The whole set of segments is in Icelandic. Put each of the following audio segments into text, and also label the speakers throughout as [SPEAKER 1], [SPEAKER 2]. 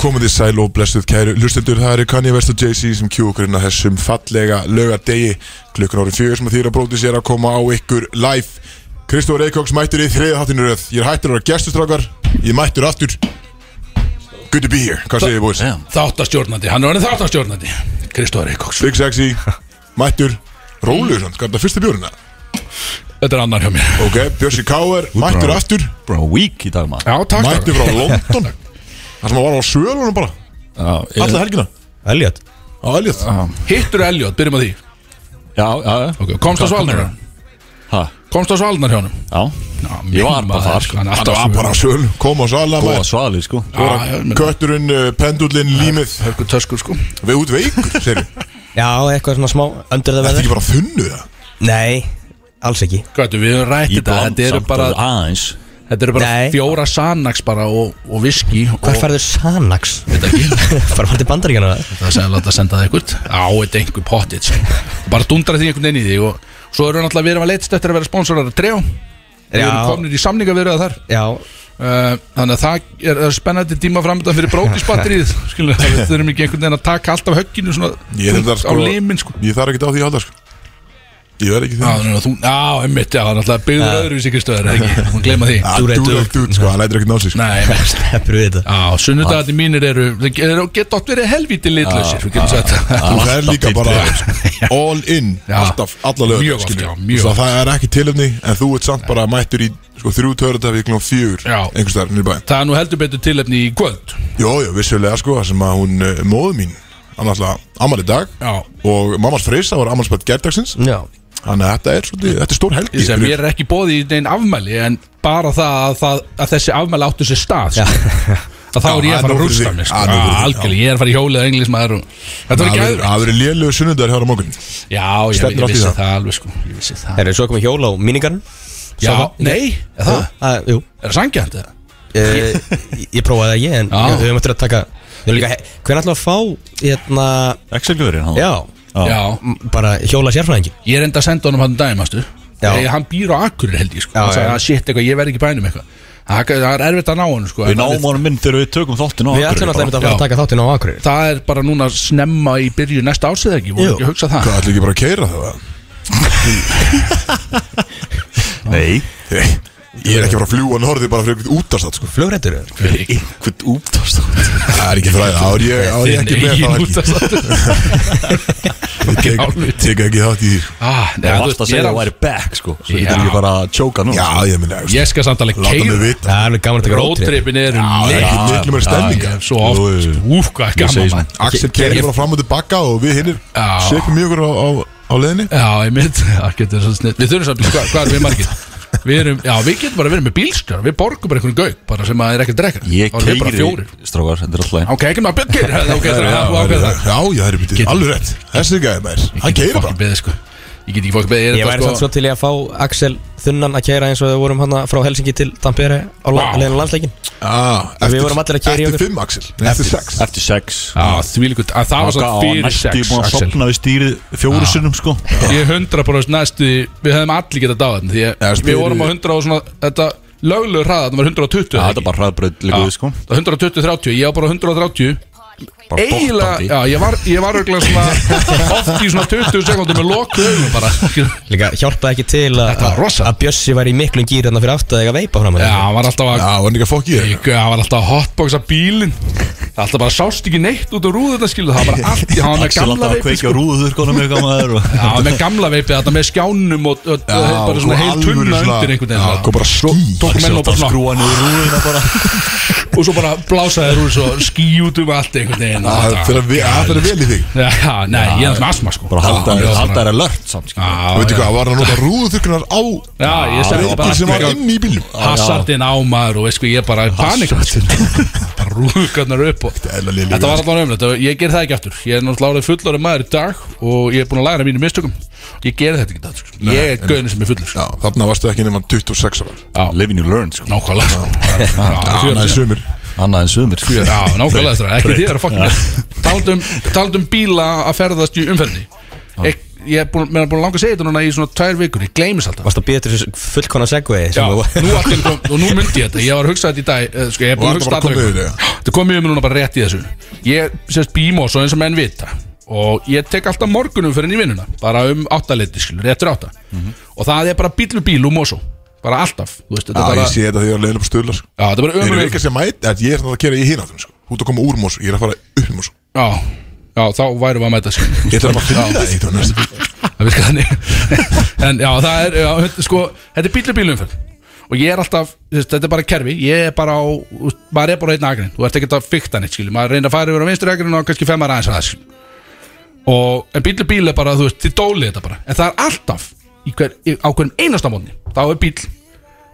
[SPEAKER 1] Komið þið sæl og blessuð kæru Lustendur, það eru Kanye West og Jay-Z sem kjú okkur inn á þessum fallega laugardegi Klukkan árið fjögur sem að þýra bróti sér að koma á ykkur live Kristóður Eikóks mættur í þriða þáttinu röð Ég er hættur að vera gestustrákar, ég er mættur aftur Good to be here, hvað segir þið boys?
[SPEAKER 2] Já.
[SPEAKER 3] Þáttastjórnandi, hann er orðin þáttastjórnandi Kristóður Eikóks
[SPEAKER 1] Big Sexy, mættur, Róluður, hvað er það fyrsta bjórina?
[SPEAKER 3] Þetta er annar hjá mér
[SPEAKER 1] Ok, Björsi Káer, mættur aftur,
[SPEAKER 2] Bro, week í dag maður
[SPEAKER 3] Já, takk
[SPEAKER 1] mættur frá London Það sem að var á svölunum bara,
[SPEAKER 2] Já,
[SPEAKER 1] alla helgina
[SPEAKER 4] Elliot
[SPEAKER 1] Á Elliot
[SPEAKER 3] Hittur Elliot, byrjum að því
[SPEAKER 2] já, já, já.
[SPEAKER 3] okay. Komst á svalnar
[SPEAKER 2] Ha,
[SPEAKER 3] Komst á svalnar hjá honum
[SPEAKER 2] já. Ég var bara þar, sko.
[SPEAKER 3] Hann
[SPEAKER 1] Það var bara á svöl, kom á sala
[SPEAKER 2] Góða
[SPEAKER 1] maður.
[SPEAKER 2] svali, sko
[SPEAKER 3] Ah,
[SPEAKER 1] Kötturinn, uh, pendullinn, límið
[SPEAKER 3] Hörku töskur sko
[SPEAKER 1] Við út veikur, segir
[SPEAKER 4] Já, eitthvað svona smá
[SPEAKER 1] Þetta
[SPEAKER 4] Öndur það
[SPEAKER 1] er
[SPEAKER 4] veður
[SPEAKER 1] ekki bara þunnu það
[SPEAKER 4] Nei, alls ekki
[SPEAKER 3] Gætu, við höfum rætt
[SPEAKER 2] Í
[SPEAKER 3] þetta
[SPEAKER 2] bland
[SPEAKER 3] Þetta eru
[SPEAKER 2] samt
[SPEAKER 3] bara,
[SPEAKER 2] og aðeins
[SPEAKER 3] þetta eru bara
[SPEAKER 4] Nei.
[SPEAKER 3] fjóra sannaks bara og, og viski
[SPEAKER 4] Hvar
[SPEAKER 3] og-
[SPEAKER 4] færðu Sanax?
[SPEAKER 3] Þetta ekki
[SPEAKER 4] Fær maður til bandaríkjana það?
[SPEAKER 3] Það segja láta að senda það einhvert Á, þetta er einhver pottit sko. Bara dundra því einhvern veginn í því og svo erum við náttúrulega við erum að leitst eftir að vera sponsorar að trejá Við erum
[SPEAKER 4] Já.
[SPEAKER 3] komnir í samningavirða þar
[SPEAKER 4] Já,
[SPEAKER 3] Uh, þannig að það er, er spennandi tíma framöndan fyrir brótisbatterið skilur við, við þurfum ekki einhvern veginn að taka allt af högginu svona
[SPEAKER 1] Ég er
[SPEAKER 3] þungt
[SPEAKER 1] þetta sko-
[SPEAKER 3] á limin sko
[SPEAKER 1] Ég þarf ekki á því að halda sko Ég verð ekki
[SPEAKER 3] Já,
[SPEAKER 1] því
[SPEAKER 3] þannig að þú, já, einmitt, já, þannig að byggður öðruvísi Kristóður, ekki, hún gleyma því
[SPEAKER 1] Ah,
[SPEAKER 4] Þú reytur.
[SPEAKER 1] Dúr eitt út sko, hann lætur ekki ná sig sko
[SPEAKER 3] Nei, einmitt.
[SPEAKER 4] hefur við þetta
[SPEAKER 3] já, sunnudagarnir mínir eru, eru geta oft verið helvítið litlausir, við getum sagt það.
[SPEAKER 1] Þú fer líka bara all in
[SPEAKER 3] sko. Já.
[SPEAKER 1] Alltaf, alla lög
[SPEAKER 3] Mjög oft, já, mjög
[SPEAKER 1] Svo
[SPEAKER 3] oft.
[SPEAKER 1] það er ekki tilöfni En þú ert samt bara mættur í sko, þrjú törðafi klón fjögur
[SPEAKER 3] Já.
[SPEAKER 1] Einhvers þar, nýr bæn
[SPEAKER 3] Það er nú heldur betur tilefni í kvöld,
[SPEAKER 1] Jó, jó, vissulega sko það Sem að hún, uh, móðu mín Annars að ammali dag
[SPEAKER 3] já,
[SPEAKER 1] Og mammas freysa var ammalspætt gerdagsins
[SPEAKER 4] Já,
[SPEAKER 1] Þannig að þetta er, svolítið, þetta er stór helgi
[SPEAKER 3] ég sem ég er ekki bóðið í neinn afmæli, en bara það að, það, að þessi afmæli áttu sér stað,
[SPEAKER 4] já,
[SPEAKER 3] sko. að þá er
[SPEAKER 1] Já,
[SPEAKER 3] ég að
[SPEAKER 1] nóg
[SPEAKER 3] fara að
[SPEAKER 1] fyrir
[SPEAKER 3] rústa
[SPEAKER 1] þig.
[SPEAKER 3] mig, sko,
[SPEAKER 1] Já, nóg fyrir þig,
[SPEAKER 3] Já, algjörlega, ég er að fara í hjólið að englismæður og þetta var
[SPEAKER 1] Það
[SPEAKER 3] ekki
[SPEAKER 1] verður-
[SPEAKER 3] aðeins.
[SPEAKER 1] það verður lélög sunnundar hér á morgun
[SPEAKER 3] Já, ég,
[SPEAKER 1] Stefnir á
[SPEAKER 3] ég
[SPEAKER 1] því
[SPEAKER 3] vissi
[SPEAKER 1] það.
[SPEAKER 3] það. alveg, sko, ég vissi það.
[SPEAKER 4] þeir eru svo komið hjól á míningarn
[SPEAKER 3] Já, nei, er það,
[SPEAKER 4] Jú,
[SPEAKER 3] er það sangjant, eða?
[SPEAKER 4] Eh, ég prófaði það ekki en
[SPEAKER 3] Já.
[SPEAKER 4] við höfum eftir að taka við höfum líka, hvernig ætlum við að fá hérna,
[SPEAKER 2] Excel-gjöðurinn hann
[SPEAKER 4] já,
[SPEAKER 2] já.
[SPEAKER 3] Já,
[SPEAKER 4] m- bara hjóla sérfræðingin
[SPEAKER 3] Ég reyndi að senda honum hann dæmastu
[SPEAKER 4] Já.
[SPEAKER 3] Þegar hann býr á akkurir held ég sko
[SPEAKER 4] Já,
[SPEAKER 3] Hann sagði
[SPEAKER 4] já.
[SPEAKER 3] að shit eitthvað, ég verð ekki í bænum eitthvað Það það er erfitt að ná hann sko
[SPEAKER 2] Við
[SPEAKER 3] en
[SPEAKER 2] náum honum minn þegar við tökum þáttin á
[SPEAKER 4] Við
[SPEAKER 2] Akureyri
[SPEAKER 4] ætlum alltaf
[SPEAKER 2] bara.
[SPEAKER 4] einmitt að fara að
[SPEAKER 3] Já.
[SPEAKER 4] taka þáttinn á Akureyri
[SPEAKER 3] Það er bara núna snemma í byrju næsta ásið ekki Ég
[SPEAKER 4] Jú.
[SPEAKER 3] ekki að hugsa það
[SPEAKER 1] Hvað ætlum ekki bara að keira það?
[SPEAKER 2] Nei,
[SPEAKER 1] Nei, Ég er ekki bara að fljúa norðið bara fyrir einhvern útastad sko.
[SPEAKER 4] Flugrættur eða?
[SPEAKER 2] hvern úptást
[SPEAKER 1] Það er ekki fræðið, þá er ég, þá er ég ekki með það ekki
[SPEAKER 3] ekki
[SPEAKER 1] Ég tek- tek ekki þátt í því sko.
[SPEAKER 3] Ah,
[SPEAKER 2] Ég varst að segja að það væri back, sko Svo ég
[SPEAKER 3] Já.
[SPEAKER 2] er ekki bara að tjóka nú
[SPEAKER 1] Já, ég minna,
[SPEAKER 3] Ég skal samt alveg
[SPEAKER 1] láta mig
[SPEAKER 3] keira
[SPEAKER 1] vita
[SPEAKER 4] Það er alveg gaman að taka rótrip
[SPEAKER 3] Rótrippin er um
[SPEAKER 1] Það er
[SPEAKER 3] leik
[SPEAKER 1] ekki miklu meira
[SPEAKER 3] Ég
[SPEAKER 1] stemninga
[SPEAKER 3] er Svo oft,
[SPEAKER 2] Jú, jú.
[SPEAKER 3] úf, hvað er
[SPEAKER 2] Ég segi
[SPEAKER 3] gaman
[SPEAKER 2] sem-
[SPEAKER 3] mann.
[SPEAKER 1] Axel keirir bara fram og tilbaka og við hinnir
[SPEAKER 3] Já.
[SPEAKER 1] Sekum mjög okkur á, á, á leðinni
[SPEAKER 3] Já, ég mynd, það getur svo snitt Við þurfum samt, hvað, hvað erum við margir? Við erum, já, við getum bara verið með bílstjórn Við borgum bara einhvern gaug, bara sem að er ekki að drekka
[SPEAKER 2] Ég
[SPEAKER 3] Þá erum við bara
[SPEAKER 2] keiri,
[SPEAKER 3] fjórir.
[SPEAKER 2] strákar, þetta er alltaf einn
[SPEAKER 3] Ok, ekki maður björn keirir Það ákveður
[SPEAKER 1] Já,
[SPEAKER 3] það,
[SPEAKER 1] já,
[SPEAKER 3] ákveður það
[SPEAKER 1] já, það er býtið,
[SPEAKER 3] Getur-
[SPEAKER 1] alveg rétt Þessi gæði maður, hann keirir bara
[SPEAKER 3] beðið, sko Ég get ekki fólk beðið sko?
[SPEAKER 4] Ég væri samt svo til ég að fá Axel Þunnan að keira eins og við vorum hann frá Helsingi til Tampere á la-
[SPEAKER 3] Vá.
[SPEAKER 4] leiðinu á landsleikin
[SPEAKER 1] Já,
[SPEAKER 4] Við
[SPEAKER 1] eftir-
[SPEAKER 4] vorum allir að keyra í okkur.
[SPEAKER 1] Eftir fimm, Axel, Nei, eftir sex
[SPEAKER 2] Eftir sex
[SPEAKER 3] Já, þvílíkut að Það var svo fyrir
[SPEAKER 2] Ég
[SPEAKER 3] sex,
[SPEAKER 2] búin að
[SPEAKER 3] Axel
[SPEAKER 2] sopna við stýrið fjóru sinnum, sko
[SPEAKER 3] Ég er hundra bara næstu því- Við hefðum allir getað dáð þarna Því
[SPEAKER 1] Já,
[SPEAKER 3] að
[SPEAKER 1] spyrir-
[SPEAKER 3] við vorum á hundra og svona Þetta löglegur hraða, þetta var 120
[SPEAKER 2] Já,
[SPEAKER 3] eða
[SPEAKER 2] Þetta
[SPEAKER 3] ekki?
[SPEAKER 2] er bara hraðbröð
[SPEAKER 3] Já,
[SPEAKER 2] líka við, sko
[SPEAKER 3] það var 120-30, ég var bara 130
[SPEAKER 2] Bara
[SPEAKER 3] Eiginlega,
[SPEAKER 2] bóttandi.
[SPEAKER 3] já, ég var, ég var örgulega svona Oft í svona 20 sekundum með loku augum bara
[SPEAKER 4] Líka hjálpaði ekki til að-
[SPEAKER 3] Þetta var rosa.
[SPEAKER 4] að Bjössi væri í miklum gýr hérna fyrir aftur að eiga veipa fram að
[SPEAKER 3] Já,
[SPEAKER 4] þér.
[SPEAKER 3] hann var alltaf að
[SPEAKER 1] Já, var hann ekki að fokk í þér?
[SPEAKER 3] Ég- hann var alltaf að hotboxa bílinn Alltaf bara sást ekki neitt út á rúðuna skilu Það var bara allt, hann var með
[SPEAKER 2] Axel
[SPEAKER 3] gamla
[SPEAKER 2] alltaf að
[SPEAKER 3] veipi
[SPEAKER 2] kveikja sko, rúðurkonum eitthvað maður og-
[SPEAKER 3] Já, með gamla veipið, þetta með skjánum og, og, og
[SPEAKER 1] Já,
[SPEAKER 3] bara svona
[SPEAKER 1] kom
[SPEAKER 3] heil
[SPEAKER 1] alvöru
[SPEAKER 3] tunna
[SPEAKER 1] svona-
[SPEAKER 3] undir einhvern
[SPEAKER 1] Já,
[SPEAKER 3] veginn
[SPEAKER 1] kom bara ský.
[SPEAKER 2] sko,
[SPEAKER 3] Tók menn
[SPEAKER 2] Axel
[SPEAKER 3] og bara
[SPEAKER 2] alltaf að
[SPEAKER 3] svona
[SPEAKER 2] skrúa niður rúðina bara
[SPEAKER 3] Og svo bara blásaði þér úr svo ský út um allt einhvern veginn og
[SPEAKER 1] Það
[SPEAKER 3] þetta-
[SPEAKER 1] fer að- það fer að vel í þig
[SPEAKER 3] Já, nei, ég er alltaf með asma sko
[SPEAKER 2] Bara halda
[SPEAKER 3] Já,
[SPEAKER 2] þær-
[SPEAKER 3] bara-
[SPEAKER 2] halda þær alert samt, sko
[SPEAKER 3] Já,
[SPEAKER 1] Þú veit
[SPEAKER 3] já.
[SPEAKER 1] ekki hvað, var hann að nota rúðuþurkunar á
[SPEAKER 3] Já, ég
[SPEAKER 1] Það
[SPEAKER 3] sagði
[SPEAKER 1] er
[SPEAKER 3] þetta bara
[SPEAKER 1] sem var
[SPEAKER 3] allt-
[SPEAKER 1] inn í bílum
[SPEAKER 3] Hassardin á maður og veist sko, ég er bara í panik Bara rúðgarnar upp og
[SPEAKER 1] er eðlilega lélegt.
[SPEAKER 3] Þetta var alltaf ömlegt og ég ger það ekki aftur Ég er náttúrulega árið fullorðið maður í dag og ég er búin að læra mínu mistökum Ég ger þetta ekki aftur sko. Ég er gauðin sem er fullur sko.
[SPEAKER 1] Já, þarna varstu ekki nema 26 ára
[SPEAKER 2] Living you learn, sko
[SPEAKER 3] Nákvæmlega sko. Já,
[SPEAKER 1] Já,
[SPEAKER 3] fjör-
[SPEAKER 1] næ, sumir
[SPEAKER 2] Annað en sömur
[SPEAKER 3] fjör- Já, um- nákvæmlega þetta Ekki þér að fokkin Taldum bíla að ferðast í umferðni Eitt ég er búin, mér er búin að langa að segja þetta núna í svona tvær vikur, ég gleymis alltaf
[SPEAKER 4] Varst að býja til þessu fullkona segway
[SPEAKER 3] Já,
[SPEAKER 4] sem
[SPEAKER 3] nú
[SPEAKER 4] þú-
[SPEAKER 3] allt er kom, og nú myndi ég þetta Ég var að hugsa þetta í dag eh, sko, Ég er búin
[SPEAKER 1] Og
[SPEAKER 3] að hugsa
[SPEAKER 1] þetta bara
[SPEAKER 3] þetta
[SPEAKER 1] komið yfir
[SPEAKER 3] allavega. Þetta kom yfir mig núna bara rétt í þessu Ég sérst bím og svo eins og menn vita Og ég tek alltaf morgunum fyrir inn í vinnuna Bara um áttaleiti skilur, réttur átta
[SPEAKER 1] Mhm.
[SPEAKER 3] Og það er bara bílu bílu og svo Bara alltaf, þú veist, þetta er
[SPEAKER 1] Já,
[SPEAKER 3] bara
[SPEAKER 1] ég sé þetta þegar ég er að leiðin upp stöðlar sko.
[SPEAKER 3] Já, þetta er bara
[SPEAKER 1] Þeir eru
[SPEAKER 3] ömurleik
[SPEAKER 1] ekki að segja mæt, að ég er þannig að kera í hináttunum sko. Út að koma úr mós, ég er að fara upp mós
[SPEAKER 3] Já, já, þá værum við að mæta skilur
[SPEAKER 1] Ég þarf að finna það eitt á næstu
[SPEAKER 3] það virkar þannig en já, það er, já, þetta- sko þetta er bílu bílumferð og ég er alltaf, þú veist, þetta er bara kerfi ég er bara á, þú veist, maður er bara á einn agrin þú ert ekkert að fykta neitt, skilju, maður reynir að fara yfir á vinstri agrin og kannski femmar aðeins að það, skilju og, en bílu bíl er bara, þú veist, þið dólið þetta bara en það er alltaf, í hver, í, á hverjum einasta mótni, þá er bíl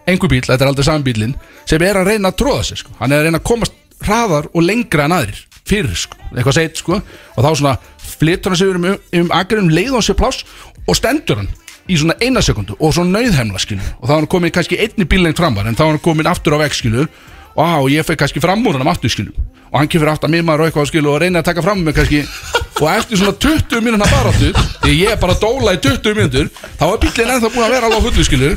[SPEAKER 3] einhver bíl, þetta er aldrei sami bílinn sem er að reyna að tróða sig, sko hann er að reyna að komast hraðar og lengra en aðrir fyrir, sko, eitthvað segit, sko og þá svona flytur hann sig yfir um, um agrinum, leiður hann sér pláss og stendur hann í svona eina sekundu og svona nauðhemla, skilu og þá er hann komin kannski einni bílengt framar en þá er hann komin aftur á veg, skilu og á, ég fekk kannski fram úr hann aftur, skilu og hann kemur aftur að mér maður og eitthvað, skilu og reynir að taka fram með kannski og eftir svona 20 mínúna baráttu því ég er bara að dóla í 20 mínútur þá er bílinn ennþá búin að vera alveg á fullu, skilu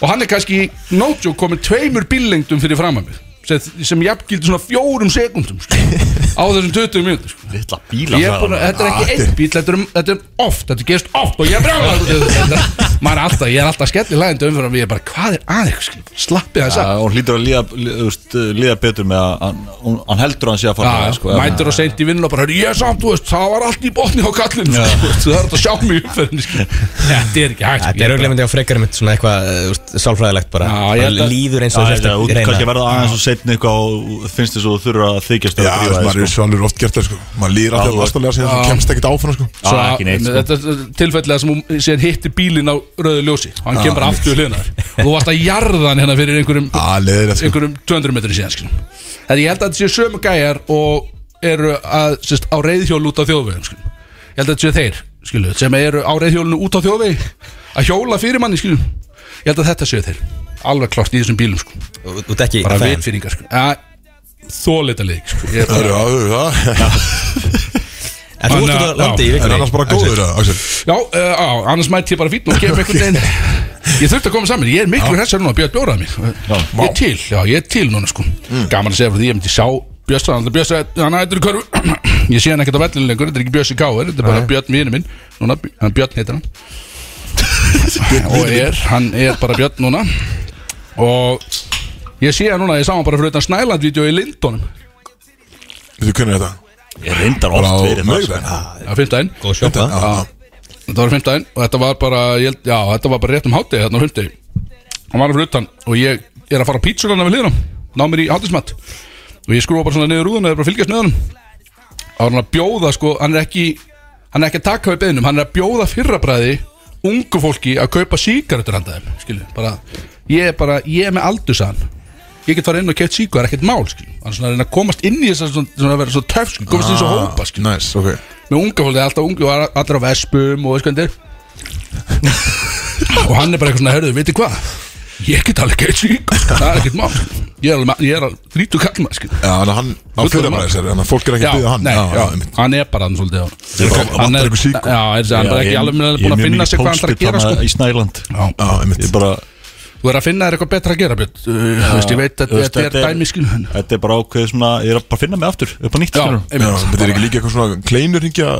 [SPEAKER 3] og hann er kannski nótjók komin tveimur bíllengdum fyrir fram að mig sem, sem jafngildi svona fjórum sekundum sko, á þessum 20 mínútur sko.
[SPEAKER 2] Lilla bíla
[SPEAKER 3] Ég er búin að, þetta er ekki einn bíl, þetta er, um- þetta er oft, þetta gerst oft og ég er brjála maður er alltaf, ég er alltaf skellir lægandi umfram ég er bara, hvað er aðeins, slappið þess að
[SPEAKER 2] Hún hlýtur að líða, lí- þú veist, líða betur með að hann- hún- hann heldur að hann sé að fara
[SPEAKER 3] Já,
[SPEAKER 2] með,
[SPEAKER 3] sko,
[SPEAKER 2] ef hann-
[SPEAKER 3] mætur og seint í vinnun og bara, ég er samt, þú veist, það var allt í botni á kallinu, sko, þú veist, það er þetta að sjá mig í umferðinu, sko. þetta er ekki hægt
[SPEAKER 4] Þetta er auðvitað myndi á frekar mitt svona eitthvað eh, úst, sálfræðilegt bara,
[SPEAKER 3] Já,
[SPEAKER 4] bara
[SPEAKER 3] ég held að-
[SPEAKER 4] líður eins
[SPEAKER 2] Já,
[SPEAKER 4] og
[SPEAKER 2] ég
[SPEAKER 4] þess
[SPEAKER 2] held að
[SPEAKER 4] að
[SPEAKER 2] þú kannski
[SPEAKER 4] reyna
[SPEAKER 2] verða aðeins og setna eitthvað og finnst þess að þú þurfa að þykjast
[SPEAKER 1] Já,
[SPEAKER 2] að
[SPEAKER 1] veist, maður er svalur oft gert það sko. Maður líður alltaf
[SPEAKER 2] Já,
[SPEAKER 1] lastalega sér þú kemst ekkert áfram sko.
[SPEAKER 2] Já, ekki neitt, sko.
[SPEAKER 3] þetta er tilfellega sem hún síðan hitti bílinn á rauðu ljósi og
[SPEAKER 2] Ah,
[SPEAKER 3] hann kemur aftur hlinar og þú varst að jarða hann hérna fyrir einhverjum,
[SPEAKER 1] Já, leiðilegt sko.
[SPEAKER 3] einhverjum 200 metri síðan skilum. þetta ég held að þetta séu sömu gæjar og eru að, sérst, á reyðhjól út á þjóðvegum skilum. ég held að þetta séu þeir skilum, sem eru á reyðhjólinu út á þjóðvegi að hjóla fyrir manni skilum. ég held að þetta séu þeir alveg klart í þessum bílum sko.
[SPEAKER 4] Þú ert ekki
[SPEAKER 3] bara
[SPEAKER 4] fan.
[SPEAKER 3] vitfýringar sko. þóleita leik sko. Ég er
[SPEAKER 1] Það
[SPEAKER 3] bara-
[SPEAKER 1] eru, já, þú, það
[SPEAKER 4] En þú ert út
[SPEAKER 3] Þannig
[SPEAKER 4] að
[SPEAKER 3] að-
[SPEAKER 4] landi í
[SPEAKER 3] já.
[SPEAKER 1] Er
[SPEAKER 4] vikunni
[SPEAKER 1] annars bara góður það, Axel?
[SPEAKER 3] Já, uh, á, annars mætti ég bara fítn og kemur einhvern veginn Ég þurfti að koma saman, ég er miklu hressar núna að bjöða bjóraða mig Ég er til, já, ég er til núna sko Gaman að segja frá því, ég myndi sjá Bjösta, hann bjösta, hann er eitthvað körfu Ég sé hann ekkert á vellinu lengur, þetta er ekki Bjössi Káir Þetta er bara Björn vinur minn, núna, hann Björn heitir hann Og er, hann er bara Björn núna Og ég sé hann núna, ég sá hann bara fyrir utan Snæland-vídeó í Lindónum
[SPEAKER 1] Þú kunnir þetta
[SPEAKER 2] Ég reyndar
[SPEAKER 1] Bara á
[SPEAKER 2] oft verið það sko.
[SPEAKER 1] mögudaginn
[SPEAKER 3] á fimmtudaginn
[SPEAKER 4] Góð sjoppa
[SPEAKER 1] Já, já.
[SPEAKER 3] Þetta var fimmtæðin og þetta var bara ég held, Já, þetta var bara rétt um hátegi Þarna fimmtegi Hann var fyrir utan Og ég er að fara á pítsulana við hliðina Ná mér í hátismat Og ég skrúfa bara svona niður rúðuna Það er bara að fylgjast með hann Það var hann að bjóða sko Hann er ekki Hann er ekki að taka við beðnum Hann er að bjóða fyrrabræði Ungu fólki að kaupa sígarettur handa þeim Skilju, bara Ég er bara Ég er með aldursan Ég get farið inn og keft síku Það er ekkert mál skilju Hann er svona að reyna að komast inn í þess að svona, svona að vera svo töf skilju Komast inn í svo
[SPEAKER 1] Ah.
[SPEAKER 3] hópa skilju
[SPEAKER 1] Næs, ok
[SPEAKER 3] með unga fólki, það er alltaf ungi og all- allir á vespum og skoðandir og hann er bara eitthvað svona, herðu, veitir hvað ég get alveg gett sík það er ekkert mál, ég er alveg ég er alveg þrítu kall maður, skil
[SPEAKER 1] Já, þannig að hann á
[SPEAKER 3] Fullorðin
[SPEAKER 1] fyrir bara
[SPEAKER 3] maður.
[SPEAKER 1] þessari Þannig að fólk er ekki að byggja hann
[SPEAKER 3] nei, já,
[SPEAKER 1] einmitt.
[SPEAKER 3] hann er bara hann svolítið á
[SPEAKER 1] er bara-
[SPEAKER 3] hann
[SPEAKER 1] vantar
[SPEAKER 3] er,
[SPEAKER 1] einhver síku.
[SPEAKER 3] já, er, hann er
[SPEAKER 2] Ég-
[SPEAKER 3] ekki alveg
[SPEAKER 2] ég
[SPEAKER 3] búin
[SPEAKER 2] er
[SPEAKER 3] að
[SPEAKER 2] mjög
[SPEAKER 3] finna
[SPEAKER 2] mikið
[SPEAKER 3] sig hvað hann þarf að
[SPEAKER 2] post-it
[SPEAKER 3] gera
[SPEAKER 2] þarna
[SPEAKER 3] sko.
[SPEAKER 2] Í Snæland
[SPEAKER 3] Já.
[SPEAKER 1] Já,
[SPEAKER 2] Ég
[SPEAKER 1] einmitt
[SPEAKER 2] bara
[SPEAKER 3] þú er að finna þér eitthvað betra að gera Björn. Uh, þú veist, ég veit að
[SPEAKER 2] þú veist,
[SPEAKER 3] þetta er dæmi skil já,
[SPEAKER 2] Þetta er bara ákveð svona Ég er að bara finna mig aftur upp á nýtt skilur.
[SPEAKER 1] Já, þetta er ekki líka eitthvað svona kleinur hingja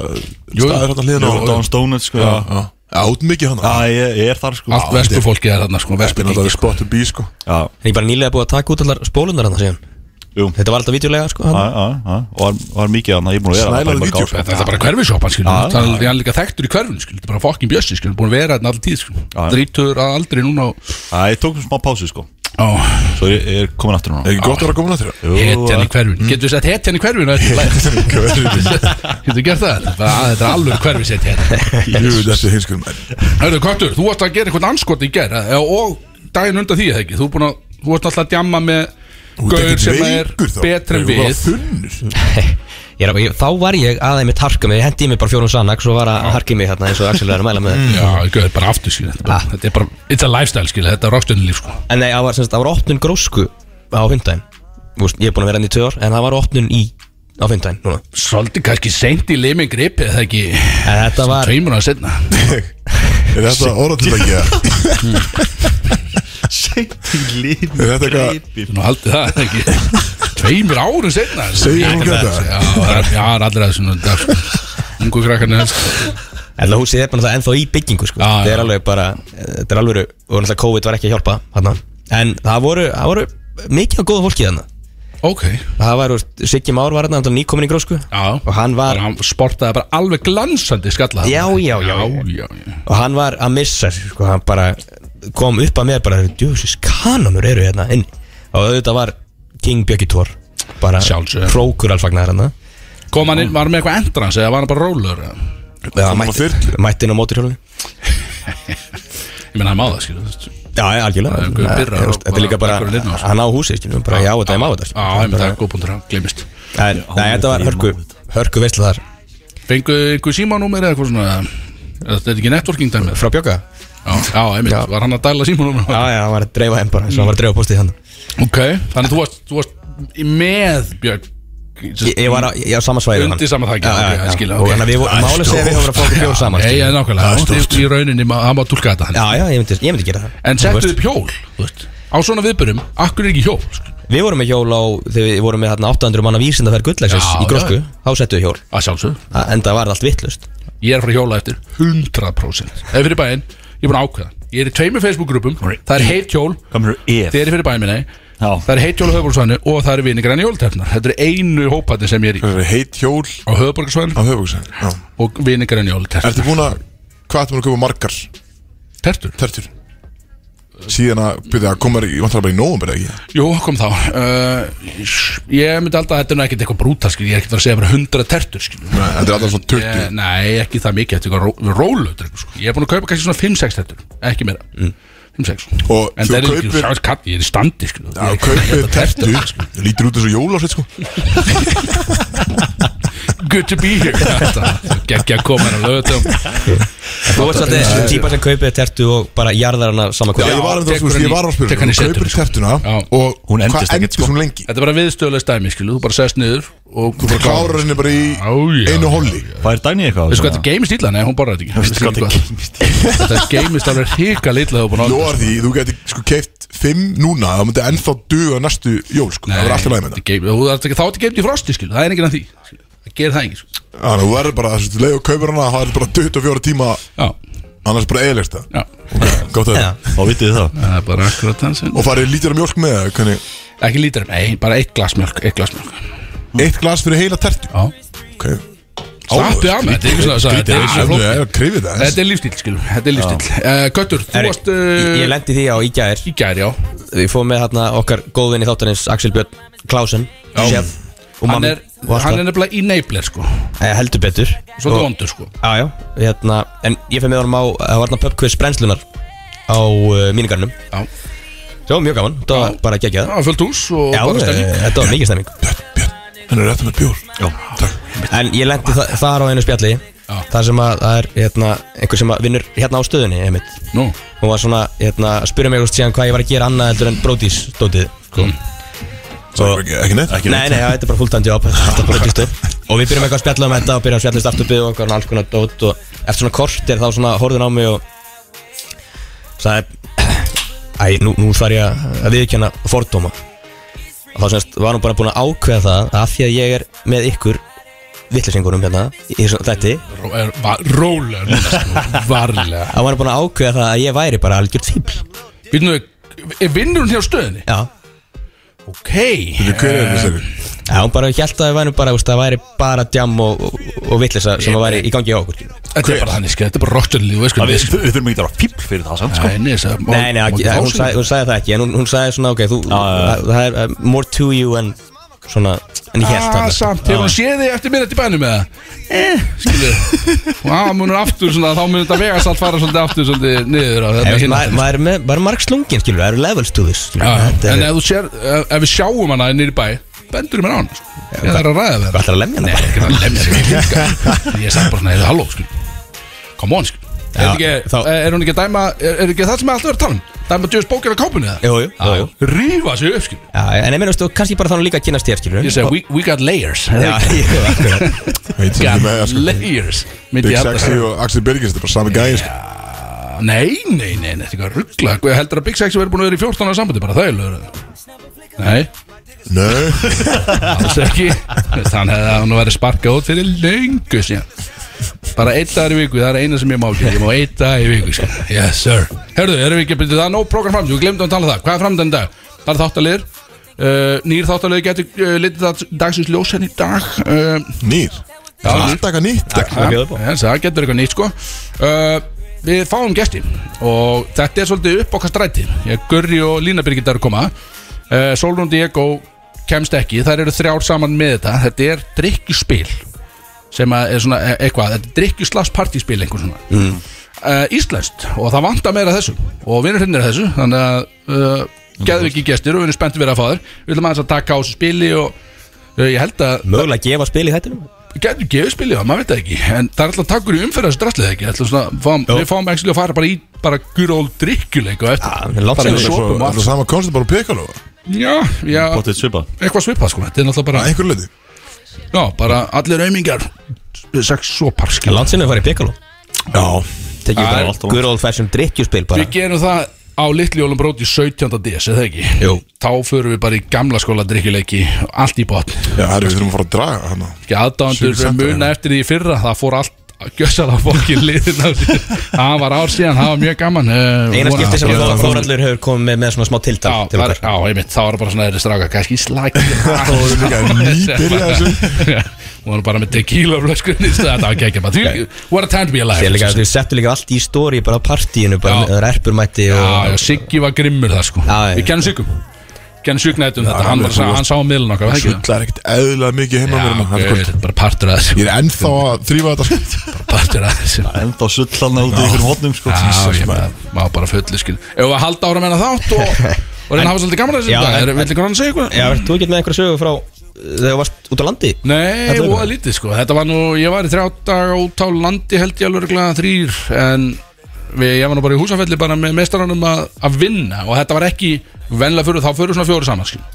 [SPEAKER 3] Jú.
[SPEAKER 1] staðir hann að
[SPEAKER 2] Ég
[SPEAKER 1] hliðina
[SPEAKER 2] er á
[SPEAKER 1] á-
[SPEAKER 2] Down Stoned sko
[SPEAKER 1] Já,
[SPEAKER 2] Já,
[SPEAKER 1] já. Já, út mikið hann
[SPEAKER 2] Já, ég ég er þar sko
[SPEAKER 3] allt vespufólkið er þarna sko,
[SPEAKER 1] Það er
[SPEAKER 3] vespugengið.
[SPEAKER 1] alltaf spot to be sko
[SPEAKER 2] Já,
[SPEAKER 4] En ég bara nýlega búið að taka út allar spólundar hann síðan
[SPEAKER 2] jú
[SPEAKER 4] Þetta var alltaf vídeolega sko
[SPEAKER 2] Já,
[SPEAKER 4] hann.
[SPEAKER 2] já, já Og var- var mikið hann Ég er búin að vera
[SPEAKER 1] Snælaðu
[SPEAKER 2] bara í mörg
[SPEAKER 1] vídeó.
[SPEAKER 2] ár, sko.
[SPEAKER 3] Þetta er bara hverfisjópan skilur
[SPEAKER 2] Já,
[SPEAKER 3] Það er hann líka þekktur í hverfinu skilur Þetta er bara fokkin bjössi skilur Búin að vera þetta alltaf tíð skilur
[SPEAKER 2] já.
[SPEAKER 3] Drítur að aldrei núna og-
[SPEAKER 2] Já, ég tók um smá pásu sko
[SPEAKER 3] Á
[SPEAKER 2] Svo ég ég er komin aftur
[SPEAKER 1] Er
[SPEAKER 2] núna
[SPEAKER 1] ekki gott að vera komin að þér?
[SPEAKER 2] Jú,
[SPEAKER 3] Hetjan í hverfinu Getur við sett hetjan í hverfinu Þetta er lægt. Getur við gert það Þetta er bara- Þetta er alveg hverfisett hetjan
[SPEAKER 1] Jú, þessi hinskur menn
[SPEAKER 3] Hörðu Kvartur Þú varst að gera eitthvað anskot í ger Og daginn undan því eða ekki Þú er búin að Þú varst alltaf að djamma með
[SPEAKER 1] Þú ert
[SPEAKER 3] Gaur
[SPEAKER 1] ekkert
[SPEAKER 3] sem er
[SPEAKER 1] veikur þá.
[SPEAKER 3] betri en
[SPEAKER 1] Þú ert bara
[SPEAKER 3] við.
[SPEAKER 1] þunnur.
[SPEAKER 4] Ég er að- ég- Þá var ég aðeins mitt harka mig, ég hendi í mig bara fjórum sannak Svo var að harka í mig hérna eins og Axel er að mæla með
[SPEAKER 3] Mm. Já, gaur, bara aftur skilur Þetta er bara- þetta er bara It's a lifestyle skilur Þetta er rockstunni sko
[SPEAKER 4] En nei, það hérna var, semst, það var opnun grósku á hundaginn Ég er búin að vera henni í tvö ár En það var opnun í á fimmtæn núna
[SPEAKER 3] Svolítið kannski seint í limin gripi eða ekki
[SPEAKER 4] En þetta var
[SPEAKER 3] Tveimur að setna
[SPEAKER 1] Er þetta orðatiltæki eða?
[SPEAKER 2] Seinti líf
[SPEAKER 1] Er þetta eitthvað-
[SPEAKER 3] Nú haldið það eða ekki Tveimur árum setna
[SPEAKER 1] Segir hún þetta?
[SPEAKER 3] Já, það er- já, það er allir að þessum dag sko. Ungu krakkarnir sko- helst
[SPEAKER 4] En það húsið er bara náttúrulega ennþá í byggingu sko.
[SPEAKER 3] Já, já.
[SPEAKER 4] Þetta er alveg bara Þetta er alveg Og náttúrulega COVID var ekki að hjálpa hana. En það voru, það voru mikið á góða fólki þarna
[SPEAKER 3] Ok
[SPEAKER 4] Það var, þú veist, Siggi Már var þarna Nýkomin í grósku
[SPEAKER 3] Já
[SPEAKER 4] Og hann var
[SPEAKER 3] Hann sportaði bara alveg glansandi skalla
[SPEAKER 4] Já, já, já.
[SPEAKER 3] já, já.
[SPEAKER 4] Og hann var að missa sig, sko, Hann bara kom upp að mér bara Djúsis, kanonur eru hérna inn Og auðvitað var King Bjöggi Tór Bara
[SPEAKER 3] Sjálfsögðu.
[SPEAKER 4] hrókur alfagnar hérna
[SPEAKER 3] Kom hann inn, var hann með eitthvað endrans eða var hann bara rólur Ég
[SPEAKER 4] Já,
[SPEAKER 1] Kom á
[SPEAKER 4] mætti,
[SPEAKER 1] þyrlu?
[SPEAKER 4] mætti inn á móturhjólunni
[SPEAKER 3] menn hann má það skilur þú veist.
[SPEAKER 4] Já, já, algjörlega
[SPEAKER 3] Það er einhver
[SPEAKER 4] Þannig að,
[SPEAKER 3] birrar
[SPEAKER 4] þú veist,
[SPEAKER 3] og
[SPEAKER 4] Þetta er líka
[SPEAKER 3] bara
[SPEAKER 4] bara,
[SPEAKER 3] einhver linn á þessu.
[SPEAKER 4] hann á húsi skilur, bara, Já, þetta er má þetta
[SPEAKER 3] Já, ég með það er góð punktur að glemist
[SPEAKER 4] En, nei, þetta var hörku, hörku veistla þar
[SPEAKER 3] Fengu einhver símanúmer eða eitthvað svona eða Þetta er ekki networking dæmið
[SPEAKER 4] eh, Frá Bjögga?
[SPEAKER 3] Já, já, einmitt,
[SPEAKER 4] Já.
[SPEAKER 3] var hann að dæla símanúmer
[SPEAKER 4] Já, já, hann var að dreifa henn bara, eins og hann var að dreifa hérna. postið hann
[SPEAKER 3] Ok, þannig að þú varst, þú varst í- með Björk
[SPEAKER 4] Ég, ég var á, ég á sama svæði við hann.
[SPEAKER 3] Undir sama þaki,
[SPEAKER 4] Já,
[SPEAKER 3] ok,
[SPEAKER 4] já,
[SPEAKER 3] ég
[SPEAKER 4] já,
[SPEAKER 3] skil,
[SPEAKER 4] Og
[SPEAKER 3] ok.
[SPEAKER 4] þannig að við vorum, máli segja að við höfum verið að fá okkur bjóð saman
[SPEAKER 3] Nei,
[SPEAKER 4] skilur.
[SPEAKER 3] ég er nákvæmlega, þú varst í- í rauninni ma- hann má túlka þetta hann
[SPEAKER 4] Já, já, ég myndi, ég myndi gera það
[SPEAKER 3] En
[SPEAKER 4] Þú
[SPEAKER 3] settu
[SPEAKER 4] veist,
[SPEAKER 3] upp hjól, þú veist Á svona viðbyrjum, akkur er ekki hjól sko?
[SPEAKER 4] Við vorum með hjól á, þegar við vorum með þarna 800 manna vísindaferð gulllegsins
[SPEAKER 3] Já,
[SPEAKER 4] í grósku Þá settu við hjól,
[SPEAKER 3] Að sjálfsög,
[SPEAKER 4] Að- enda var það allt vittlust
[SPEAKER 3] ég er að fara að hjóla eftir 100% Eða fyrir bæinn, ég er búin að ákveða Ég er í tveimur Facebook-grúpum, það er heit hjól
[SPEAKER 2] Komur ef
[SPEAKER 3] Þið er fyrir bæinn minni
[SPEAKER 2] Já.
[SPEAKER 3] Það er heit hjól á höfuborgsvæðinu og það er vinningræni hjóltefnar Þetta er einu hópatni sem ég er í
[SPEAKER 1] Er þetta heit hjól
[SPEAKER 3] Á höfuborgsvæðinu
[SPEAKER 1] á höfugusæn? Já
[SPEAKER 3] og vinningræni hjóltefnar
[SPEAKER 1] Ertu búin að, hvað ertu búin að köpa margar
[SPEAKER 3] Tertur?
[SPEAKER 1] tertur? Síðan að, byrja, það komar í, vantar bara í nóum, byrja ekki?
[SPEAKER 3] Jú, kom þá uh, Ég myndi alltaf að þetta er nú ekkert eitthvað brútal skil. Ég er ekkert að fara að segja bara 100 tertur skil.
[SPEAKER 1] Nei, Þetta er alltaf svona 20
[SPEAKER 3] ég, Nei, ekki það mikið Þetta er eitthvað rólut sko. Ég er búin að kaupa kannski svona 5-6 tertur Ekki meira 5-6
[SPEAKER 1] Og þú
[SPEAKER 3] En það er ekki
[SPEAKER 1] kaupir-
[SPEAKER 3] Sáins katt, ég er í standi skil.
[SPEAKER 1] Já, kaupið tertu Það sko. lítur út eins og jólásveit sko
[SPEAKER 3] Good to be here Gekki að koma hérna lögutum
[SPEAKER 4] Þú veist að þessi típa sem kaupið tertu og bara jarðar hana saman
[SPEAKER 1] Já, ég
[SPEAKER 4] hvað
[SPEAKER 1] var að
[SPEAKER 3] tekur
[SPEAKER 1] það,
[SPEAKER 3] hann í-
[SPEAKER 1] ég var að spyrja
[SPEAKER 3] tekur hann í
[SPEAKER 1] Þú
[SPEAKER 3] setur,
[SPEAKER 1] Kaupir
[SPEAKER 3] sko.
[SPEAKER 1] tertuna
[SPEAKER 3] Já.
[SPEAKER 1] og
[SPEAKER 2] Hún
[SPEAKER 1] hvað
[SPEAKER 2] endist ekkert,
[SPEAKER 1] endist
[SPEAKER 2] sko.
[SPEAKER 1] hún lengi?
[SPEAKER 3] Þetta er bara viðstöðlega stæmi skil. Þú bara sest niður og
[SPEAKER 1] Þú bara klárar henni bara í
[SPEAKER 3] Á, já.
[SPEAKER 1] einu holli
[SPEAKER 2] Hvað er dagni eitthvað? á
[SPEAKER 3] Veistu
[SPEAKER 2] þessu?
[SPEAKER 3] hvað Sko, þetta geimist illa? Nei, hún borðar Sko, þetta
[SPEAKER 2] Veistu
[SPEAKER 3] ekki
[SPEAKER 2] hvað þetta geimist
[SPEAKER 3] Þetta geimist alveg hika litla
[SPEAKER 1] Lóðar því, þú geti sko keift 5 núna Það myndi ennþá duga næstu jól sko Það verður alltaf læg með
[SPEAKER 3] þetta er geim- þú þarft ekki- Þá ertu geimt í frosti skilu, það er enginn að því skilu. Það gerir það enginn skilu.
[SPEAKER 1] það Þannig að þú verður bara, þessu leið og kaupir hana Það er bara 24 tíma,
[SPEAKER 3] Já,
[SPEAKER 1] annars bara eðlist það
[SPEAKER 3] já,
[SPEAKER 1] Gátt að
[SPEAKER 4] Já.
[SPEAKER 1] það
[SPEAKER 2] Þá vitið þið það
[SPEAKER 3] það er bara akkurat það sem
[SPEAKER 1] Og farið lítir að mjólk með það, hvernig
[SPEAKER 3] Ekki lítur um, nei, bara eitt glas mjölk Eitt glas mjölk Mm.
[SPEAKER 1] Eitt glas fyrir heila tertu
[SPEAKER 3] Já,
[SPEAKER 1] Ok
[SPEAKER 3] slappið af með þetta er ekki svona-
[SPEAKER 1] Skrítið,
[SPEAKER 3] þetta er ekki svona
[SPEAKER 1] það
[SPEAKER 3] flókið.
[SPEAKER 1] er krifið það
[SPEAKER 3] Þetta er lífstíl skilu, þetta er lífstíl Eh, Göttur, þú varst
[SPEAKER 4] Ég, ég
[SPEAKER 3] uh,
[SPEAKER 4] lendi því á í gær
[SPEAKER 3] í gær, já
[SPEAKER 4] Við fóðum með hérna okkar góðvinni þáttanins Axel Björn Klausen Sjef og
[SPEAKER 3] Hann
[SPEAKER 4] mammi
[SPEAKER 3] er, hann er nefnilega í neibler sko
[SPEAKER 4] eh, heldur betur
[SPEAKER 3] Svolítið
[SPEAKER 4] Og-
[SPEAKER 3] vondur sko
[SPEAKER 4] Já, já hérna, En ég fyrir með honum á Það var hérna pubquiz brennslunar Á uh, mínigarnum
[SPEAKER 3] Já,
[SPEAKER 4] Það var mjög gaman Það var bara geggjað
[SPEAKER 3] það var fullt hús og
[SPEAKER 4] Já,
[SPEAKER 3] bara
[SPEAKER 4] eh,
[SPEAKER 3] stefning
[SPEAKER 4] þetta var mikið stemming
[SPEAKER 1] Björn, Björn, hann er rétt með bjór Já, takk
[SPEAKER 4] En ég lendi þa þar á einu spjalli
[SPEAKER 3] Já.
[SPEAKER 4] Þar sem að það er hérna, einhver sem að vinnur hérna á stöðunni einmitt.
[SPEAKER 3] Nú,
[SPEAKER 4] Hún var svona hérna, að spyrja mig úst, síðan hvað ég var að gera annað heldur en brótis stótið
[SPEAKER 3] Mm.
[SPEAKER 4] sko.
[SPEAKER 1] Svo ekki, ekki neitt
[SPEAKER 2] Ekki
[SPEAKER 4] Nei, nei, já, þetta er bara fulltime job Þetta er bara brótistöð Og við byrjum eitthvað að spjalla um þetta og byrjum að spjalla um startupið og einhvern alls konar dót og eftir svona kortir þá svona horfðin á mig og sagði Æ, nú, nú þarf ég að- að viðkjanna fordóma og þá semst var hún bara búin að ákveða það að af því að ég er með ykkur vittlisingunum hérna í þessu þætti
[SPEAKER 3] ró- er- va- rólega núna sko, varlega
[SPEAKER 4] að var hún búin að ákveða það að ég væri bara algjör fíbl
[SPEAKER 3] Býtum við, vinnur hún hjá stöðinni?
[SPEAKER 4] Já,
[SPEAKER 3] Ok
[SPEAKER 1] Bíddu, Hver er þetta sér?
[SPEAKER 4] Já hún bara held að það væri bara, úst, það væri bara djam og, og, og vittlisa sem að væri í gangi á okkur
[SPEAKER 3] Þetta er bara þannig, skil, þetta er bara rockstjörnlíf, veist
[SPEAKER 2] Það
[SPEAKER 3] hvað
[SPEAKER 2] Við við þurfum ekki að vera fíbl fyrir það samt sko
[SPEAKER 3] Nei, nei, sagði, má,
[SPEAKER 4] Nei, nei, ekki,
[SPEAKER 3] má-
[SPEAKER 4] hún,
[SPEAKER 3] má-
[SPEAKER 4] sag, hún sagði það ekki En hún, hún sagði svona, ok, þú það- Það er uh, more to you en svona En ég held
[SPEAKER 3] Ah,
[SPEAKER 4] það
[SPEAKER 3] samt, hefur hún séð þig eftir minnett í bænum eða? Eh, skilu Hún munur aftur svona, þá munur þetta vegast allt fara svolítið aftur svolítið niður á hérna þetta
[SPEAKER 4] En
[SPEAKER 3] hinna
[SPEAKER 4] maður- Maður er með- maður er marg slungin, skilur Það eru levels to this skilur,
[SPEAKER 3] sko. Já,
[SPEAKER 4] Þetta
[SPEAKER 3] En
[SPEAKER 4] er
[SPEAKER 3] ef þú sér, ef ef við sjáum hana nýri bæ Bendur mér á hana, sko. ég þarf að ræða við
[SPEAKER 4] Það ætlar að lemja hana bara
[SPEAKER 3] hana Nei, lemja hana líka. Ég sagði bara svona, halló, skilu Come on, skilu Er,
[SPEAKER 4] Já,
[SPEAKER 3] þetta ekki,
[SPEAKER 4] þá-
[SPEAKER 3] er hún ekki að dæma, er, er ekki það sem er alltaf verið að tala um? Það er bara djöðs bókir á kápunni það
[SPEAKER 4] Jú, jú, jú, jú.
[SPEAKER 3] Rífa sig upp, sko. skil
[SPEAKER 4] Já, en ég meinastu, kannski bara þannig líka að kynast þér, skilur
[SPEAKER 3] Ég segi, we, we got layers
[SPEAKER 4] Já, jú, akkurat
[SPEAKER 1] Veit sem ekki með
[SPEAKER 3] Got
[SPEAKER 1] það sko
[SPEAKER 3] layers Myndi
[SPEAKER 1] Big
[SPEAKER 3] ég halda.
[SPEAKER 1] Sexy og Axel Birgis Þetta er bara sami gæði sko
[SPEAKER 3] Nei, nei, nei, nei, þetta er eitthvað ruggla Ég heldur að Big Sexy verið búin að vera í 14 ára sambandi bara það er lögur Nei,
[SPEAKER 1] Nei
[SPEAKER 3] alls ekki Þannig að hann verið sparkað út fyrir löngu síðan Bara einn dagar í viku, það er eina sem ég má ekki Ég má einn dag í viku, sko Yes, sir Herðu, erum við ekki að byrja, það er nóg program fram Við glemdum að tala um það, hvað er framdann dag? Það er þáttalegur uh, Nýr þáttalegur getur uh, litið dag, dagsins ljós henni í dag uh,
[SPEAKER 1] Nýr
[SPEAKER 3] Já,
[SPEAKER 1] Það er
[SPEAKER 3] nýr.
[SPEAKER 1] alltaf eitthvað nýtt
[SPEAKER 4] Það er bjóður bó
[SPEAKER 3] Já, það getur eitthvað nýtt sko uh, Við fáum gesti og þetta er svolítið upp okkar stræti Ég, Gurri og Lína Birgit eru að koma uh, Solrún Diego kemst ekki Þær eru þrjár saman með þetta Þetta er drikkjuspil sem að er svona e- eitthvað, þetta er drikkjuslags partíspil einhvern svona mm. Íslenskt og það vantar meira af þessu og vinur hennir þessu þannig að uh, geðum ekki gestir og við erum spenntið verið að fá þér Við ætlum aðeins að taka á þessu spili og uh, ég held að
[SPEAKER 4] Mögulega gefa spil í þættinum
[SPEAKER 3] Gætu gefið spilið það, maður veit það ekki En það er alltaf takkur í umferðast drastlið ekki Það er alltaf svona, fáum, Við fáum ekki að fara bara í bara gurról drikkjuleik
[SPEAKER 4] Já,
[SPEAKER 3] og eftir
[SPEAKER 4] það er langt
[SPEAKER 3] Bara
[SPEAKER 4] síðan
[SPEAKER 3] með
[SPEAKER 4] við
[SPEAKER 1] Svo-
[SPEAKER 3] sopum og
[SPEAKER 1] Það er
[SPEAKER 3] allt
[SPEAKER 1] sama konstant bara á pekalo
[SPEAKER 3] Já, já,
[SPEAKER 2] Bóttið svipa
[SPEAKER 3] eitthvað svipað sko Þetta er náttúrulega bara,
[SPEAKER 1] Að einhverju leiti
[SPEAKER 3] já, bara allir aumingjar Sex sopar
[SPEAKER 4] En
[SPEAKER 3] skil
[SPEAKER 4] langt sinni að fara í Piccolo
[SPEAKER 1] Já
[SPEAKER 4] Tekið
[SPEAKER 3] Það er
[SPEAKER 4] bara
[SPEAKER 2] alltaf langt.
[SPEAKER 4] good old fashion drikkjuspil bara
[SPEAKER 3] Við gerum það á litli jólum bróti 17. DS, eða ekki
[SPEAKER 4] Jú.
[SPEAKER 3] Þá förum við bara í gamla skóla drikkjuleiki Allt í botn
[SPEAKER 1] Já, það er við þurfum að fara að draga hana
[SPEAKER 3] Ekki aðdáðandur
[SPEAKER 1] Sjöfum
[SPEAKER 3] sem
[SPEAKER 1] sagt
[SPEAKER 3] muna
[SPEAKER 1] það.
[SPEAKER 3] eftir því í fyrra Það fór allt að gjössala fólkin liðin af sér. Það var ár síðan, það var mjög gaman eh,
[SPEAKER 4] Eina skipti sem
[SPEAKER 1] Já,
[SPEAKER 4] Þóra-
[SPEAKER 1] já.
[SPEAKER 4] Þórhallur hefur komið með, með svona smá tiltal
[SPEAKER 3] Já,
[SPEAKER 4] til
[SPEAKER 3] það er,
[SPEAKER 4] okkar
[SPEAKER 3] já, einmitt, þá var bara svona þeirri stráka kannski slæk
[SPEAKER 1] Það voru líka nýbyrja þessu
[SPEAKER 3] Hún var bara með tequila flöskunni Þetta var ekki ekki bara því- What a time to be alive sko.
[SPEAKER 4] Þegar líka, þau settu líka allt í stóri bara á partíinu
[SPEAKER 3] Já.
[SPEAKER 4] bara með erpur mætti
[SPEAKER 3] Já,
[SPEAKER 4] og
[SPEAKER 3] já, Siggi var grimmur það sko
[SPEAKER 4] Já, já.
[SPEAKER 3] Við kennum Siggum Kennum Signætt um þetta, hann,
[SPEAKER 1] alveg,
[SPEAKER 3] var, sá-
[SPEAKER 1] þú
[SPEAKER 3] hann sá miðlun okkar var það ekki?
[SPEAKER 1] Svullar ekkert eðlilega mikið heima mér
[SPEAKER 3] Já,
[SPEAKER 1] núna, það er
[SPEAKER 3] gauð,
[SPEAKER 1] kvöld.
[SPEAKER 3] þetta er bara partur að þessu
[SPEAKER 1] Ég er ennþá að þrýfa þetta sko.
[SPEAKER 3] bara Partur að þessu
[SPEAKER 2] Enda sullan út í ykkur hótnum sko
[SPEAKER 3] Já,
[SPEAKER 2] Jesus,
[SPEAKER 3] ég
[SPEAKER 2] maður.
[SPEAKER 3] bara, maður bara fullu skil Ef við að halda ára menna þátt og og reyna að hafa svolítið gaman að þessu
[SPEAKER 4] Já,
[SPEAKER 3] dag,
[SPEAKER 4] en-
[SPEAKER 3] er- vill einhvern annan segja eitthvað?
[SPEAKER 4] Já, verður þú ekki með einhverja sögu frá uh, þegar þú varst út á landi?
[SPEAKER 3] Nei,
[SPEAKER 4] Þetta er
[SPEAKER 3] og
[SPEAKER 4] bara-
[SPEAKER 3] lítið sko Þetta var nú, ég var í þrjá daga út á landi held ég alveg örugglega þrýr En við, ég var nú bara í húsafelli bara með mestaranum að, að vinna Og þetta var ekki venlega fyrir, þá fyrir svona fjóri saman skil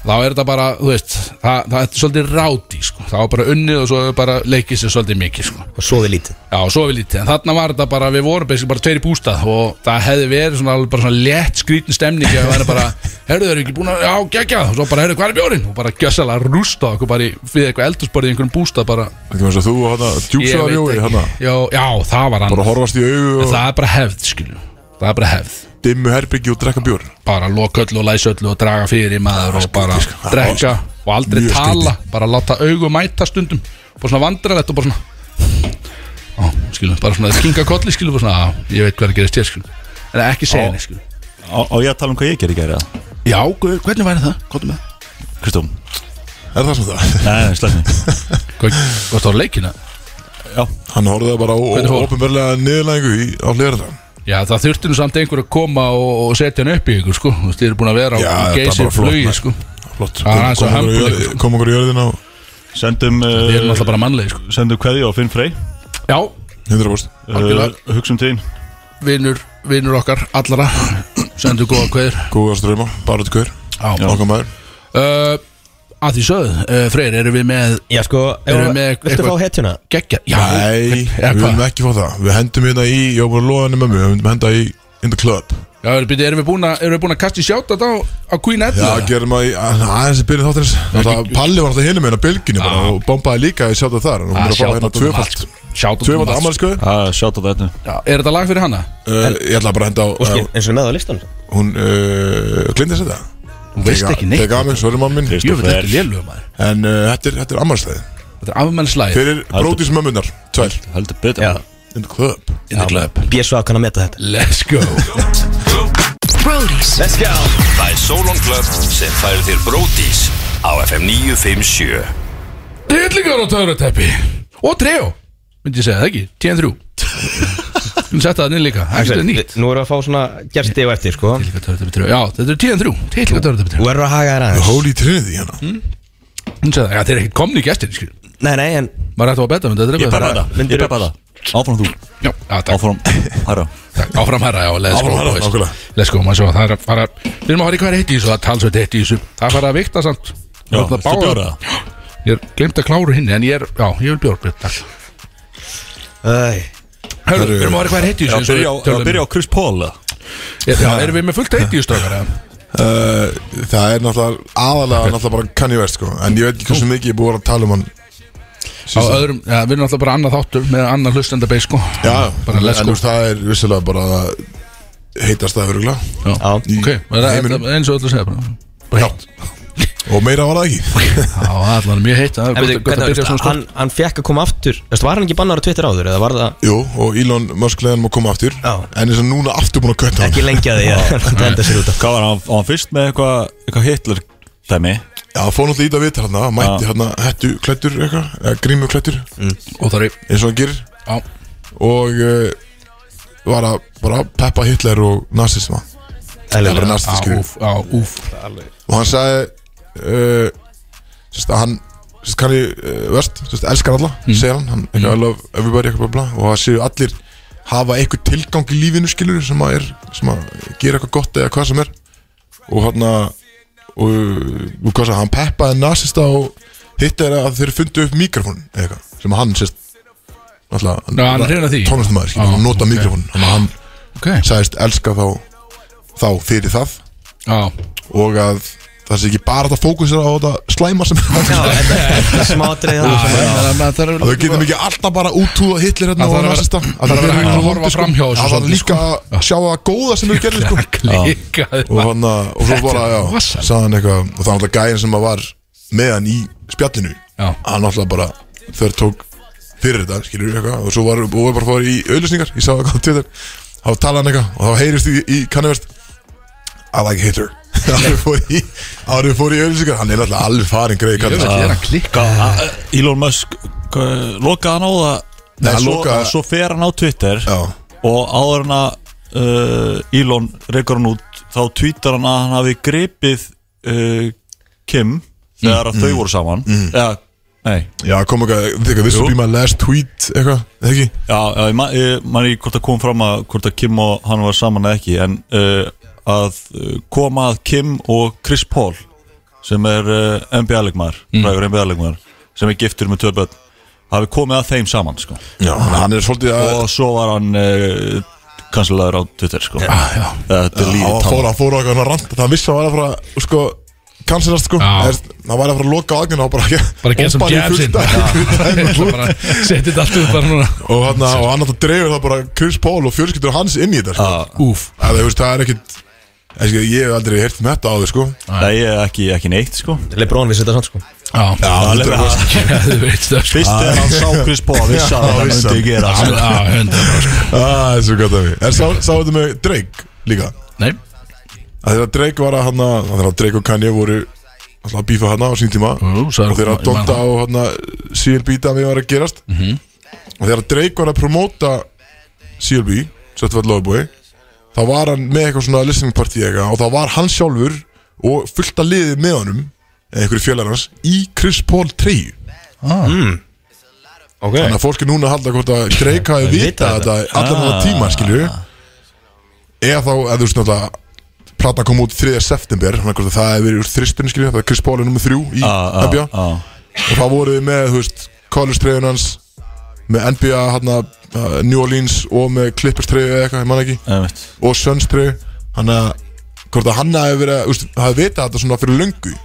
[SPEAKER 3] Þá er þetta bara, þú veist, það, það er svolítið ráti sko Það var bara unnið og svo er bara leikið sér svolítið mikið sko
[SPEAKER 4] Og sofið lítið
[SPEAKER 3] Já, svo við lítið, en þarna var þetta bara, við vorum basically bara tveir í bústað og það hefði verið svona, alveg bara svona létt skrítin stemning og það er bara, herðu þeir eru ekki búin að, já, gegja og svo bara, herðu, hvað er bjórin? Og bara gjössalega rústa okkur bara í, við eitthvað eldursporið í einhverjum bústað bara,
[SPEAKER 1] Ekki með þess að þú og hana
[SPEAKER 3] ég
[SPEAKER 1] djúksaða
[SPEAKER 3] veit
[SPEAKER 1] rjói
[SPEAKER 3] ekki
[SPEAKER 1] hana
[SPEAKER 3] Já, já það var
[SPEAKER 1] hérna. Bara
[SPEAKER 3] hann,
[SPEAKER 1] horfast í augu og
[SPEAKER 3] það er bara hefð, skilju það er bara hefð,
[SPEAKER 1] dimmu herbyggi og drekka bjór
[SPEAKER 3] bara loka öllu og læsa öllu og draga fyrir í maður og bara
[SPEAKER 1] skrítið, sko.
[SPEAKER 3] drekka og aldrei
[SPEAKER 1] Mjög
[SPEAKER 3] tala, bara láta augu mæta stundum, bara svona vandrarlegt og bara svona á, skilum, bara svona kinga kolli, skilum, bara svona á, ég veit hvað er að gerist hér, skilum en ekki
[SPEAKER 2] Á.
[SPEAKER 3] segja henni, skilum
[SPEAKER 2] Á á ég að tala um hvað ég gerði í gæri eða?
[SPEAKER 3] Já, guð, hvernig væri það? Kottum með
[SPEAKER 2] Kristjón
[SPEAKER 1] Er það sem það?
[SPEAKER 2] Nei, nei, slæmi
[SPEAKER 3] Hvað varst það á leikina?
[SPEAKER 2] Já,
[SPEAKER 1] Hann horfði bara á
[SPEAKER 3] Hvernig fór?
[SPEAKER 1] ópenbarlega niðurlæðingu í- á hlera
[SPEAKER 3] Já, það þurfti nú samt einhver að koma og, og setja hann upp í ykkur, sko Þú veist, þið eru búin að vera á
[SPEAKER 1] Já, þetta er
[SPEAKER 3] geysir
[SPEAKER 1] bara flott,
[SPEAKER 3] flugi,
[SPEAKER 1] maður.
[SPEAKER 3] sko
[SPEAKER 1] Flott
[SPEAKER 3] Já, hann er
[SPEAKER 1] Kom
[SPEAKER 3] svo
[SPEAKER 1] okkur í
[SPEAKER 3] humble,
[SPEAKER 1] jörð-
[SPEAKER 3] sko.
[SPEAKER 1] Kom okkur í jörðina og
[SPEAKER 2] sendum
[SPEAKER 3] Þið eru
[SPEAKER 2] uh,
[SPEAKER 3] náttúrulega bara mannlegi, sko
[SPEAKER 2] Sendum kveði á Finn Frey
[SPEAKER 1] 100%
[SPEAKER 2] uh,
[SPEAKER 1] Eh.
[SPEAKER 3] Algjörlega.
[SPEAKER 2] Hugsum tíðin
[SPEAKER 3] Já, vinnur, vinnur okkar, allara Sendu góða kveður
[SPEAKER 1] Góða ströma, bara til hver
[SPEAKER 3] Já
[SPEAKER 1] Okkar maður
[SPEAKER 3] uh, Að því sögðu, uh, Freyr, eru við með
[SPEAKER 4] Já, sko,
[SPEAKER 3] Erum við
[SPEAKER 4] erum,
[SPEAKER 3] með
[SPEAKER 4] viltu
[SPEAKER 3] eitthvað-
[SPEAKER 4] fá hetjuna?
[SPEAKER 3] geggja? Já,
[SPEAKER 1] Nei,
[SPEAKER 3] eða
[SPEAKER 1] við
[SPEAKER 3] hvað?
[SPEAKER 1] viljum ekki fá það Við hendum hérna í, ég var bara að loða henni með mig Við myndum henda í In the Club
[SPEAKER 3] Já, erum við, erum við búin að, erum við búin að kasta í sjátt á, á Queen
[SPEAKER 1] Já,
[SPEAKER 3] Edna?
[SPEAKER 1] gerum að í aðeins í byrju þáttarins Alltaf, Palli var alltaf hinum hérna bylginni bara og bombaði líka í sjáta þar
[SPEAKER 3] Ah,
[SPEAKER 1] og hún er að fá
[SPEAKER 3] um
[SPEAKER 1] hérna tvöfalt
[SPEAKER 3] Sjátt á
[SPEAKER 1] tvöfalt ammaliðsköðu
[SPEAKER 2] Sjátt á þetta
[SPEAKER 3] sko. Er þetta lag fyrir hana?
[SPEAKER 1] Uh, ég ætla bara að henda á
[SPEAKER 4] Og skil,
[SPEAKER 1] uh,
[SPEAKER 4] eins og með á listan
[SPEAKER 1] Hún uh, glindi sér það
[SPEAKER 3] Þú veist ekki neitt sko.
[SPEAKER 1] Þegar gaf mig, svo erum mammin
[SPEAKER 2] Kristján
[SPEAKER 3] Jú, þetta
[SPEAKER 2] Freyr.
[SPEAKER 3] er lélugum maður
[SPEAKER 1] En uh, þetta er, þetta er ammarslæði
[SPEAKER 3] Þetta er afmennslæð
[SPEAKER 1] Fyrir brótismömmunar, tvær
[SPEAKER 2] Heldur betur
[SPEAKER 4] Já,
[SPEAKER 1] In the club
[SPEAKER 3] In the club
[SPEAKER 4] BSV kann að meta þetta
[SPEAKER 3] Let's go
[SPEAKER 5] Brody's
[SPEAKER 6] Let's go Það er Solon Club sem færir þér Bródís á FM 957
[SPEAKER 3] Dillingar og töruteppi Og treo Myndi ég segja það ekki Tjén þrjú Skulum setja það inn líka Það er nýtt
[SPEAKER 4] Nú erum við að fá svona gersti og eftir, sko
[SPEAKER 3] Dillingar töruteppi treo Já, þetta er tjén þrjú Dillingar töruteppi treo
[SPEAKER 4] Þú erum að haga þér
[SPEAKER 1] The
[SPEAKER 4] aðeins
[SPEAKER 1] Holy Trinity hérna
[SPEAKER 3] Hún segja það Já, þeir eru ekkert komni í gestin skil
[SPEAKER 4] Nei, nei, en
[SPEAKER 3] Maður ætti að betta Myndi þetta er
[SPEAKER 2] Ég
[SPEAKER 3] eitthvað
[SPEAKER 2] peppa það,
[SPEAKER 4] myndirðu-
[SPEAKER 2] ég peppa það Áfram þú,
[SPEAKER 3] Já, já, takk
[SPEAKER 2] áfram Herra
[SPEAKER 3] Takk, áfram herra, já, let's
[SPEAKER 1] Áfram
[SPEAKER 3] go
[SPEAKER 1] herra,
[SPEAKER 3] boys.
[SPEAKER 1] nákvæmlega.
[SPEAKER 3] Let's go, maður svo, það er að fara Við erum að fara í hvað er hitt í þessu, það er talsveit hitt í þessu Það er að fara að vikta samt
[SPEAKER 2] Já,
[SPEAKER 3] Það er
[SPEAKER 2] ertu
[SPEAKER 3] báðar-
[SPEAKER 2] bjóra?
[SPEAKER 3] Já, Ég er glemt að kláru hinni, en ég er, já, ég vil bjóra Takk
[SPEAKER 4] Æ,
[SPEAKER 3] Hörru, við erum að fara í hvað er hitt í
[SPEAKER 2] Ég
[SPEAKER 3] þessu
[SPEAKER 2] að
[SPEAKER 3] eins og við
[SPEAKER 2] byrja á- að
[SPEAKER 3] tölum.
[SPEAKER 2] byrja á Chris Paul eða?
[SPEAKER 3] Já, erum við með fullt hitt í þessu stökar, eða?
[SPEAKER 1] Uh, það er náttúrulega aðalega náttúrulega bara Kanye West sko En ég veit ekki hversu mikið ég er búið að vera að tala um hann
[SPEAKER 3] Á öðrum, já, við erum alltaf bara annað þáttur með annað hlustendabeis, sko
[SPEAKER 1] Já,
[SPEAKER 3] Bara let's
[SPEAKER 1] en þú
[SPEAKER 3] go
[SPEAKER 1] veist, það er vissilega bara heitast það örugla
[SPEAKER 3] Já, ok, það er-
[SPEAKER 1] heiminum.
[SPEAKER 3] eins og öllu segja bara Bara heitt
[SPEAKER 1] Og meira var það ekki
[SPEAKER 3] Já, allan mjög heitt, það er
[SPEAKER 4] En
[SPEAKER 3] gott-
[SPEAKER 4] veitu,
[SPEAKER 3] gott að
[SPEAKER 4] hvernig,
[SPEAKER 3] byrja svona, sko
[SPEAKER 4] hann, hann fekk að koma aftur Veistu, Var hann ekki bannar á Twitter áður eða var það
[SPEAKER 1] Jú, og Elon Musk leiðan maður koma aftur
[SPEAKER 4] Já.
[SPEAKER 1] En þess að núna aftur búin að kötta hann
[SPEAKER 4] ekki lengja því að hann enda sér út af
[SPEAKER 2] Hvað var hann, var hann fyrst með eitthvað eitthvað Hitler dæmi
[SPEAKER 1] Já, fór náttúrulega ít að vita hann Mætti hann hættu klættur eitthvað eða Grímu klættur,
[SPEAKER 3] Óþarri,
[SPEAKER 1] eins og hann gerir
[SPEAKER 3] já,
[SPEAKER 1] Og uh, var að bara peppa Hitler og nazisma Það er bara
[SPEAKER 4] Eðlilega.
[SPEAKER 1] næsta
[SPEAKER 3] á,
[SPEAKER 1] skilur
[SPEAKER 3] úf, á, úf
[SPEAKER 1] og hann sagði uh, sérst, að hann sérst, kanni uh, verst, sérst, elskar alla
[SPEAKER 3] Mm.
[SPEAKER 1] segir hann, hann eitthvað I love everybody eitthvað, bla, bla, og það séu allir hafa eitthvað tilgang í lífinu skilur sem að, er, sem að gera eitthvað gott eða hvað sem er og hann að og, og hvað sem hann peppaði nasista og hitt er að þeir fundu upp mikrofón eitthvað, sem að hann sérst alltaf,
[SPEAKER 3] Ná, hann er hrifinn af því?
[SPEAKER 1] tónlistamæður, skilur,
[SPEAKER 3] Á,
[SPEAKER 1] hann nota
[SPEAKER 3] ok.
[SPEAKER 1] okay. mikrofón þannig að hann
[SPEAKER 3] Ok,
[SPEAKER 1] sagðist elska þá þá fyrir það
[SPEAKER 3] já
[SPEAKER 1] og að það sé ekki bara að fókusera á þetta slæma sem
[SPEAKER 4] Já,
[SPEAKER 1] að
[SPEAKER 4] þetta- þetta er smátrið
[SPEAKER 3] Já, já, já, Það er
[SPEAKER 1] þau getum ekki alltaf bara útúða Hitler hérna
[SPEAKER 3] Það
[SPEAKER 1] og
[SPEAKER 3] þarf að vera-
[SPEAKER 1] nasista
[SPEAKER 3] það þarf að vera hægt að horfa framhjá þessu
[SPEAKER 1] það er
[SPEAKER 3] svolítið,
[SPEAKER 1] sko,
[SPEAKER 3] sko.
[SPEAKER 1] líka að sjá að góða sem þau gerði sko
[SPEAKER 3] Klikaði
[SPEAKER 1] og hann að, og svo bara, já,
[SPEAKER 3] rosalegt.
[SPEAKER 1] sagðan eitthvað og það var alltaf gæðin sem að var með hann í spjallinu
[SPEAKER 3] Já.
[SPEAKER 1] hann alltaf bara, þau tók fyrir þetta, skilur við eitthvað og svo var, og var bara að fara í auðlýsningar, ég sá það hvað tvittir þá talaði hann eitthvað og þá heyrist í, í kannivert I like Hitler árið fór í, árið fór í auðlýsningar hann er alltaf alveg farin greið
[SPEAKER 3] Ég veit,
[SPEAKER 1] kannivert
[SPEAKER 3] ég er að klikka
[SPEAKER 2] Hvað, a- Eh, Elon Musk hvað, lokaði hann á það
[SPEAKER 1] Nei,
[SPEAKER 2] Nei,
[SPEAKER 1] hann
[SPEAKER 2] svo,
[SPEAKER 1] lokaði-
[SPEAKER 2] svo fer hann á Twitter
[SPEAKER 1] já,
[SPEAKER 2] og áður hann að uh, Elon reykur hann út þá tweetar hann að hann hafi gripið uh, Kim þegar að þau voru saman eða, nei,
[SPEAKER 1] já, kom eitthvað, þegar this will be my last tweet eitthvað, eða ekki
[SPEAKER 2] já, já ég, man, ég man ekki hvort það kom fram að hvort að Kim og hann var saman eða ekki en uh, að uh, koma að Kim og Chris Paul sem er uh, NBA-leikmaður frægur NBA-leikmaður sem er giftur með tvö börn hafi komið að þeim saman sko.
[SPEAKER 1] já, hann er svolítið að
[SPEAKER 2] og svo var hann uh, kanslaður á Twitter sko.
[SPEAKER 3] já.
[SPEAKER 2] þetta er lífið
[SPEAKER 1] hann fór, hann fór á eitthvað rand það vissi að hann var að fara sko kansilast sko
[SPEAKER 3] Já.
[SPEAKER 1] Eðst, hann var að fara að loka á agnina og bara
[SPEAKER 3] Bara gera sem
[SPEAKER 1] hoppa hann í
[SPEAKER 3] jabsinn
[SPEAKER 1] fullt af-
[SPEAKER 3] Setið þetta allt upp bara núna
[SPEAKER 1] og hann og hann alltaf dreifir það bara Chris Paul og fjölskyldur hans inn í þetta sko.
[SPEAKER 3] Úf
[SPEAKER 1] það, þú veist, það er ekkit eða, sko, ég hef aldrei heyrt um þetta á þau sko
[SPEAKER 2] Nei, ég er ekki, ekki neitt sko
[SPEAKER 4] Lebrón vissi þetta samt sko
[SPEAKER 3] Já,
[SPEAKER 1] alveg
[SPEAKER 2] alveg.
[SPEAKER 3] þú veit það sko
[SPEAKER 2] Fyrst þegar hann sá Chris Paul vissi að
[SPEAKER 1] Já,
[SPEAKER 2] hann
[SPEAKER 1] vissi
[SPEAKER 2] myndi
[SPEAKER 1] hann.
[SPEAKER 2] gera sko.
[SPEAKER 3] Já, hundra
[SPEAKER 1] það
[SPEAKER 3] bara sko
[SPEAKER 1] er svo Ah, gott af því en sá, sá þetta með Drake líka
[SPEAKER 3] Nei,
[SPEAKER 1] að þegar Drake var að hann að þegar Drake og Kanye voru alltaf að bífa hann á sín tíma
[SPEAKER 3] Jú,
[SPEAKER 1] og
[SPEAKER 3] sagði-
[SPEAKER 1] þegar að
[SPEAKER 3] ég man Mhm.
[SPEAKER 1] Dota og hann að CLB dæmi var að gerast og þegar Drake var að promóta CLB Svettvært Lofbói þá var hann með eitthvað svona listening party eitthvað og þá var hann sjálfur og fullt að liðið með honum eða einhverju fjölar hans í Chris Paul 3
[SPEAKER 4] Ok
[SPEAKER 1] þannig að fólk er núna að halda hvort að Drake hafi
[SPEAKER 4] Vitað
[SPEAKER 1] vitað þetta allan þetta tíma skilju eða þá, eða þú veist náttúrulega platan kom út 3. september þannig hvort að það hefur verið úr þristurinn skilju það er Chris Paul er nummer 3 í
[SPEAKER 2] Já, já,
[SPEAKER 1] NBA
[SPEAKER 2] já.
[SPEAKER 1] og það voruð við með, þú veist, college treyjun hans með NBA, hérna uh, New Orleans og með Clippers treyju eða eitthvað, ég man ekki
[SPEAKER 2] einmitt.
[SPEAKER 1] og Suns treyju hann að, hvort að hann hafi verið þú veist, hafi vitað þetta svona fyrir löngu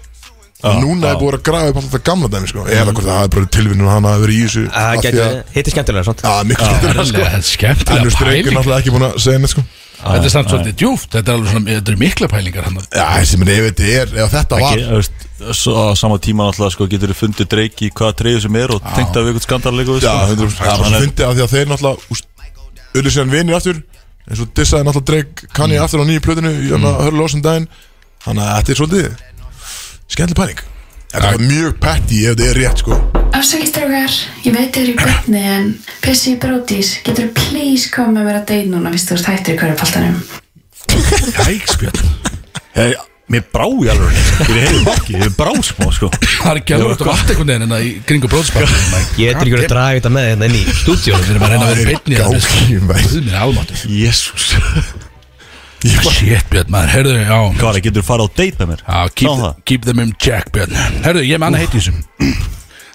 [SPEAKER 1] en núna hefur búið að grafa upp alltaf þetta gamla dæmi sko. eða hvort að það hefur bara tilvinnum hann hafi verið í þessu af
[SPEAKER 4] Það
[SPEAKER 1] því
[SPEAKER 4] gæti
[SPEAKER 1] að-
[SPEAKER 4] verið- Hitt er skemmtilega samt
[SPEAKER 1] Já, miklu skemmtilega sko
[SPEAKER 3] það er skemmtilega
[SPEAKER 1] Ennur streikur
[SPEAKER 3] pæling
[SPEAKER 1] náttúrulega ekki búin að segja neitt sko
[SPEAKER 3] Þetta er samt svolítið djúft Þetta er alveg svona, þetta er mikla pælingar hann
[SPEAKER 1] Já, þessi minn ef þetta er, ef þetta var
[SPEAKER 2] Ég, þú veist, Svo á sama tíma alltaf sko, getur þið fundið dreiki í hvaða treyðu sem er og tengt af eitthvað skandalegu
[SPEAKER 1] Já, hundur Það fundi að því að þeir náttúrulega Öllu síðan vinir aftur En svo dissaði náttúrulega Drake Kanye aftur á nýju plötinu Í hann að hörlu lósum daginn Þannig að þetta er svolítið Skemmtileg pæling Þetta var mjög petty ef þetta er rétt sko
[SPEAKER 5] Afsækistrákar, ég veit þér í byrni en Pissi í brótis, getur please koma með mér að deyð núna, vistu þú ert hættur í hverju paltanum
[SPEAKER 3] Jækspjöld
[SPEAKER 2] Hey, Mér brá í alveg Ég er heilu bakki, ég brá smá sko
[SPEAKER 3] Það er ekki alveg út um allt einhvern veginn hérna í kringu bróðspartum
[SPEAKER 4] Ég er ekki verið að draga þetta með hérna inn í stúdíó
[SPEAKER 3] Við erum að reyna að vera beinni að
[SPEAKER 1] Gákinn, maður.
[SPEAKER 3] Guð minn almáttur
[SPEAKER 2] Jésús
[SPEAKER 3] Shit Björn maður, heyrðu, já
[SPEAKER 2] Kari, getur þú farið á date með mér?
[SPEAKER 3] Já,
[SPEAKER 2] Ná
[SPEAKER 3] keep,
[SPEAKER 2] það.
[SPEAKER 3] keep them in check Björn Heyrðu, ég er með annað heiti í þessum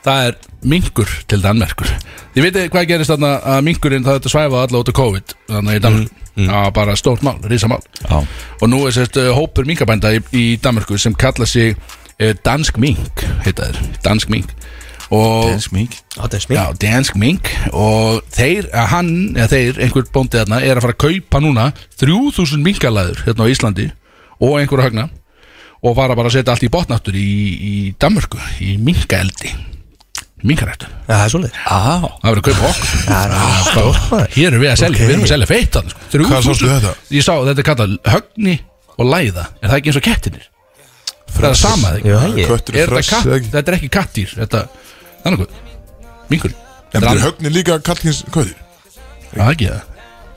[SPEAKER 3] Það er minkur til Danmerkur Þið veitir hvað gerist þarna að minkurinn það þetta svæfaði alla út af COVID Þannig í Danmark Já, bara stórt mál, risamál
[SPEAKER 2] Mm, Já.
[SPEAKER 3] Og nú er sérst uh, hópur minkabænda í, í Danmörku sem kalla sig uh, Dansk Mink, heita þeir Dansk Mink Og
[SPEAKER 2] Eins mink
[SPEAKER 4] Það er smil
[SPEAKER 3] Já, dansk mink og þeir, að hann, eða þeir, einhver bóndi þarna er að fara að kaupa núna 3000 minkalæður hérna á Íslandi og einhverja högna og fara bara að setja allt í botnáttur í, í Danmörku, í minkaeldi minkarættu
[SPEAKER 4] Það er svolítið
[SPEAKER 2] Á
[SPEAKER 3] það verður að kaupa okkur
[SPEAKER 4] Það er
[SPEAKER 3] Sko, hér erum við að selja, við erum að selja feitt þarna, sko. 3000
[SPEAKER 1] Hvað sástu þetta?
[SPEAKER 3] Ég sá þetta er kallað högni og læða er það ekki eins og kettinir? Það er sama þegar
[SPEAKER 4] Já, ég
[SPEAKER 1] Köttur
[SPEAKER 3] Er
[SPEAKER 1] er
[SPEAKER 3] þetta
[SPEAKER 1] fress eða
[SPEAKER 3] katt?
[SPEAKER 1] ekki?
[SPEAKER 3] Þetta er ekki kattýr Þetta, þannig hvað,
[SPEAKER 1] En
[SPEAKER 3] minkur Þetta
[SPEAKER 1] þetta
[SPEAKER 3] er
[SPEAKER 1] er högnin líka kallkins köttur
[SPEAKER 3] Það er ekki það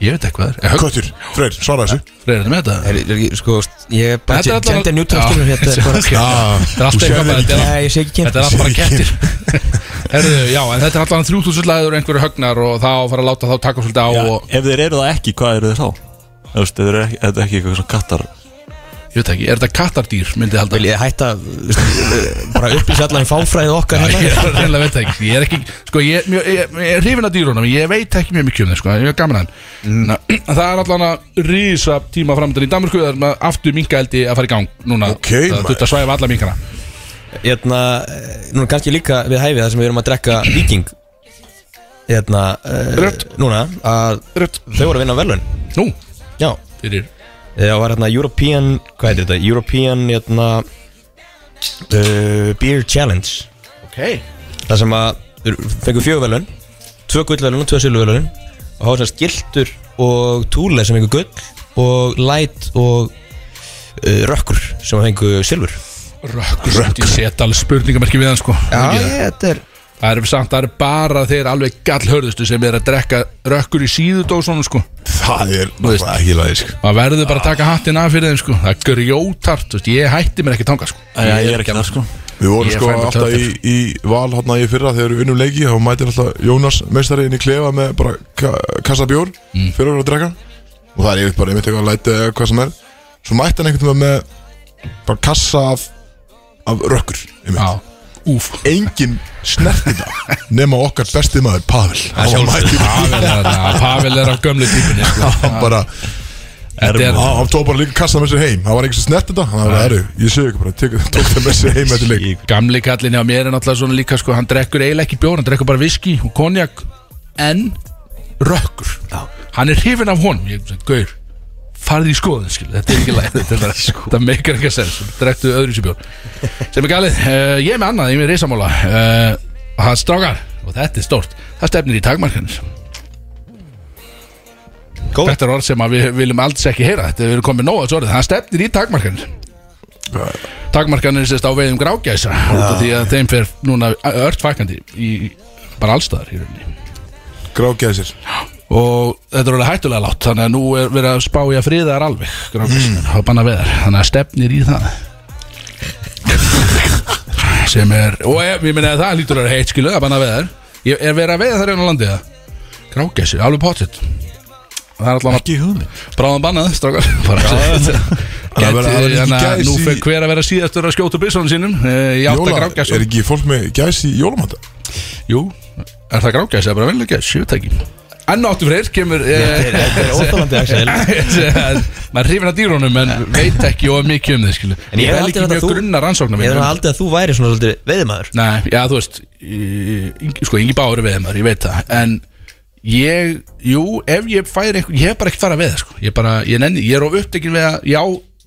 [SPEAKER 3] Ég veit eitthvað er Högg
[SPEAKER 1] Köttur, Freyr, svara þessu
[SPEAKER 3] reyður þetta með þetta
[SPEAKER 4] Er- er- Sko, ég er bara
[SPEAKER 3] Þetta er allavega-
[SPEAKER 4] Gender neutral
[SPEAKER 3] Já.
[SPEAKER 4] skilur hérna er bara-
[SPEAKER 3] Ok. Þetta
[SPEAKER 1] þú
[SPEAKER 3] er allt eitthvað
[SPEAKER 1] sérð
[SPEAKER 3] bara- þetta er
[SPEAKER 4] Nei,
[SPEAKER 3] allt-
[SPEAKER 4] ég sé ekki
[SPEAKER 3] Þetta
[SPEAKER 4] kynnt
[SPEAKER 3] er allt bara kettir Herðu, já, en þetta er allan 3000 læður og einhverju högnar og þá fara að láta þá taka svolítið á
[SPEAKER 2] Já,
[SPEAKER 3] og
[SPEAKER 2] Ef þeir eru það ekki, hvað eru þeir þá? Þú veist, þeir eru ekki, þetta er ekki eitthvað svona kattar
[SPEAKER 3] ég veit ekki, er þetta kattardýr myndið halda
[SPEAKER 4] Vil ég hætta veist, bara upplýsa allan fáfræðið okkar
[SPEAKER 3] Ég
[SPEAKER 4] hérna
[SPEAKER 3] er reynilega veit það ekki, ég er ekki sko, ég, er mjög- ég, ég er hrifin að dýrunum, ég veit ekki mjög mikið um þeir sko, ég er gaman að hann mm. Það er allan að rísa tíma framöndan í Danmarku það er maður aftur minkaeldi að fara í gang núna,
[SPEAKER 1] Ok,
[SPEAKER 3] það
[SPEAKER 1] maður.
[SPEAKER 3] þurft að svæfa alla minkana
[SPEAKER 4] Hérna, eh, núna kannski líka við hæfið það sem við erum að drekka viking Hérna, uh,
[SPEAKER 3] Rödd.
[SPEAKER 4] núna að
[SPEAKER 3] Rödd.
[SPEAKER 4] þau voru að vinna velun
[SPEAKER 3] Nú,
[SPEAKER 4] Já,
[SPEAKER 3] fyrir
[SPEAKER 4] það var hérna European, hvað heitir þetta? European, hérna uh, Beer Challenge
[SPEAKER 3] okay.
[SPEAKER 4] Það sem að þeir fengu fjögur velun Tvö gullvelun og tvö silvuvelun Og hafa svona skiltur og túle sem fengu gull Og light og uh, rökkur sem fengu silfur
[SPEAKER 3] Rökkur, ég set alveg spurningamerki við hann sko Ekki það.
[SPEAKER 4] þetta er
[SPEAKER 3] Það er samt, það er bara þeir alveg gallhörðustu sem er að drekka rökkur í síðudósunum sko
[SPEAKER 1] Það er
[SPEAKER 3] Þú veist.
[SPEAKER 1] náttúrulega ekki sko. lægisk
[SPEAKER 3] Maður verður bara að taka hattin af fyrir þeim sko Það er grjótart, þú veist, ég hætti mér ekki tanga sko
[SPEAKER 2] Æ, ég er ekki það sko
[SPEAKER 1] Við vorum
[SPEAKER 3] Ég
[SPEAKER 1] sko
[SPEAKER 3] fæ mér
[SPEAKER 1] alltaf í, í val hérna í fyrra þegar við unnum leiki þá mætir alltaf Jónas meistari inn í klefa með bara ka kassa bjór mm. fyrir að vera að drekka og það er yfir bara einmitt eitthvað að læta eða hvað sem er svo mætti hann einhvern veginn með bara kassa af, af rökkur einmitt.
[SPEAKER 3] Já, úf
[SPEAKER 1] engin snerti það nema okkar besti maður Pavel hann var mætti
[SPEAKER 3] Pavel er, að- Pavel er af gömlu típunni sko.
[SPEAKER 1] hann bara
[SPEAKER 3] Þetta er
[SPEAKER 1] Já, hann tók bara líka kassa með sér heim það var einhvers sem snerti þetta þannig að það eru ég sé ekki bara tek- tók það með sér heim eftir leik
[SPEAKER 3] Gamli kallin hjá mér er náttúrulega svona líka sko, Hann drekkur eiginlega ekki bjór, hann drekkur bara viski og konjak En rökkur Já. Hann er hrifin af honum Ég sagði, gaur, farði í skoðun skil. Þetta er ekki læg Þetta er bara- þetta meikar ekki að sér Drektu öðru sér bjór Sem er galið, uh, ég er með annað, ég er með reysamála uh, Það strákar, og þetta er stórt Það stefnir í takmarkanir
[SPEAKER 4] Góð.
[SPEAKER 3] Þetta er orð sem að við viljum aldrei ekki heyra Þetta er komið nóg að þessu orðið Það stefnir í takmarkanir Takmarkanir sérst á veiðum grágæsa út af Því að þeim fer núna ört fækandi í, Bara allstaðar í rauninni
[SPEAKER 1] grákjaði sér
[SPEAKER 3] Og þetta er alveg hættulega látt Þannig að nú er verið að spá í að friða þær alveg Grágæsa, mm. banna veðar Þannig að stefnir í það Sem er, og ég, ég meina að það lítur að vera heitt skilu að banna veðar ég, Er verið að veiða þær einu á landið það? Grágæsi, alveg pottitt Það er allan að
[SPEAKER 2] Ekki hugmynd
[SPEAKER 3] bráðan bannað, strákar bara
[SPEAKER 1] Það verður- það verður
[SPEAKER 3] Gæti,
[SPEAKER 1] ekki
[SPEAKER 3] hérna,
[SPEAKER 1] gæs
[SPEAKER 3] nú
[SPEAKER 1] í-
[SPEAKER 3] fer hver að vera síðastur að skjóta byssunum sínum Eh, ég átt að
[SPEAKER 1] Jóla,
[SPEAKER 3] grákja
[SPEAKER 1] er ekki fólk með gæs í jólamanda?
[SPEAKER 3] Jú, er það grákjæs eða bara venlega gæs, ég veit það ekki Enn áttu fyrir, kemur eh,
[SPEAKER 4] Þetta er óþálandi, Axel
[SPEAKER 3] maður hrifin að dýrunum en veit ekki of mikið um þið skilu
[SPEAKER 4] En ég
[SPEAKER 3] Ég
[SPEAKER 4] hef
[SPEAKER 3] vel
[SPEAKER 4] haldið
[SPEAKER 3] ekki
[SPEAKER 4] þetta
[SPEAKER 3] mjög
[SPEAKER 4] þú-
[SPEAKER 3] grunna rannsóknar
[SPEAKER 4] Ég
[SPEAKER 3] mínar.
[SPEAKER 4] þarf aldrei að þú væri svona svolítið veiðimaður
[SPEAKER 3] Nei, já þú veist eh, Ingi- sko, Ingi Bári veið maður, ég veit það en ég, jú, ef ég færi einhver, ég hef bara ekkert farað að veiða sko. ég, bara, ég, nenni, ég er of upptekinn við að já,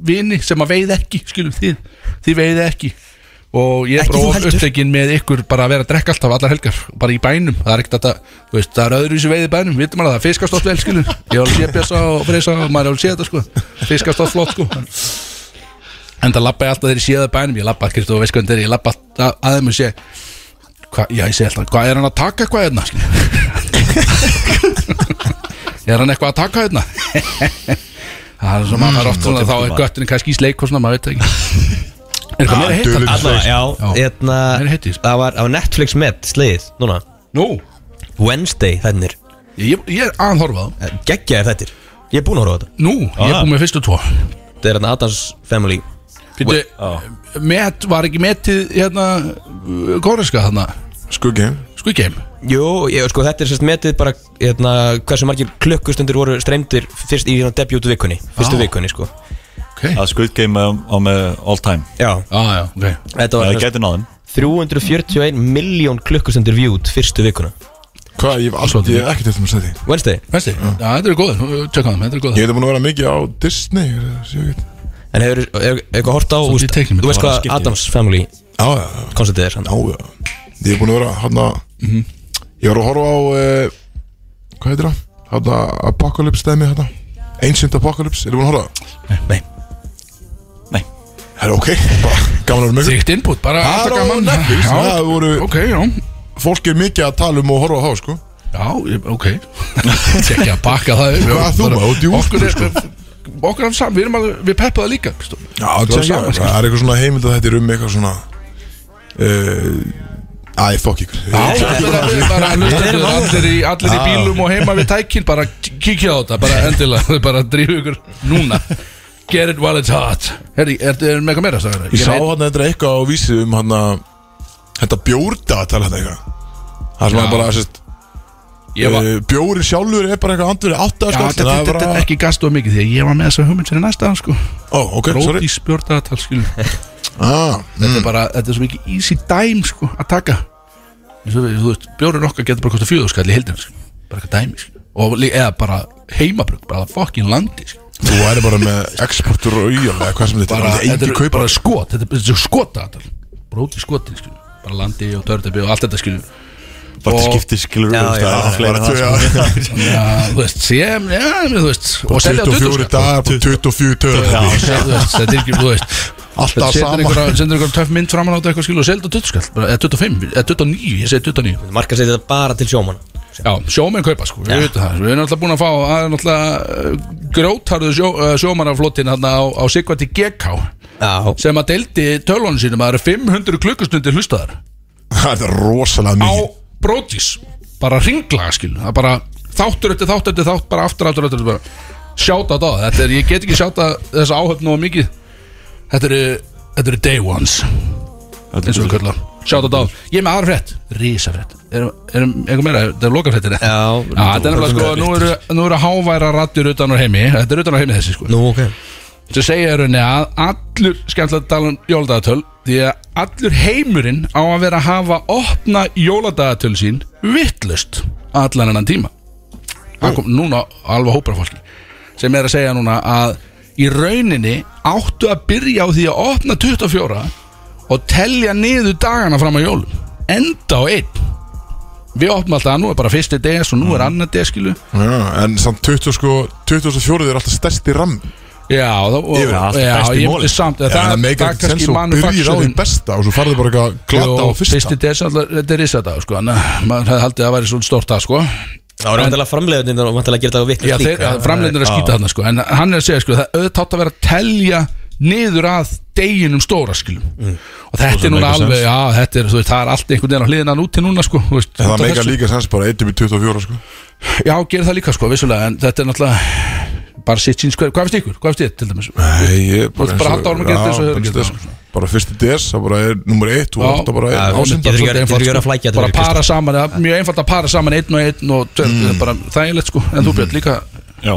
[SPEAKER 3] vini sem að veið ekki, skilum þið þið veið ekki og ég er
[SPEAKER 4] Ekki
[SPEAKER 3] bara
[SPEAKER 4] þú
[SPEAKER 3] of
[SPEAKER 4] heldur.
[SPEAKER 3] upptekinn með ykkur bara að vera að drekka alltaf allar helgar, bara í bænum það er ekkert að þetta, þú veist, það er öðruvísi veið í bænum vitum maður að það fiskast oft vel, skilum ég var að sé bjösa og freysa og maður er alveg að sé þetta sko fiskast oft flott sko en það lappa ég alltaf þegar ég sé það í bænum ég lappa, Kristó, þú veist hvernig þegar ég lappa að- að þeim og sé hva, já, ég segi alltaf, hvað er hann að taka eitthvað hérna skilur? er hann eitthvað að taka hérna það Það er svo maður mm, oft svona þá er göttin kannski í sleik og svona maður veit það ekki Er eitthvað meira heitt? þarna?
[SPEAKER 1] dulin.
[SPEAKER 4] Alla, já,
[SPEAKER 3] Já.
[SPEAKER 4] hérna
[SPEAKER 3] Meira heitt í þessu.
[SPEAKER 4] Það var á Netflix með slegið Núna,
[SPEAKER 3] Nú,
[SPEAKER 4] Wednesday þennir Eh,
[SPEAKER 3] ég, ég er aðhorfað
[SPEAKER 4] Geggjaðir þettir Ég er búinn að horfa á þetta
[SPEAKER 3] Nú, ég er
[SPEAKER 2] Ah.
[SPEAKER 3] búið með fyrstu tvo
[SPEAKER 4] Þetta er hérna Adams Family
[SPEAKER 3] Fyrir,
[SPEAKER 2] Já.
[SPEAKER 3] met, var ekki metið hérna, góreska þarna
[SPEAKER 1] Skuggin
[SPEAKER 3] Squid Game
[SPEAKER 4] Jú, ég, sko, þetta er sérst metið bara hérna, hversu margir klukkustundir voru streymdir fyrst í hérna, debut vikunni Fyrstu
[SPEAKER 3] Vá.
[SPEAKER 4] vikunni, sko
[SPEAKER 3] Ok, já,
[SPEAKER 2] að Squid Game á, á með all time
[SPEAKER 4] Já,
[SPEAKER 3] Ah, já, ok
[SPEAKER 4] þetta var
[SPEAKER 2] Það
[SPEAKER 4] sérst
[SPEAKER 2] gæti náðum
[SPEAKER 4] 341 miljón klukkustundir viewed fyrstu vikuna
[SPEAKER 1] Hvað, ég hef alltaf, ég hef ekkert eftir að setja í.
[SPEAKER 4] Wednesday
[SPEAKER 3] Fennst þið? Já, þetta er góð, tjökk á þeim, þetta er góð
[SPEAKER 1] Ég hef búin að vera mikið á Disney Sjá ekki
[SPEAKER 4] En hefur hefur- hefur eitthvað hort á
[SPEAKER 3] Svolítið
[SPEAKER 4] úst,
[SPEAKER 3] í teiknimynd,
[SPEAKER 4] Þú veist
[SPEAKER 2] það var að
[SPEAKER 4] hvað
[SPEAKER 2] skipta í
[SPEAKER 4] Adams Family
[SPEAKER 1] Já, já,
[SPEAKER 4] konceptið er hann
[SPEAKER 1] já, já Ég hef búin að vera hann að Ég var að horfa á eh, Hvað heitir það? Hann Apocalypse dæmi hann Ancient Apocalypse, er það búin að horfa? á það?
[SPEAKER 4] Nei
[SPEAKER 2] Nei,
[SPEAKER 1] Það er ok, bara gaman að vera mikið
[SPEAKER 3] Þrygt input, bara
[SPEAKER 1] Það
[SPEAKER 3] alltaf
[SPEAKER 1] er á
[SPEAKER 3] gaman
[SPEAKER 1] Netflix,
[SPEAKER 3] Já,
[SPEAKER 1] það voru-
[SPEAKER 3] ok, já
[SPEAKER 1] Fólk er mikið að tala um og horfa á þá, sko
[SPEAKER 3] Já, ég- ok Tekki að bakka það upp.
[SPEAKER 1] Hvað þú
[SPEAKER 3] Bara-
[SPEAKER 1] maður, djú,
[SPEAKER 3] Okkur er, okkur er saman, við erum alveg, við peppaðu líka sko. Kristó.
[SPEAKER 1] Já,
[SPEAKER 3] Þú
[SPEAKER 1] tjekka,
[SPEAKER 3] var saman,
[SPEAKER 1] það er eitthvað svona heimild að þetta er um eitthvað svona uh, Æ, fokk ykkur
[SPEAKER 3] Já, bara- við bara hlustendur, allir í, allir í bílum og heima við tækin bara k- kíkja á þetta, bara endilega bara drífu ykkur núna Get it while it's hot Herri, er þetta með eitthvað meira? Sagði,
[SPEAKER 1] Ég sá hann þetta er eitthvað á vísi um hann að Þetta bjórda að tala þetta eitthvað Það sem
[SPEAKER 3] Já.
[SPEAKER 1] hann bara, sérst
[SPEAKER 3] ég var,
[SPEAKER 1] uh, Bjórin sjálfur er bara eitthvað andurinn átta
[SPEAKER 3] já,
[SPEAKER 1] sko, þannig að
[SPEAKER 3] þetta þetta-
[SPEAKER 1] það er
[SPEAKER 3] þetta
[SPEAKER 1] bara-
[SPEAKER 3] er ekki gastu mikið því að ég var með þessa hugmynd fyrir næsta hann sko
[SPEAKER 1] Ó, ok, sorry
[SPEAKER 3] Róti spjórdaðatal skilur
[SPEAKER 1] ah,
[SPEAKER 3] Þetta er bara, þetta er svo mikið easy dæm sko að taka Eins og við- Þú veist, bjórinn okkar getur bara kostið fjöðurskall í heildin sko. bara eitthvað dæmi sko og, lí- eða bara heimabrug, bara fokkin landi sko
[SPEAKER 1] Þú væri bara með exportur og auðjál eða hvað sem þetta
[SPEAKER 3] bara,
[SPEAKER 1] er
[SPEAKER 3] þetta
[SPEAKER 1] Engi
[SPEAKER 3] er
[SPEAKER 1] kaupa
[SPEAKER 3] bara skot þetta er bara skota bróti skoti skilur. bara landi og tördebi og allt þetta sko. skilur
[SPEAKER 2] bara til
[SPEAKER 3] Og-
[SPEAKER 2] skipti skilur
[SPEAKER 4] Já, já,
[SPEAKER 1] Bara tvö, Ah,
[SPEAKER 2] sko.
[SPEAKER 1] já,
[SPEAKER 3] já, þú veist, sem, já, þú veist og selja á
[SPEAKER 1] 24
[SPEAKER 3] 20
[SPEAKER 1] dagar, bara 24 töður
[SPEAKER 3] þú veist, þetta er ekki, þú veist
[SPEAKER 1] Alltaf
[SPEAKER 3] sendur
[SPEAKER 1] sama
[SPEAKER 3] einhverja sendur einhverja töff mynd framan á þetta eitthvað skilur og selja á 20 skall, bara, eða 25, eða 29 ég segi 29
[SPEAKER 4] Marka segir þetta bara til sjómanna
[SPEAKER 3] Já, sjómenn kaupa sko, við veitum það Við erum alltaf búin að fá, það er náttúrulega grótarðu sjó, eh, sjómannaflottin hérna á, á Sigvati GK
[SPEAKER 4] Já
[SPEAKER 3] sem að deildi tölunum sínum að það eru 500 klukkustundir hlustaðar
[SPEAKER 1] Það er rosalega
[SPEAKER 3] á
[SPEAKER 1] mikið
[SPEAKER 3] brótis bara ringlaga skil það er bara þáttur eftir þátt eftir þátt bara aftur aftur aftur bara sjáta á það þetta er ég get ekki sjáta þessa áhöfn nógu mikið þetta eru þetta eru day ones eins og við kalla sjáta á það ég er með aðra frétt risafrétt erum erum eitthvað meira þetta er lokafréttir
[SPEAKER 4] Já,
[SPEAKER 3] þetta er nefnilega sko nú eru nú eru háværa raddir utan á heimi þetta er utan á heimi þessi sko
[SPEAKER 4] Nú, ok
[SPEAKER 3] sem segja í rauninni að allur skemmtilega að tala um jóladagatöl því að allur heimurinn á að vera að hafa opna jóladagatöl sín vittlust allan ennan tíma það kom núna alveg hópar af fólki sem er að segja núna að í rauninni áttu að byrja á því að opna 24 og telja niður dagana fram að jólum enda á einn við opnum alltaf að nú er bara fyrsti des og nú
[SPEAKER 1] Mm.
[SPEAKER 3] er annar des skilu
[SPEAKER 1] Já, En samt 20 sko 24 er alltaf stærsti ramm
[SPEAKER 3] Já, þá, og,
[SPEAKER 1] Yfir allt
[SPEAKER 3] já,
[SPEAKER 2] besti
[SPEAKER 3] ég
[SPEAKER 2] mólin.
[SPEAKER 3] myndi samt
[SPEAKER 1] Já, Það meikar
[SPEAKER 3] það
[SPEAKER 1] ekkert sens og byrjir á því
[SPEAKER 3] manufacturing-
[SPEAKER 1] besta og svo farðu bara eitthvað glata á
[SPEAKER 3] Jú,
[SPEAKER 1] fyrsta
[SPEAKER 3] Fyrsti desember, þetta er risadagur sko en uh, maður hefði haldið að það væri svona stórt að sko
[SPEAKER 4] Það var vantilega framleiðin og vantilega að gera þetta
[SPEAKER 3] Já,
[SPEAKER 4] vittlust
[SPEAKER 3] þeir, ja, framleitin er að skýta þarna sko en hann er að segja sko, það auðvitað átt að vera að telja niður að deginum stóra skilum
[SPEAKER 1] Mm.
[SPEAKER 3] og þetta
[SPEAKER 2] sem
[SPEAKER 3] er núna
[SPEAKER 2] make
[SPEAKER 3] alveg,
[SPEAKER 2] sense.
[SPEAKER 3] já, þetta er, þú veist, það er allt einhvern veginn á hliðinan út til núna sko, þú veist,
[SPEAKER 1] En
[SPEAKER 3] út
[SPEAKER 1] það
[SPEAKER 3] af
[SPEAKER 1] meikar
[SPEAKER 3] þessu.
[SPEAKER 1] líka sens bara 1 upp í 24 sko
[SPEAKER 3] Já, gerir það líka sko, vissulega, en þetta er náttúrulega bara sitt síns, hvað hvað finnst ykkur, hvað finnst þið til dæmis
[SPEAKER 1] Nei, ég
[SPEAKER 3] Þú ert bara að halda áfram að gera þetta eins og
[SPEAKER 1] Já, bara þess,
[SPEAKER 3] hefur gert þetta.
[SPEAKER 1] sko. Bara fyrsti DS, það bara er nummer 1 og
[SPEAKER 3] Já.
[SPEAKER 1] alltaf bara
[SPEAKER 4] Já,
[SPEAKER 1] er
[SPEAKER 4] getur
[SPEAKER 1] ásenda
[SPEAKER 4] ekki-
[SPEAKER 1] sko.
[SPEAKER 4] getur ekki verið að flækja þetta sko.
[SPEAKER 3] bara
[SPEAKER 4] fyrir
[SPEAKER 3] para saman, það er mjög einfalt að para saman einn og einn og tveir, mm. bara þægilegt sko en þú björn líka,
[SPEAKER 2] Já,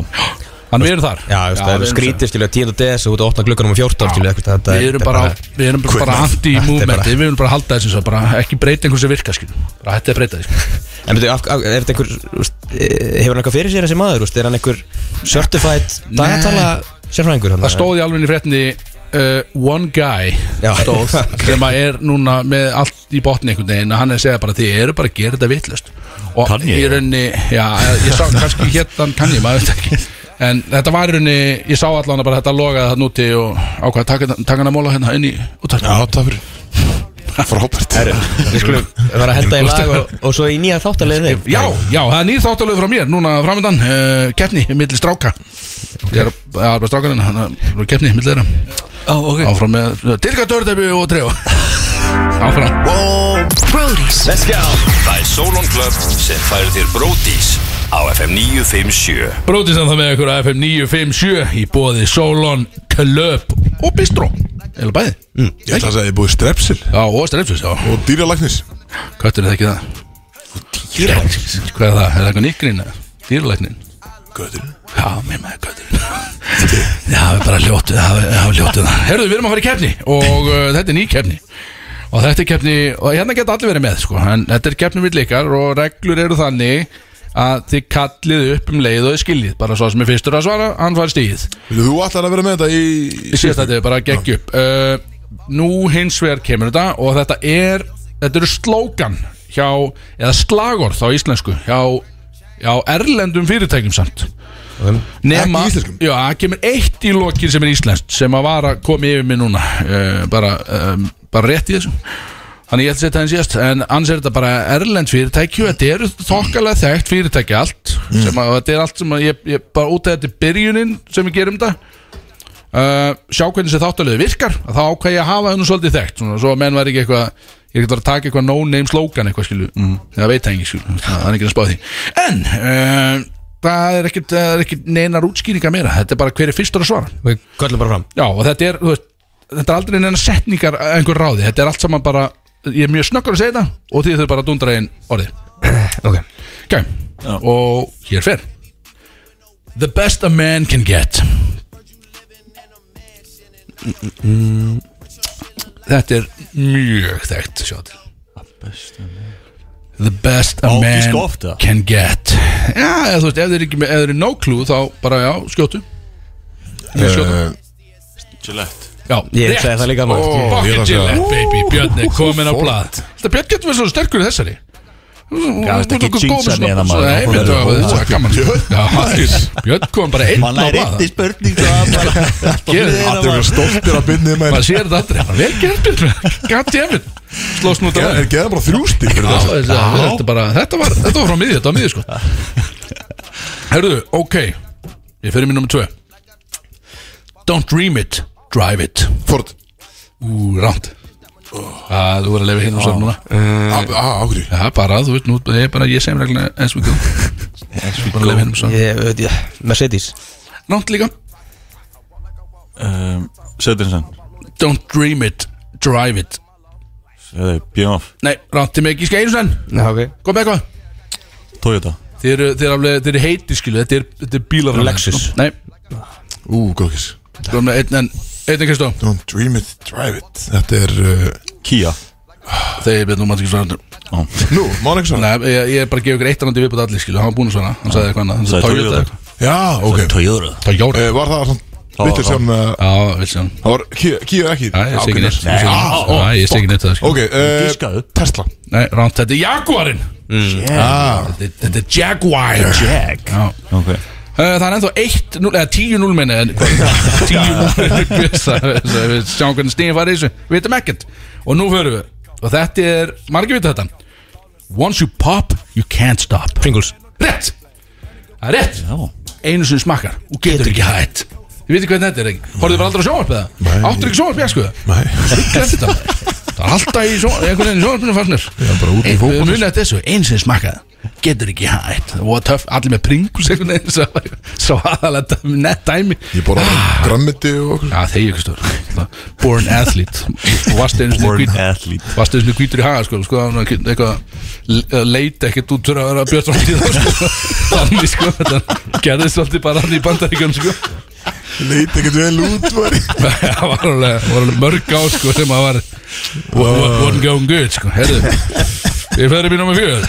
[SPEAKER 3] þannig við erum þar
[SPEAKER 4] Já, þú veist, það
[SPEAKER 3] við
[SPEAKER 4] er
[SPEAKER 3] erum þar.
[SPEAKER 4] skrítið, skilja, 10. des og út að opna glöggunum um 14, skilja, eitthvað þetta
[SPEAKER 3] við erum
[SPEAKER 4] þetta er
[SPEAKER 3] bara, við erum bara, bara anti-movementi
[SPEAKER 4] Þetta er
[SPEAKER 3] við viljum bara halda þessu svo, bara ekki breyta einhvern sem virka skilur. bara hætti að breyta því sko.
[SPEAKER 4] En betur, af, af, er þetta einhver, þú veist, eh, hefur hann eitthvað fyrir sér þessi maður, þú veist, er hann einhver certified dagatala sérfræðingur hann?
[SPEAKER 3] það stóð í alveg í fréttinni uh, one guy
[SPEAKER 4] Já.
[SPEAKER 3] stóð sem að er núna með allt í botni einhvern veginn og hann er að segja bara þið eru bara að gera þetta vitlust og
[SPEAKER 2] Kanye,
[SPEAKER 3] í
[SPEAKER 2] já.
[SPEAKER 3] rauninni, já, ég sá kannski hérna kann ég, maður veit ekki en þetta var í rauninni, ég sá allan að bara þetta logaði þarna úti og ákvaða taka taka hann að móla hérna inn í útvarpinu.
[SPEAKER 1] Já, það fyrir Frábært
[SPEAKER 4] Við skulum vera að henda í lag og, og svo í nýja þáttalegið þeim
[SPEAKER 3] Já, já, það er nýr þáttalög frá mér Núna framöndan, uh, keppni, milli stráka Ég er að er bara strákarinn hérna, Þannig að keppni, milli þeirra
[SPEAKER 2] oh, okay.
[SPEAKER 3] Áfram með uh, Dirka Dördebu og Treo Áfram
[SPEAKER 7] Brody's
[SPEAKER 6] Let's go Það er Solon Club sem færir þér Bródís á FM 957
[SPEAKER 3] Brótið sem það með ykkur á FM 957 Í bóði Solon, Klöp og Mm. Bistró Eða bæði
[SPEAKER 1] Ég ætla að segja að ég búið strepsil
[SPEAKER 3] Já, og Strefsus, já
[SPEAKER 1] og dýralæknis
[SPEAKER 3] Köttur er það ekki það Dýralæknis Hvað er það? Er það eitthvað nýggrín? Dýralæknin
[SPEAKER 1] Göturinn
[SPEAKER 3] Já, mér með kötturinn Já, við bara ljótu það við- það við ljótu það Herðu, við erum að fara í keppni Og uh, þetta er ný keppni Og þetta er keppni Og hérna geta allir verið með, sko En þetta er keppni við leikar Og reglur eru þannig Að þið kallið upp um leið og þið skiljið Bara svo sem er fyrstur að svara Hann fari stíð
[SPEAKER 1] Þú ætlar að vera með þetta í
[SPEAKER 3] Í síðast þetta er bara að gegja upp uh, Nú hins vegar kemur þetta Og þetta er Þetta eru slókan Hjá Eða slagorð á íslensku Hjá Já, erlendum fyrirtækjum samt nema,
[SPEAKER 1] Ekki íslenskum?
[SPEAKER 3] Já, það kemur eitt í lokin sem er íslenskt sem að var að koma yfir mig núna uh, bara, um, bara rétt í þessu Þannig ég ætla að setja hann síðast En annars er þetta bara erlend fyrirtæki og Þetta eru þokkalega þekkt fyrirtæki allt
[SPEAKER 1] Mm.
[SPEAKER 3] sem að, og Þetta er allt sem að ég, ég bara út af þetta er byrjunin sem við gerum þetta uh, Sjá hvernig þessi þáttalegu virkar að Þá ákvað ég að hafa hennu svolítið þekkt svona, Svo að menn var ekki eitthvað Ég get bara að taka eitthvað no-name slogan eitthvað skilju Það veit það engin skilju Það er ekki að spá því En uh, það er ekkit, það er ekkit neinar útskýringar meira Þetta er bara hver er fyrstur að svara
[SPEAKER 4] Við köllum bara fram
[SPEAKER 3] Já og þetta er, þú veist, þetta er aldrei neina setningar að einhver ráði Þetta er allt saman bara Ég er mjög snöggur að segja þetta Og því þau bara að dundra einn orðið
[SPEAKER 4] Ok
[SPEAKER 3] Ok, og hér fer The best a man can get Þetta er mjög þekkt sjá til The best a
[SPEAKER 2] Á,
[SPEAKER 3] man
[SPEAKER 2] giska oft, eða?
[SPEAKER 3] can get Já, eða, þú veist, ef þeir ekki með, ef þeir eru no clue þá bara, já, skjótu Ég skjótu
[SPEAKER 1] Eh,
[SPEAKER 2] Gillette
[SPEAKER 3] Já,
[SPEAKER 4] Ég
[SPEAKER 3] rétt.
[SPEAKER 4] sagði það líka maður.
[SPEAKER 1] Ó, ég ætla
[SPEAKER 3] Fucking
[SPEAKER 1] að segja-
[SPEAKER 3] Gillette, baby, Björn er komin á
[SPEAKER 1] Fólk.
[SPEAKER 3] blað Þetta Björn getur verið svo sterkur í þessari
[SPEAKER 2] Gafst ekki jinxa neina, maður.
[SPEAKER 3] sko. Nei,
[SPEAKER 2] Hún
[SPEAKER 3] veitu,
[SPEAKER 2] er
[SPEAKER 3] það
[SPEAKER 2] góð.
[SPEAKER 3] var gaman sko. Já, maður, Björn kom bara einn á
[SPEAKER 2] Man er
[SPEAKER 3] blað
[SPEAKER 2] eitt í spurning Það er bara alltaf
[SPEAKER 3] Gerðu
[SPEAKER 2] hliðina,
[SPEAKER 1] Allir eru
[SPEAKER 2] maður.
[SPEAKER 1] stoltir að byrnið með
[SPEAKER 3] Maður sér þetta aldrei, bara vel gert Björn God damn it Slóst nú þetta
[SPEAKER 1] Er geðan bara þrjústi fyrir
[SPEAKER 3] Já,
[SPEAKER 1] þetta?
[SPEAKER 3] þetta þetta bara, þetta var, þetta var frá miði, þetta var miði sko Herðu, ok Ég fyrir mér nummer tvö Don't dream it, drive it
[SPEAKER 1] Ford
[SPEAKER 3] Ú, ránt Það, þú verður að lefa hinn og svo núna
[SPEAKER 1] Á, ákveði
[SPEAKER 3] Já, bara, þú veist, nú, ég er bara, ég sem regla eins og ekki Bara lefa hinn og svo
[SPEAKER 4] Ég veit ég Mercedes
[SPEAKER 3] Ránt líka
[SPEAKER 2] Um, Söðinsen
[SPEAKER 3] Don't dream it, drive it
[SPEAKER 2] Björnf
[SPEAKER 3] Nei, ránti mig ekki skeinu sen
[SPEAKER 4] Já ok
[SPEAKER 3] Kom með eitthvað
[SPEAKER 2] Toyota
[SPEAKER 3] Þeir eru, þeir eru, alveg- þeir eru heiti skilu Þetta er, þetta er bílafram
[SPEAKER 4] Lexus.
[SPEAKER 3] Nei,
[SPEAKER 1] Ú, góðkis
[SPEAKER 3] þú erum með einn en Einn en Kristó
[SPEAKER 1] Don't dream it, drive it Þetta er uh,
[SPEAKER 2] Kia
[SPEAKER 3] Þegar ég betur nú maður ekki svara
[SPEAKER 2] Ó,
[SPEAKER 1] Nú, mánu ekki svona
[SPEAKER 3] Nei, ég, ég er bara að gefa ykkur eitt annandi viðbútt allir skilu Hann var búinn að svara Hann sagði eitthvað annað Hann
[SPEAKER 2] Sagði
[SPEAKER 3] sagði Toyota
[SPEAKER 2] Toyota.
[SPEAKER 3] eitthvað.
[SPEAKER 1] Já, ok
[SPEAKER 2] Toyota
[SPEAKER 3] Toyota
[SPEAKER 1] Eh, Var það svona Vittir sem eh,
[SPEAKER 3] Já, við séum
[SPEAKER 1] Það var Kíu ekki
[SPEAKER 3] Nei, ég sé ekki neitt
[SPEAKER 1] Nei, Ah,
[SPEAKER 3] Nei, ég sé ekki neitt það skilu
[SPEAKER 1] Ok, eh,
[SPEAKER 2] Gískaðu.
[SPEAKER 1] Tesla
[SPEAKER 3] Nei, ránt, þetta er Jaguarinn
[SPEAKER 1] Ah,
[SPEAKER 3] Þetta er- Þetta er Jaguar Jag Já
[SPEAKER 2] Ok
[SPEAKER 3] Uh, Það er ennþá 1, eða 10-0 minni 10-0 Sjáum hvernig stíðin farið í þessu Við veitum ekkert Og nú förum við Og þetta er, margir vita þetta Once you pop, you can't stop
[SPEAKER 4] Pringles
[SPEAKER 3] Rétt Það er rétt
[SPEAKER 2] Já
[SPEAKER 3] Einu sem smakkar Og getur ekki hætt Þið veitir hvernig þetta er ekki Horfðu bara aldrei á sjónvarpið það
[SPEAKER 1] Nei.
[SPEAKER 3] Áttur ekki sjónvarpið, ég sko
[SPEAKER 1] nei
[SPEAKER 3] Glemt þetta Það er alltaf í sjón, einhvern veginn sjónvarpinu fannir
[SPEAKER 1] Það er bara út í
[SPEAKER 3] Við
[SPEAKER 1] fókbóð
[SPEAKER 3] munið eftir þessu, eins sem smakkaði Getur ekki hægt, það var töff Allir með pringus einhvern veginn Svo, svo aðalega nett dæmi
[SPEAKER 1] Ég borða grammiti og okkur
[SPEAKER 3] Já, þeir ykkur stór Born athlete Og varst einu sinni
[SPEAKER 2] Born
[SPEAKER 3] hvít-
[SPEAKER 2] athlete
[SPEAKER 3] varst einu sinni hvítur í haga sko, sko, hann var ekki- eitthvað le- leita ekkert út fyrir að vera björn framtíð sko. þannig sko, þetta gerðist svolítið bara hann í bandaríkjum sko.
[SPEAKER 1] Leit ekkert vel út var ég.
[SPEAKER 3] það var alveg, var alveg mörg á sko, sem að var One going good sko. Herðu, Við ferum í nummer fjör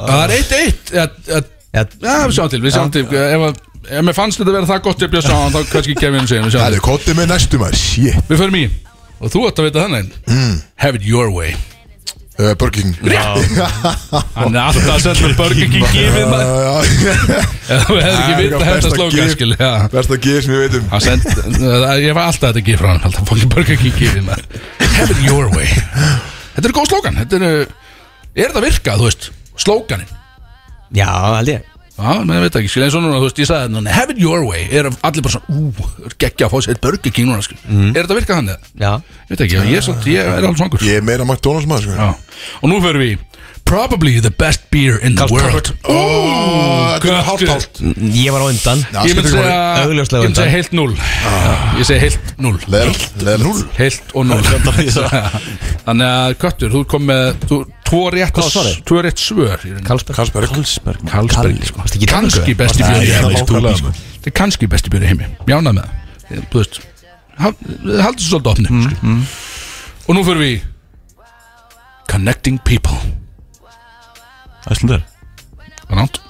[SPEAKER 3] Það er eitt eitt Já,
[SPEAKER 4] Já,
[SPEAKER 3] við sjáum til, við sjáum til Ef, að- ef mér fannst þetta að vera það gott ég bjöð sá hann, þá kannski kemur hann segja
[SPEAKER 1] Það
[SPEAKER 3] Við,
[SPEAKER 1] er kottið með næstum að Shit
[SPEAKER 3] við ferum í Og þú ætti að vita þannig mm. Have it your way
[SPEAKER 1] Eh, Burger King
[SPEAKER 3] Hann er alltaf að setja börg ekki gefið maður
[SPEAKER 1] Ah,
[SPEAKER 3] Ef Þú hefði ekki vita þetta slókan skil já.
[SPEAKER 1] Besta gif sem ég veit um
[SPEAKER 3] Hann send, Ég var alltaf að þetta gif frá hann Alltaf fólki börg ekki gefið maður Have it your way Þetta eru góð slókan Þetta eru, er þetta virkað, þú veist Slókanin,
[SPEAKER 4] Já, held ég
[SPEAKER 3] já, maður veit ekki Skil eins og núna, þú veist, ég sagði þetta núna Have it your way, er allir bara svona Ú, geggja að fá sér eitt Burger King núna, skil Er þetta virkað hann eða?
[SPEAKER 4] Já
[SPEAKER 3] Ég veit ekki, ég, er svolítið, ég er alveg svangur
[SPEAKER 1] Ég er meira McDonalds maður sko
[SPEAKER 3] Já, og nú fyrir við í Probably the best beer in the world
[SPEAKER 1] Ó, þetta er hálft hálft
[SPEAKER 4] Ég var á undan
[SPEAKER 1] Já,
[SPEAKER 3] Ég myndi
[SPEAKER 1] skiptir ekki
[SPEAKER 3] segja, ég
[SPEAKER 4] Augljóslega undan.
[SPEAKER 3] myndi
[SPEAKER 4] Ah.
[SPEAKER 3] segja heilt null Já, Ég segi heilt null
[SPEAKER 1] Leðilegt Leðilegt
[SPEAKER 3] Heilt og null Þannig að Köttur, þú kom með þú- Tvo rétt
[SPEAKER 4] Hvað var svarið?
[SPEAKER 3] Tvo rétt svör
[SPEAKER 4] Karlsberg
[SPEAKER 1] Karlsberg
[SPEAKER 2] Karlsberg maður.
[SPEAKER 3] Kalsberg sko.
[SPEAKER 4] Varstu ekki í Danmörku?
[SPEAKER 3] Kanski besti björn í
[SPEAKER 1] Nei,
[SPEAKER 3] heimi
[SPEAKER 1] ég
[SPEAKER 3] sko.
[SPEAKER 1] nákvæmlega, sko.
[SPEAKER 3] Þetta er kannski besti björn í heimi Mjánað með það Þú veist hal- Haldið svo svolítið opni mm, mm. Og nú fyrir við í Connecting people
[SPEAKER 2] Æslandar
[SPEAKER 3] Það er nátt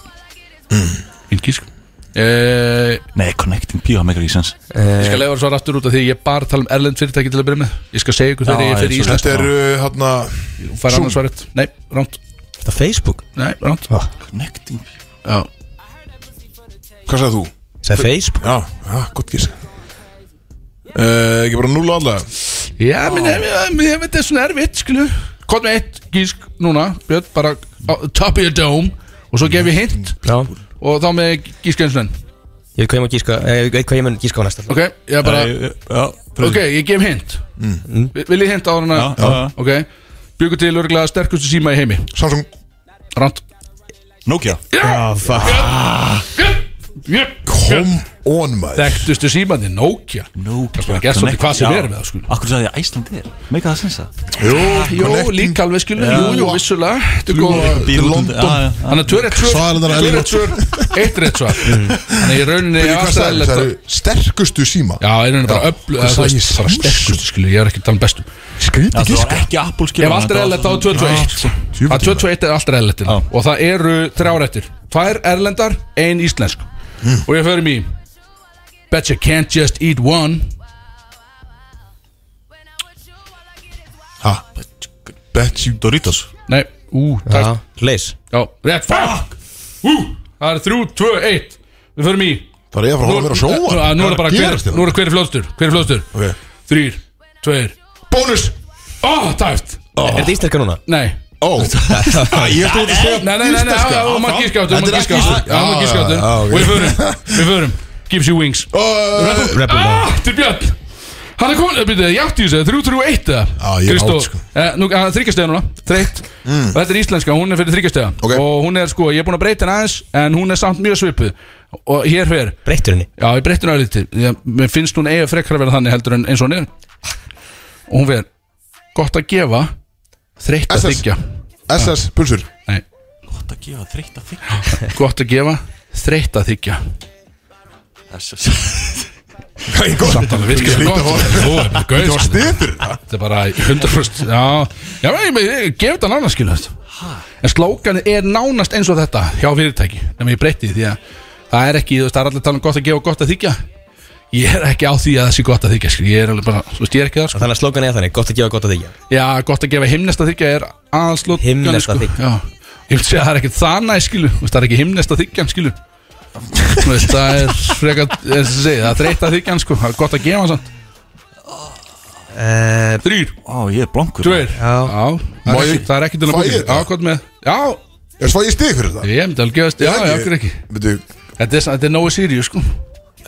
[SPEAKER 3] Fín gísk eh,
[SPEAKER 2] Nei, Connecting P, það megar í sens
[SPEAKER 4] Eh,
[SPEAKER 3] Ég skal leiða svo aftur út af því ég bara tala um erlend fyrirtæki til að byrja með Ég skal segja ykkur þegar
[SPEAKER 2] Já,
[SPEAKER 3] ég fyrir
[SPEAKER 2] ég
[SPEAKER 3] í Ísland
[SPEAKER 1] Þetta er uh, hérna
[SPEAKER 3] og fær annars svarið Nei, ránt
[SPEAKER 4] Þetta Facebook
[SPEAKER 3] Nei, ránt
[SPEAKER 2] Connecting P
[SPEAKER 3] Já
[SPEAKER 1] Hvað sagði þú?
[SPEAKER 4] Sæði Facebook
[SPEAKER 1] Já, já, gott gís Uh, ekki bara núla allavega
[SPEAKER 3] Já, minn, ég, ég, ég veit það er svona erfitt, skilu Kott með eitt gísk núna, Björn, bara á, top of your dome Og svo gef ég hint
[SPEAKER 4] Já
[SPEAKER 3] og þá með gíska eins og enn
[SPEAKER 4] Ég veit hvað ég mun gíska eh, Ég veit hvað ég mun gíska á næsta
[SPEAKER 3] Ok, ég bara,
[SPEAKER 2] eh, Já,
[SPEAKER 3] ok, ég gef hint mm. Vil ég hint á hana?
[SPEAKER 2] Já, já, já.
[SPEAKER 3] Ok, byggu til örgulega sterkustu síma í heimi
[SPEAKER 1] Samsung
[SPEAKER 3] Ránt
[SPEAKER 2] Nokia
[SPEAKER 4] Já, fuck
[SPEAKER 1] Come on maður
[SPEAKER 3] Þekktustu símaði, Nokia
[SPEAKER 2] Nokia
[SPEAKER 3] Það er gert svolítið hvað sem er með það, sko.
[SPEAKER 2] Akkur sagði ég Æslandir Megar það sens það
[SPEAKER 1] Jú,
[SPEAKER 3] Jó,
[SPEAKER 1] connecting.
[SPEAKER 3] líka alveg skilu, jú, jú, vissulega Þetta er góð
[SPEAKER 2] Býr út
[SPEAKER 1] London.
[SPEAKER 2] undir- Já, já, já.
[SPEAKER 3] Þannig að tvö rétt svör,
[SPEAKER 1] Svalarnar
[SPEAKER 3] tvö rétt
[SPEAKER 1] Elliot.
[SPEAKER 3] svör, eitt rétt svör Þannig að í rauninni
[SPEAKER 1] Fyrir
[SPEAKER 3] er
[SPEAKER 1] hvað
[SPEAKER 3] alltaf
[SPEAKER 1] sagði
[SPEAKER 3] eðlilegt
[SPEAKER 1] það?
[SPEAKER 3] að-
[SPEAKER 1] Sterkustu síma
[SPEAKER 3] Já, í rauninni bara
[SPEAKER 1] Já,
[SPEAKER 3] öfl
[SPEAKER 1] hvað
[SPEAKER 3] eða þú
[SPEAKER 1] sagði
[SPEAKER 3] veist,
[SPEAKER 1] ég?
[SPEAKER 3] bara
[SPEAKER 1] Samsung?
[SPEAKER 3] sterkustu skilu, ég er ekki að tala um bestu
[SPEAKER 1] Skríti
[SPEAKER 2] Það var
[SPEAKER 1] gíska
[SPEAKER 2] ekki Apple skilur
[SPEAKER 3] Ef allt er eðlilegt þá er 221 Það er 221 er alltaf eðlilegt
[SPEAKER 2] Já.
[SPEAKER 3] Og það eru þrjárættir Tvær erlendar, ein íslensk Og ég förum í Bet you can't just eat one
[SPEAKER 1] Ha? Bet you
[SPEAKER 2] Doritos
[SPEAKER 3] Nei, ú,
[SPEAKER 4] Já
[SPEAKER 3] það
[SPEAKER 4] Leis
[SPEAKER 3] Já, rétt, fuck Ú, það er þrjú, tvö, eitt Við förum í
[SPEAKER 1] Það er ég að fara að vera að sjóa
[SPEAKER 3] Nú- Nú er það bara hver, nú er það hver er fljóðstur Hver er fljóðstur?
[SPEAKER 1] Ok.
[SPEAKER 3] Þrýr, tveir
[SPEAKER 1] Bónus
[SPEAKER 3] Ó, tæft
[SPEAKER 4] Er þetta íslenska núna?
[SPEAKER 3] Nei
[SPEAKER 1] Ó Ég ætti út að segja
[SPEAKER 3] Nei, nei, nei, nei,
[SPEAKER 1] íslenska.
[SPEAKER 3] það var gískáttur Það
[SPEAKER 1] Þetta er
[SPEAKER 3] var
[SPEAKER 1] ekki
[SPEAKER 3] gískáttur
[SPEAKER 1] íslenska.
[SPEAKER 3] Það var gískáttur
[SPEAKER 1] Já, já, já,
[SPEAKER 3] Og við
[SPEAKER 1] ok.
[SPEAKER 3] förum, við förum Gives you wings
[SPEAKER 1] Ó,
[SPEAKER 4] Rebel
[SPEAKER 3] Ah, til Björn Hann er komin, byrjuðu, ég átti þessu, 331 eða
[SPEAKER 1] Já, ég er
[SPEAKER 3] Kristó,
[SPEAKER 1] átt, sko.
[SPEAKER 3] eh, nú, hann er þryggjastega núna, þreytt Og þetta er íslenska, hún er fyrir þryggjastega
[SPEAKER 1] Ok.
[SPEAKER 3] Og hún er sko, ég er búin að breyta henni aðeins En hún er samt mjög svipuð Og hér hver,
[SPEAKER 4] Breyttur henni
[SPEAKER 3] já ég breytti henni aðeins lítið Mér finnst hún eiga frekar að vera þannig heldur en eins og hún er Og hún fer, gott að gefa, þreytt að
[SPEAKER 1] SS.
[SPEAKER 3] þryggja
[SPEAKER 1] SS, pulsur
[SPEAKER 3] Nei,
[SPEAKER 2] Gott að gefa þreytt að þykja
[SPEAKER 3] gott að gefa, þreytt að þryggja
[SPEAKER 1] Það er góð
[SPEAKER 3] Samt alveg virkilega
[SPEAKER 1] Lítið
[SPEAKER 3] gott
[SPEAKER 1] var-
[SPEAKER 3] Þú er með gauð,
[SPEAKER 1] Það var
[SPEAKER 3] sko.
[SPEAKER 1] stiður
[SPEAKER 3] Þetta er bara 100% Já, já ég, ég, ég gef þetta nánast skilu En slókanið er nánast eins og þetta Hjá fyrirtæki, nema ég breytti því, því að Það er ekki, þú veist, það er allir talað um gott að gefa og gott að þykja Ég er ekki á því að það sé gott að þykja skil. Ég er alveg bara, þú veist, ég er ekki það sko.
[SPEAKER 4] Þannig að slókan er þannig Gott að gefa, gott að þykja
[SPEAKER 3] Já, gott að gefa himnest að þykja er aðslótt
[SPEAKER 4] Himneskt að þiggja.
[SPEAKER 3] Já, ég vil segja að það er ekki þannig skilu Þú veist, Það er ekki himnest að þykja skilu Þú veist, Það er frekar, eins og segja, það er þreytt að þykja sko. Það er gott að gefa samt
[SPEAKER 4] Eh,
[SPEAKER 3] Þrýr,
[SPEAKER 2] Ó, ég er blankur
[SPEAKER 3] Tveir
[SPEAKER 4] Já.
[SPEAKER 3] það
[SPEAKER 1] Má
[SPEAKER 3] er ekki-
[SPEAKER 1] ég-
[SPEAKER 3] það er ekki til að
[SPEAKER 1] fæ
[SPEAKER 3] bókja
[SPEAKER 1] ég
[SPEAKER 3] Já,
[SPEAKER 1] það?
[SPEAKER 3] hvað með Já,
[SPEAKER 1] Er svo ég stið fyrir það?
[SPEAKER 3] ég myndi alveg gefast Já, já, okkur ekki
[SPEAKER 1] Veitu
[SPEAKER 3] Þetta er, þetta er nógu sírið, sko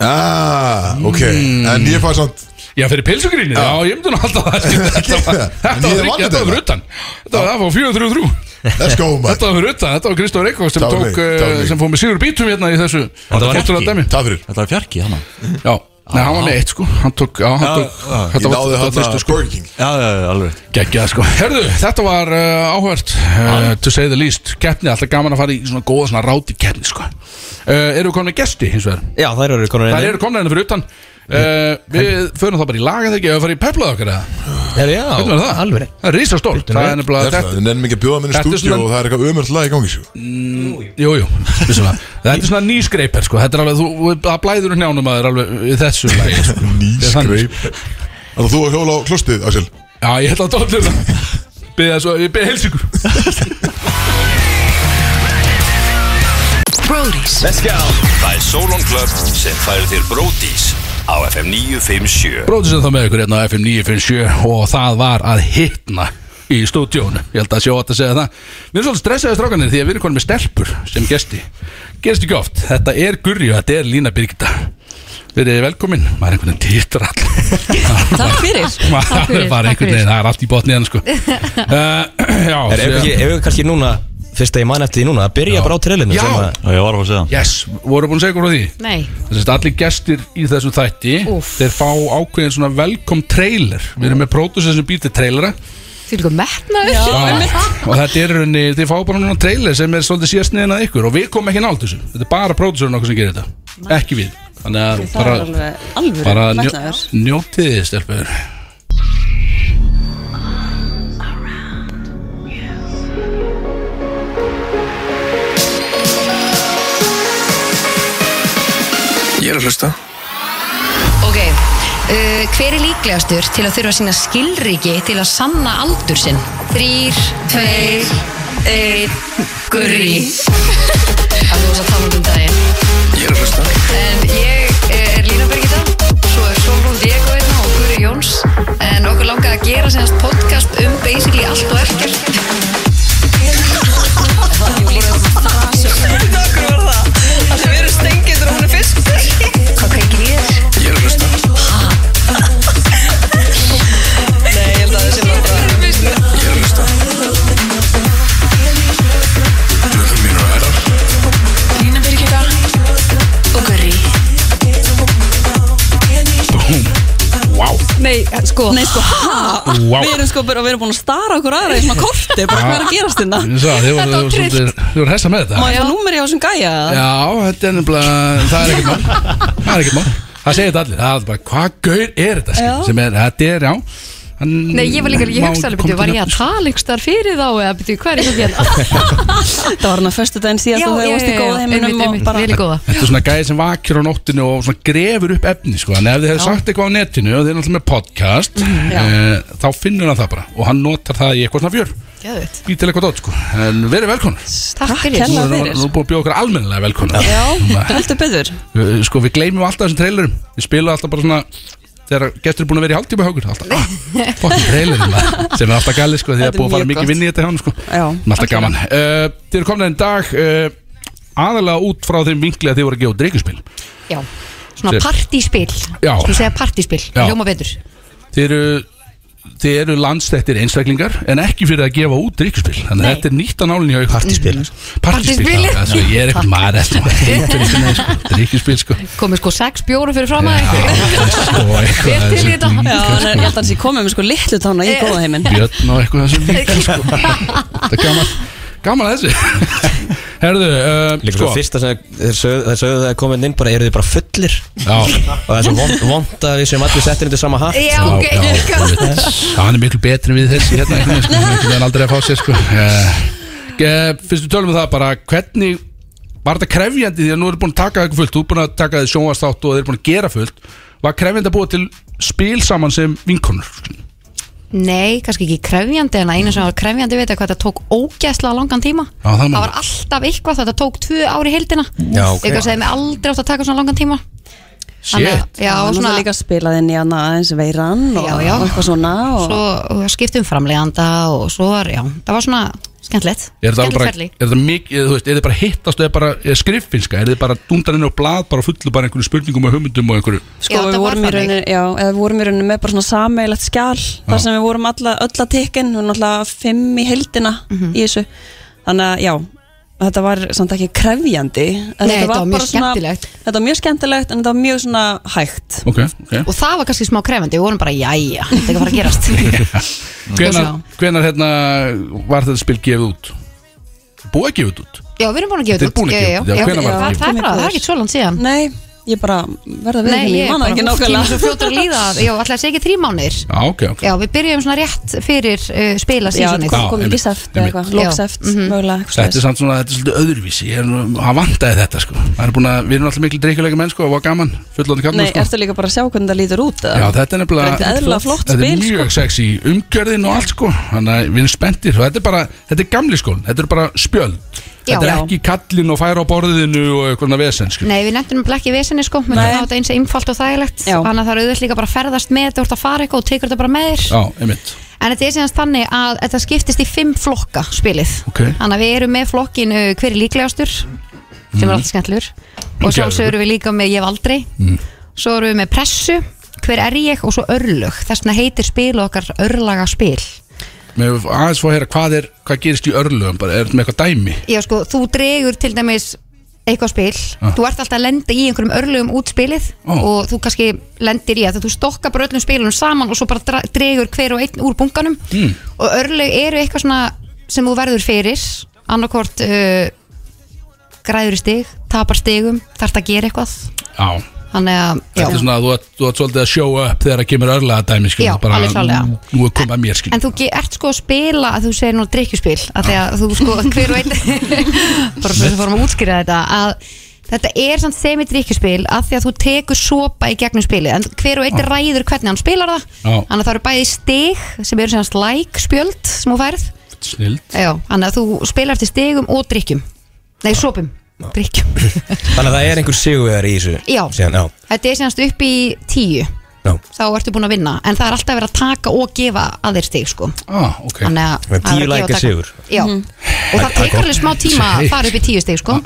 [SPEAKER 1] Ah, ok
[SPEAKER 3] Mm.
[SPEAKER 1] En ég fæði samt
[SPEAKER 3] Já, fyrir pilsugrínið Já, ég myndi nú alltaf það skil. Þetta var
[SPEAKER 1] það. En ég
[SPEAKER 3] þetta var
[SPEAKER 1] vann
[SPEAKER 3] þriggja, þetta
[SPEAKER 1] þetta.
[SPEAKER 3] var fyrir utan Þetta var það fór 433
[SPEAKER 1] Let's go maður
[SPEAKER 3] Þetta var fyrir utan Þetta var Kristóf Reykjavík sem
[SPEAKER 1] Það var
[SPEAKER 3] tók
[SPEAKER 1] mig, það var
[SPEAKER 3] eh,
[SPEAKER 1] mig.
[SPEAKER 3] sem fór með sígur bítum hérna í þessu
[SPEAKER 2] Þetta var
[SPEAKER 3] náttúrulega
[SPEAKER 2] ekki.
[SPEAKER 3] dæmi.
[SPEAKER 1] Takk fyrir
[SPEAKER 2] Þetta er fjarki hana
[SPEAKER 3] Já, nei, hann var með eitt, sko Hann tók, já, hann
[SPEAKER 2] Já,
[SPEAKER 3] tók
[SPEAKER 2] já.
[SPEAKER 1] Ég
[SPEAKER 3] Þetta var
[SPEAKER 1] náði
[SPEAKER 3] þetta var
[SPEAKER 1] hann
[SPEAKER 3] fyrstu,
[SPEAKER 1] að
[SPEAKER 3] sko
[SPEAKER 1] Burger King
[SPEAKER 2] Já, já, já, alveg rétt.
[SPEAKER 3] Gægjað sko Herðu, þetta var uh, áhvert uh, To say the least Keppni, alltaf gaman að fara í svona góða svona ráti keppni sko uh, Eru við komin með gesti hins vegar?
[SPEAKER 4] Já, þær eru konar
[SPEAKER 3] Það eru komin hérna fyrir utan uh, Við förum það bara í laga þegar ekki Ef við farum í peplaða okkar eða
[SPEAKER 4] eru Já,
[SPEAKER 3] Hvernig var það?
[SPEAKER 4] alveg rétt.
[SPEAKER 3] Það er risastórt Það er
[SPEAKER 1] Það
[SPEAKER 3] nefnilega
[SPEAKER 1] er það,
[SPEAKER 3] þetta
[SPEAKER 1] Hérna, við nennum ekki að bjóða minni
[SPEAKER 3] Þetta er
[SPEAKER 1] stúdíu
[SPEAKER 3] svona-
[SPEAKER 1] og það er eitthvað ömurð lag í gangi sko.
[SPEAKER 3] Jú, jú, vissulega Þetta er svona nýskreipar sko Þetta er alveg, þú, það blæður úr njánum að þér alveg í þessu lagi sko. Þetta er þannig,
[SPEAKER 1] Nýskreip Þannig að þú að hjóla á klostið, Axel
[SPEAKER 3] sko. Já, ég held að dóttir það Beða svo, ég beða heils ykkur
[SPEAKER 7] Brody's
[SPEAKER 6] Það er Solon Club sem færir þér Bródís á FM 957
[SPEAKER 3] Bróðisinn þá með ykkur hérna á FM 957 og það var að hitna í stúdíónu Ég held að sjó að segja það Við erum svolítið stressaði strákanir því að við erum konum með stelpur sem gesti Gerist ekki oft, þetta er Gurri og þetta er Lína Birgitta Verið þið velkomin, maður einhvern veginn týttur all
[SPEAKER 8] Takk fyrir Takk
[SPEAKER 3] Maður
[SPEAKER 8] fyrir,
[SPEAKER 3] bara
[SPEAKER 8] takk
[SPEAKER 3] einhvern veginn,
[SPEAKER 8] fyrir.
[SPEAKER 3] það er allt í botni hann sko uh, Já,
[SPEAKER 4] Er ef ekki, ef ekki kannski núna Fyrst að ég man eftir því núna Að byrja bara á trillinu
[SPEAKER 3] Já.
[SPEAKER 2] Já, ég var að fara að segja það.
[SPEAKER 3] Yes, voru búin að segja ykkur frá því
[SPEAKER 8] Nei,
[SPEAKER 3] Þess að allir gestir í þessum þætti
[SPEAKER 8] Úff.
[SPEAKER 3] Þeir fá ákveðin svona velkom trailer Við erum með pródusir sem býr til trailera
[SPEAKER 8] því líka metnaður
[SPEAKER 3] Og þetta er í rauninni, þeir fá bara núna trailer sem er svolítið síðast niðan að ykkur Og við komum ekki nált þessu Þetta er bara pródusirinn okkur sem gerir þetta Ekki við Þannig að
[SPEAKER 9] Það er
[SPEAKER 3] bara,
[SPEAKER 9] alveg alvöru
[SPEAKER 3] bara njó,
[SPEAKER 9] metnaður.
[SPEAKER 3] njótið þið stelpur
[SPEAKER 10] Ég er að hlusta
[SPEAKER 8] Ok, uh, hver er líklegastur til að þurfa að sína skilríki til að sanna aldur sinn? Þrýr, tveir, einn, gurri Það var þess að tala um daginn
[SPEAKER 10] Ég er að hlusta
[SPEAKER 8] En ég eh, er Lína Birgitta, svo er Solrún Diego einna og Guri Jóns En okkur langaði að gera semast podcast um basically allt og ekkert
[SPEAKER 9] Akkur var það Það sem eru stengindur og hann er fisk
[SPEAKER 8] Hvað kveikir í þér?
[SPEAKER 10] Ég er að hlusta
[SPEAKER 9] Nei, ég held að það sé bara
[SPEAKER 10] Ég er að hlusta Blöðum mínu er að
[SPEAKER 11] Lína Birgitta og Gurri
[SPEAKER 9] Nei, sko Nei, sko, ha?
[SPEAKER 3] Vá.
[SPEAKER 9] Við erum sko bara, við erum búin að stara okkur aðra í svona korti Bara hvað er að gerast hérna
[SPEAKER 3] Ég sagði, Þið voru- þið voru svolítið- þið voru hessa með þetta
[SPEAKER 9] Má ég hafa númeri á þessum gæja?
[SPEAKER 3] Já, þetta er nefnilega Það er ekkert mál Það er ekkert mál Það segir þetta allir Það er bara, hvað gaur er þetta skil,
[SPEAKER 9] Já.
[SPEAKER 3] sem er, þetta er, já hann,
[SPEAKER 8] Nei, ég var líka, ég
[SPEAKER 3] má-
[SPEAKER 8] hugsa alveg,
[SPEAKER 3] kom
[SPEAKER 8] byrju,
[SPEAKER 3] til
[SPEAKER 8] var ég að
[SPEAKER 3] nafns.
[SPEAKER 8] tala ykkur starf fyrir þá eða byrju, hvað er hérna? ég að gera?
[SPEAKER 9] Það var hann að föstu daginn síðast og þegar varst í góða heiminum og bara
[SPEAKER 8] Við erum góða
[SPEAKER 3] Þetta er svona gæði sem vakir á nóttinu og svona grefur upp efni sko. en ef þið hefur sagt eitthvað á netinu og þið er náttúrulega með podcast
[SPEAKER 9] Mhm, já.
[SPEAKER 3] e, þá finnur hann það bara og hann notar það í eitthvað svona fjör
[SPEAKER 8] Gjöðvitt
[SPEAKER 3] Býtil eitthvað dót sko En verið velkonar
[SPEAKER 8] Takk fyrir
[SPEAKER 3] Nú
[SPEAKER 9] Takk
[SPEAKER 3] er
[SPEAKER 9] hella.
[SPEAKER 8] Takk
[SPEAKER 9] fyrir.
[SPEAKER 3] nú er búið að bjóða okkur almennilega velkonar
[SPEAKER 9] Já, heldur betur
[SPEAKER 3] Við- Sko við gleymum alltaf þessum trailerum Við spilum alltaf bara svona Þegar gestur er búin að vera í hálftíma hjá okkur Alltaf, ah, fokkin trailerum maður, Sem er alltaf galið sko Því
[SPEAKER 9] Þetta
[SPEAKER 3] að
[SPEAKER 9] er
[SPEAKER 3] búið að fara
[SPEAKER 9] mjög
[SPEAKER 3] mikið
[SPEAKER 9] gott.
[SPEAKER 3] vinni í þetta hjá hann sko
[SPEAKER 9] Já,
[SPEAKER 3] Alltaf gaman uh, Þið eru komin enn dag uh, Aðalega út frá þeim vinkli að þið voru að gefa dreikinspil
[SPEAKER 8] Já Svona
[SPEAKER 3] Sér.
[SPEAKER 8] partíspil
[SPEAKER 3] Já.
[SPEAKER 8] Skulum segja partíspil
[SPEAKER 3] Já.
[SPEAKER 8] Ljóma betur
[SPEAKER 3] Þið eru Þið eru landstættir einstaklingar En ekki fyrir að gefa út dreikinspil Þannig að
[SPEAKER 8] Nei. Mm.
[SPEAKER 3] þetta er nýtt á nálinni hjá ykkur
[SPEAKER 4] Partíspil.
[SPEAKER 3] Partíspil
[SPEAKER 8] Partíspil.
[SPEAKER 3] já, það er svo- Ég er ekkert maður eftir Dreikinspil sko
[SPEAKER 8] Komið sko sex bjóru fyrir fram að
[SPEAKER 3] Já, sko, eitthvað,
[SPEAKER 8] Vel til í þetta. Eh,
[SPEAKER 3] þessi
[SPEAKER 9] Já,
[SPEAKER 3] dýrka,
[SPEAKER 9] en ég held að hans ég komið með sko litlu tána í góða heimin
[SPEAKER 3] björn og eitthvað þessum líka sko. Þetta er gaman, gaman að þessu Herðu, uh,
[SPEAKER 4] Líka svo fyrsta sem þeir sögðu þeir sögðu það komin inn Bara eru þið bara fullir
[SPEAKER 3] Já,
[SPEAKER 4] Og það er svo vond- vond að við séum allir settir undir sama hatt
[SPEAKER 8] Já,
[SPEAKER 3] já,
[SPEAKER 8] ok
[SPEAKER 3] já, ég veit. Já, hann er miklu betri en við þessi hérna einhvern veginn, sko, einhvern veginn aldrei að fá sér sko. uh, Fyrst við tölum við það bara hvernig var þetta krefjandi því að nú eru búin að taka eitthvað fullt þú eru búin að taka þið sjónvastátt og þeir eru búin að gera fullt var krefjandi að búa til spil saman sem vinkonur sko?
[SPEAKER 8] Nei, kannski ekki krefjandi En að einu sem var krefjandi veit að hvað þetta tók ógæslega langan tíma
[SPEAKER 3] Já, það má-
[SPEAKER 8] Það var alltaf eitthvað Þetta tók tvö ári heildina
[SPEAKER 4] Já, ok.
[SPEAKER 8] Eitthvað sem aldrei átt að taka svona langan tíma Þannig að-
[SPEAKER 3] Shit,
[SPEAKER 8] Já,
[SPEAKER 9] og svona líka spilaði inn í hana aðeins veiran og,
[SPEAKER 8] Já, já.
[SPEAKER 9] og eitthvað svona og
[SPEAKER 8] svo og skiptum framleganda og svo var, já, það var svona skemmtilegt,
[SPEAKER 3] er þetta alveg
[SPEAKER 8] skemmtilegt
[SPEAKER 3] bara,
[SPEAKER 8] ferli
[SPEAKER 3] er þetta mikið, eða þú veist, er þetta bara hittast og er bara er skriffinska, er þetta bara dundaninn og blað bara fullu bara einhverju spurningum og hugmyndum og einhverju
[SPEAKER 9] sko
[SPEAKER 8] Já,
[SPEAKER 9] við
[SPEAKER 8] það var
[SPEAKER 9] vorum í
[SPEAKER 8] þannig.
[SPEAKER 9] rauninni já, eða við vorum í rauninni með bara svona sameigilegt skjál þar sem við vorum alla, öll að tekin og náttúrulega fimm í heldina
[SPEAKER 8] Mhm.
[SPEAKER 9] í þessu þannig að já þetta var samt ekki krefjandi en
[SPEAKER 8] Nei, þetta var mjög
[SPEAKER 9] bara svona-
[SPEAKER 8] skemmtilegt.
[SPEAKER 9] þetta var mjög skemmtilegt en þetta var mjög svona hægt
[SPEAKER 3] Ok, ok
[SPEAKER 8] og það var kannski smá krefandi, við vorum bara, jæja þetta er ekki að fara að gerast
[SPEAKER 3] Hvenar,
[SPEAKER 8] Og
[SPEAKER 3] hvenar hérna var þetta spil gefið út? Búið að gefið út?
[SPEAKER 8] já, við erum búin að gefa
[SPEAKER 3] Þið er
[SPEAKER 8] þetta
[SPEAKER 3] búin að
[SPEAKER 8] út. Já,
[SPEAKER 3] gefa út, já,
[SPEAKER 8] já, já.
[SPEAKER 3] hvenær var
[SPEAKER 8] Já,
[SPEAKER 3] þetta
[SPEAKER 8] það
[SPEAKER 9] gefið
[SPEAKER 8] það er
[SPEAKER 9] út?
[SPEAKER 8] bara, það er ekki svo langt síðan
[SPEAKER 9] nei, ég bara verða við
[SPEAKER 8] nei, ég
[SPEAKER 9] manna
[SPEAKER 8] bara,
[SPEAKER 9] ekki
[SPEAKER 8] fólk kemur svo
[SPEAKER 9] nákvæmlega
[SPEAKER 8] fljótur að líða að- já, alltaf segja ekki þrý mánir
[SPEAKER 3] Já, ok, ok
[SPEAKER 8] já, við byrjum svona rétt fyrir uh, spila
[SPEAKER 9] já, þetta
[SPEAKER 8] sísunni
[SPEAKER 9] kom- kom
[SPEAKER 3] Já,
[SPEAKER 9] ekki
[SPEAKER 3] einmitt,
[SPEAKER 9] í seft eða
[SPEAKER 3] einmitt.
[SPEAKER 9] eitthvað,
[SPEAKER 8] Já.
[SPEAKER 9] lókseft
[SPEAKER 8] Mhm.
[SPEAKER 9] mögulega eitthvað
[SPEAKER 3] Þetta er
[SPEAKER 9] svoleiðis.
[SPEAKER 3] samt svona, þetta er svolítið öðruvísi Ég er nú, hann vandaði þetta sko Maður er búin að, Við erum alltaf miklu dreikulega menn sko og var gaman, fullóni kallar
[SPEAKER 9] nei,
[SPEAKER 3] sko
[SPEAKER 9] ertu líka bara að sjá hvernig það lítur út eða?
[SPEAKER 3] Já, þetta er nefnilega
[SPEAKER 9] Þetta er eðlilega flott
[SPEAKER 3] Þetta er
[SPEAKER 9] spil, sko.
[SPEAKER 3] mjög sexy umgjörðin og allt sko Þannig að við erum spenntir og þetta er bara, þetta er gamli skólin Þetta er bara spjöld
[SPEAKER 8] Já.
[SPEAKER 3] Þetta er
[SPEAKER 8] Já.
[SPEAKER 3] ekki kallin og færa á borðinu og eitthvað vesen sko
[SPEAKER 8] Nei, við nefndum nefnilega ekki vesinni sko, við
[SPEAKER 9] Nei.
[SPEAKER 8] nefndum þetta eins einfalt og þægilegt
[SPEAKER 9] Já.
[SPEAKER 8] þannig að það er auðvitað líka bara að ferðast með þetta, þú ert að fara eitthvað og tekur þetta bara með þér
[SPEAKER 3] Já, einmitt
[SPEAKER 8] en þetta er síðan þannig að þetta skiptist í fimm flokka spilið
[SPEAKER 3] Ok.
[SPEAKER 8] þannig að við erum með flokkin uh, hver er líklegastur sem er
[SPEAKER 3] Mhm.
[SPEAKER 8] alltaf skemmtlur
[SPEAKER 3] Geðveikur.
[SPEAKER 8] og sjálfsög erum við líka með ég hef aldrei
[SPEAKER 3] Mm.
[SPEAKER 8] svo erum við með pressu hver er ég og svo örlög þess vegna heitir spil okkar örlaga spil
[SPEAKER 3] Mér hefur aðeins fóð að heyra hvað er Hvað gerist í örlögum bara, er þetta með eitthvað dæmi?
[SPEAKER 8] Já sko, þú dregur til dæmis eitthvað spil,
[SPEAKER 3] Ah.
[SPEAKER 8] þú ert alltaf að lenda í einhverjum örlugum út spilið
[SPEAKER 3] Ó.
[SPEAKER 8] og þú kannski lendir í að þú stokkar bara öllum spilunum saman og svo bara dra- dregur hver og einn úr bunkanum
[SPEAKER 3] Mm.
[SPEAKER 8] og örlug eru eitthvað svona sem þú verður fyrir annarkvort uh, græður í stig, tapar stigum þarft að gera eitthvað
[SPEAKER 3] Já,
[SPEAKER 8] þannig að, já,
[SPEAKER 3] þetta er svona að þú ert, þú ert svolítið að show up þegar það kemur örlega dæmi skilur,
[SPEAKER 8] Já,
[SPEAKER 3] bara,
[SPEAKER 8] alveg klárlega.
[SPEAKER 3] nú- Nú er komið að mér skil
[SPEAKER 8] en þú ge- ert sko að spila að þú segir nú drikkjuspil að því að þú sko hver og einn bara svo sem fórum að útskýra þetta að þetta er samt semi drikkjuspil að því að þú tekur sopa í gegnum spili en hver og einn ræður hvernig hann spilar það
[SPEAKER 3] Já.
[SPEAKER 8] þannig að það eru bæði stig sem eru sem like spjöld sem þú færð
[SPEAKER 3] Snild
[SPEAKER 8] Já, þannig að þú spilar til stigum og drikkjum nei sopum, drikkjum
[SPEAKER 4] Þannig að það er einhver sigurvegar í þessu
[SPEAKER 8] Já.
[SPEAKER 4] Síðan, já,
[SPEAKER 8] þetta er semast upp í tíu
[SPEAKER 4] já
[SPEAKER 8] þá ertu búin að vinna en það er alltaf verið að taka og gefa að þér stig sko
[SPEAKER 3] ah, okay.
[SPEAKER 8] Þannig að
[SPEAKER 4] Það er
[SPEAKER 8] að
[SPEAKER 4] tíu
[SPEAKER 8] vera að
[SPEAKER 4] lækja
[SPEAKER 8] gefa og
[SPEAKER 4] sigur.
[SPEAKER 8] taka. Já,
[SPEAKER 9] Mhm.
[SPEAKER 8] og það tekur alveg smá tíma að fara upp í tíu stig sko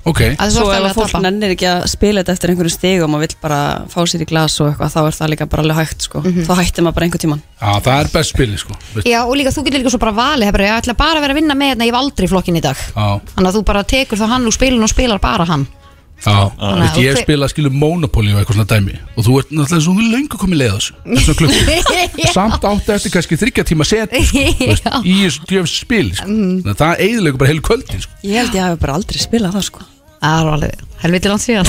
[SPEAKER 3] ok,
[SPEAKER 8] að þú
[SPEAKER 9] Svo
[SPEAKER 8] ert
[SPEAKER 9] ef
[SPEAKER 8] alveg
[SPEAKER 9] að
[SPEAKER 8] að
[SPEAKER 9] fólk
[SPEAKER 8] tapa
[SPEAKER 9] nennir ekki að spila þetta eftir einhverju stig og maður vill bara fá sér í glas og eitthvað þá er það líka bara alveg hægt sko. þá hættir maður bara einhver tíman
[SPEAKER 3] ah, það er best spil sko. veist,
[SPEAKER 8] Já, og líka þú getur líka svo bara valið það er bara, ég ætla bara að vera að vinna með hérna, ég hef aldrei flokkin í dag
[SPEAKER 3] á,
[SPEAKER 8] Þannig að þú bara tekur þá hann úr spilun og spilar bara hann
[SPEAKER 3] á, veist,
[SPEAKER 8] Já,
[SPEAKER 3] Ég
[SPEAKER 8] ok.
[SPEAKER 3] spila skilur Monopoly og eitthvað svona dæmi og þú ert náttúrulega svo lengur komið leið á þessu Þessum klukkum Samt átti eftir kannski þryggja tíma set
[SPEAKER 8] Já, Mm.
[SPEAKER 3] í þessu djöfn spil sko. Þannig að Það eiðilegu bara heilu kvöldin sko.
[SPEAKER 9] Ég held ég hafi bara aldrei spilað það sko.
[SPEAKER 8] það er alveg helviti langt síðan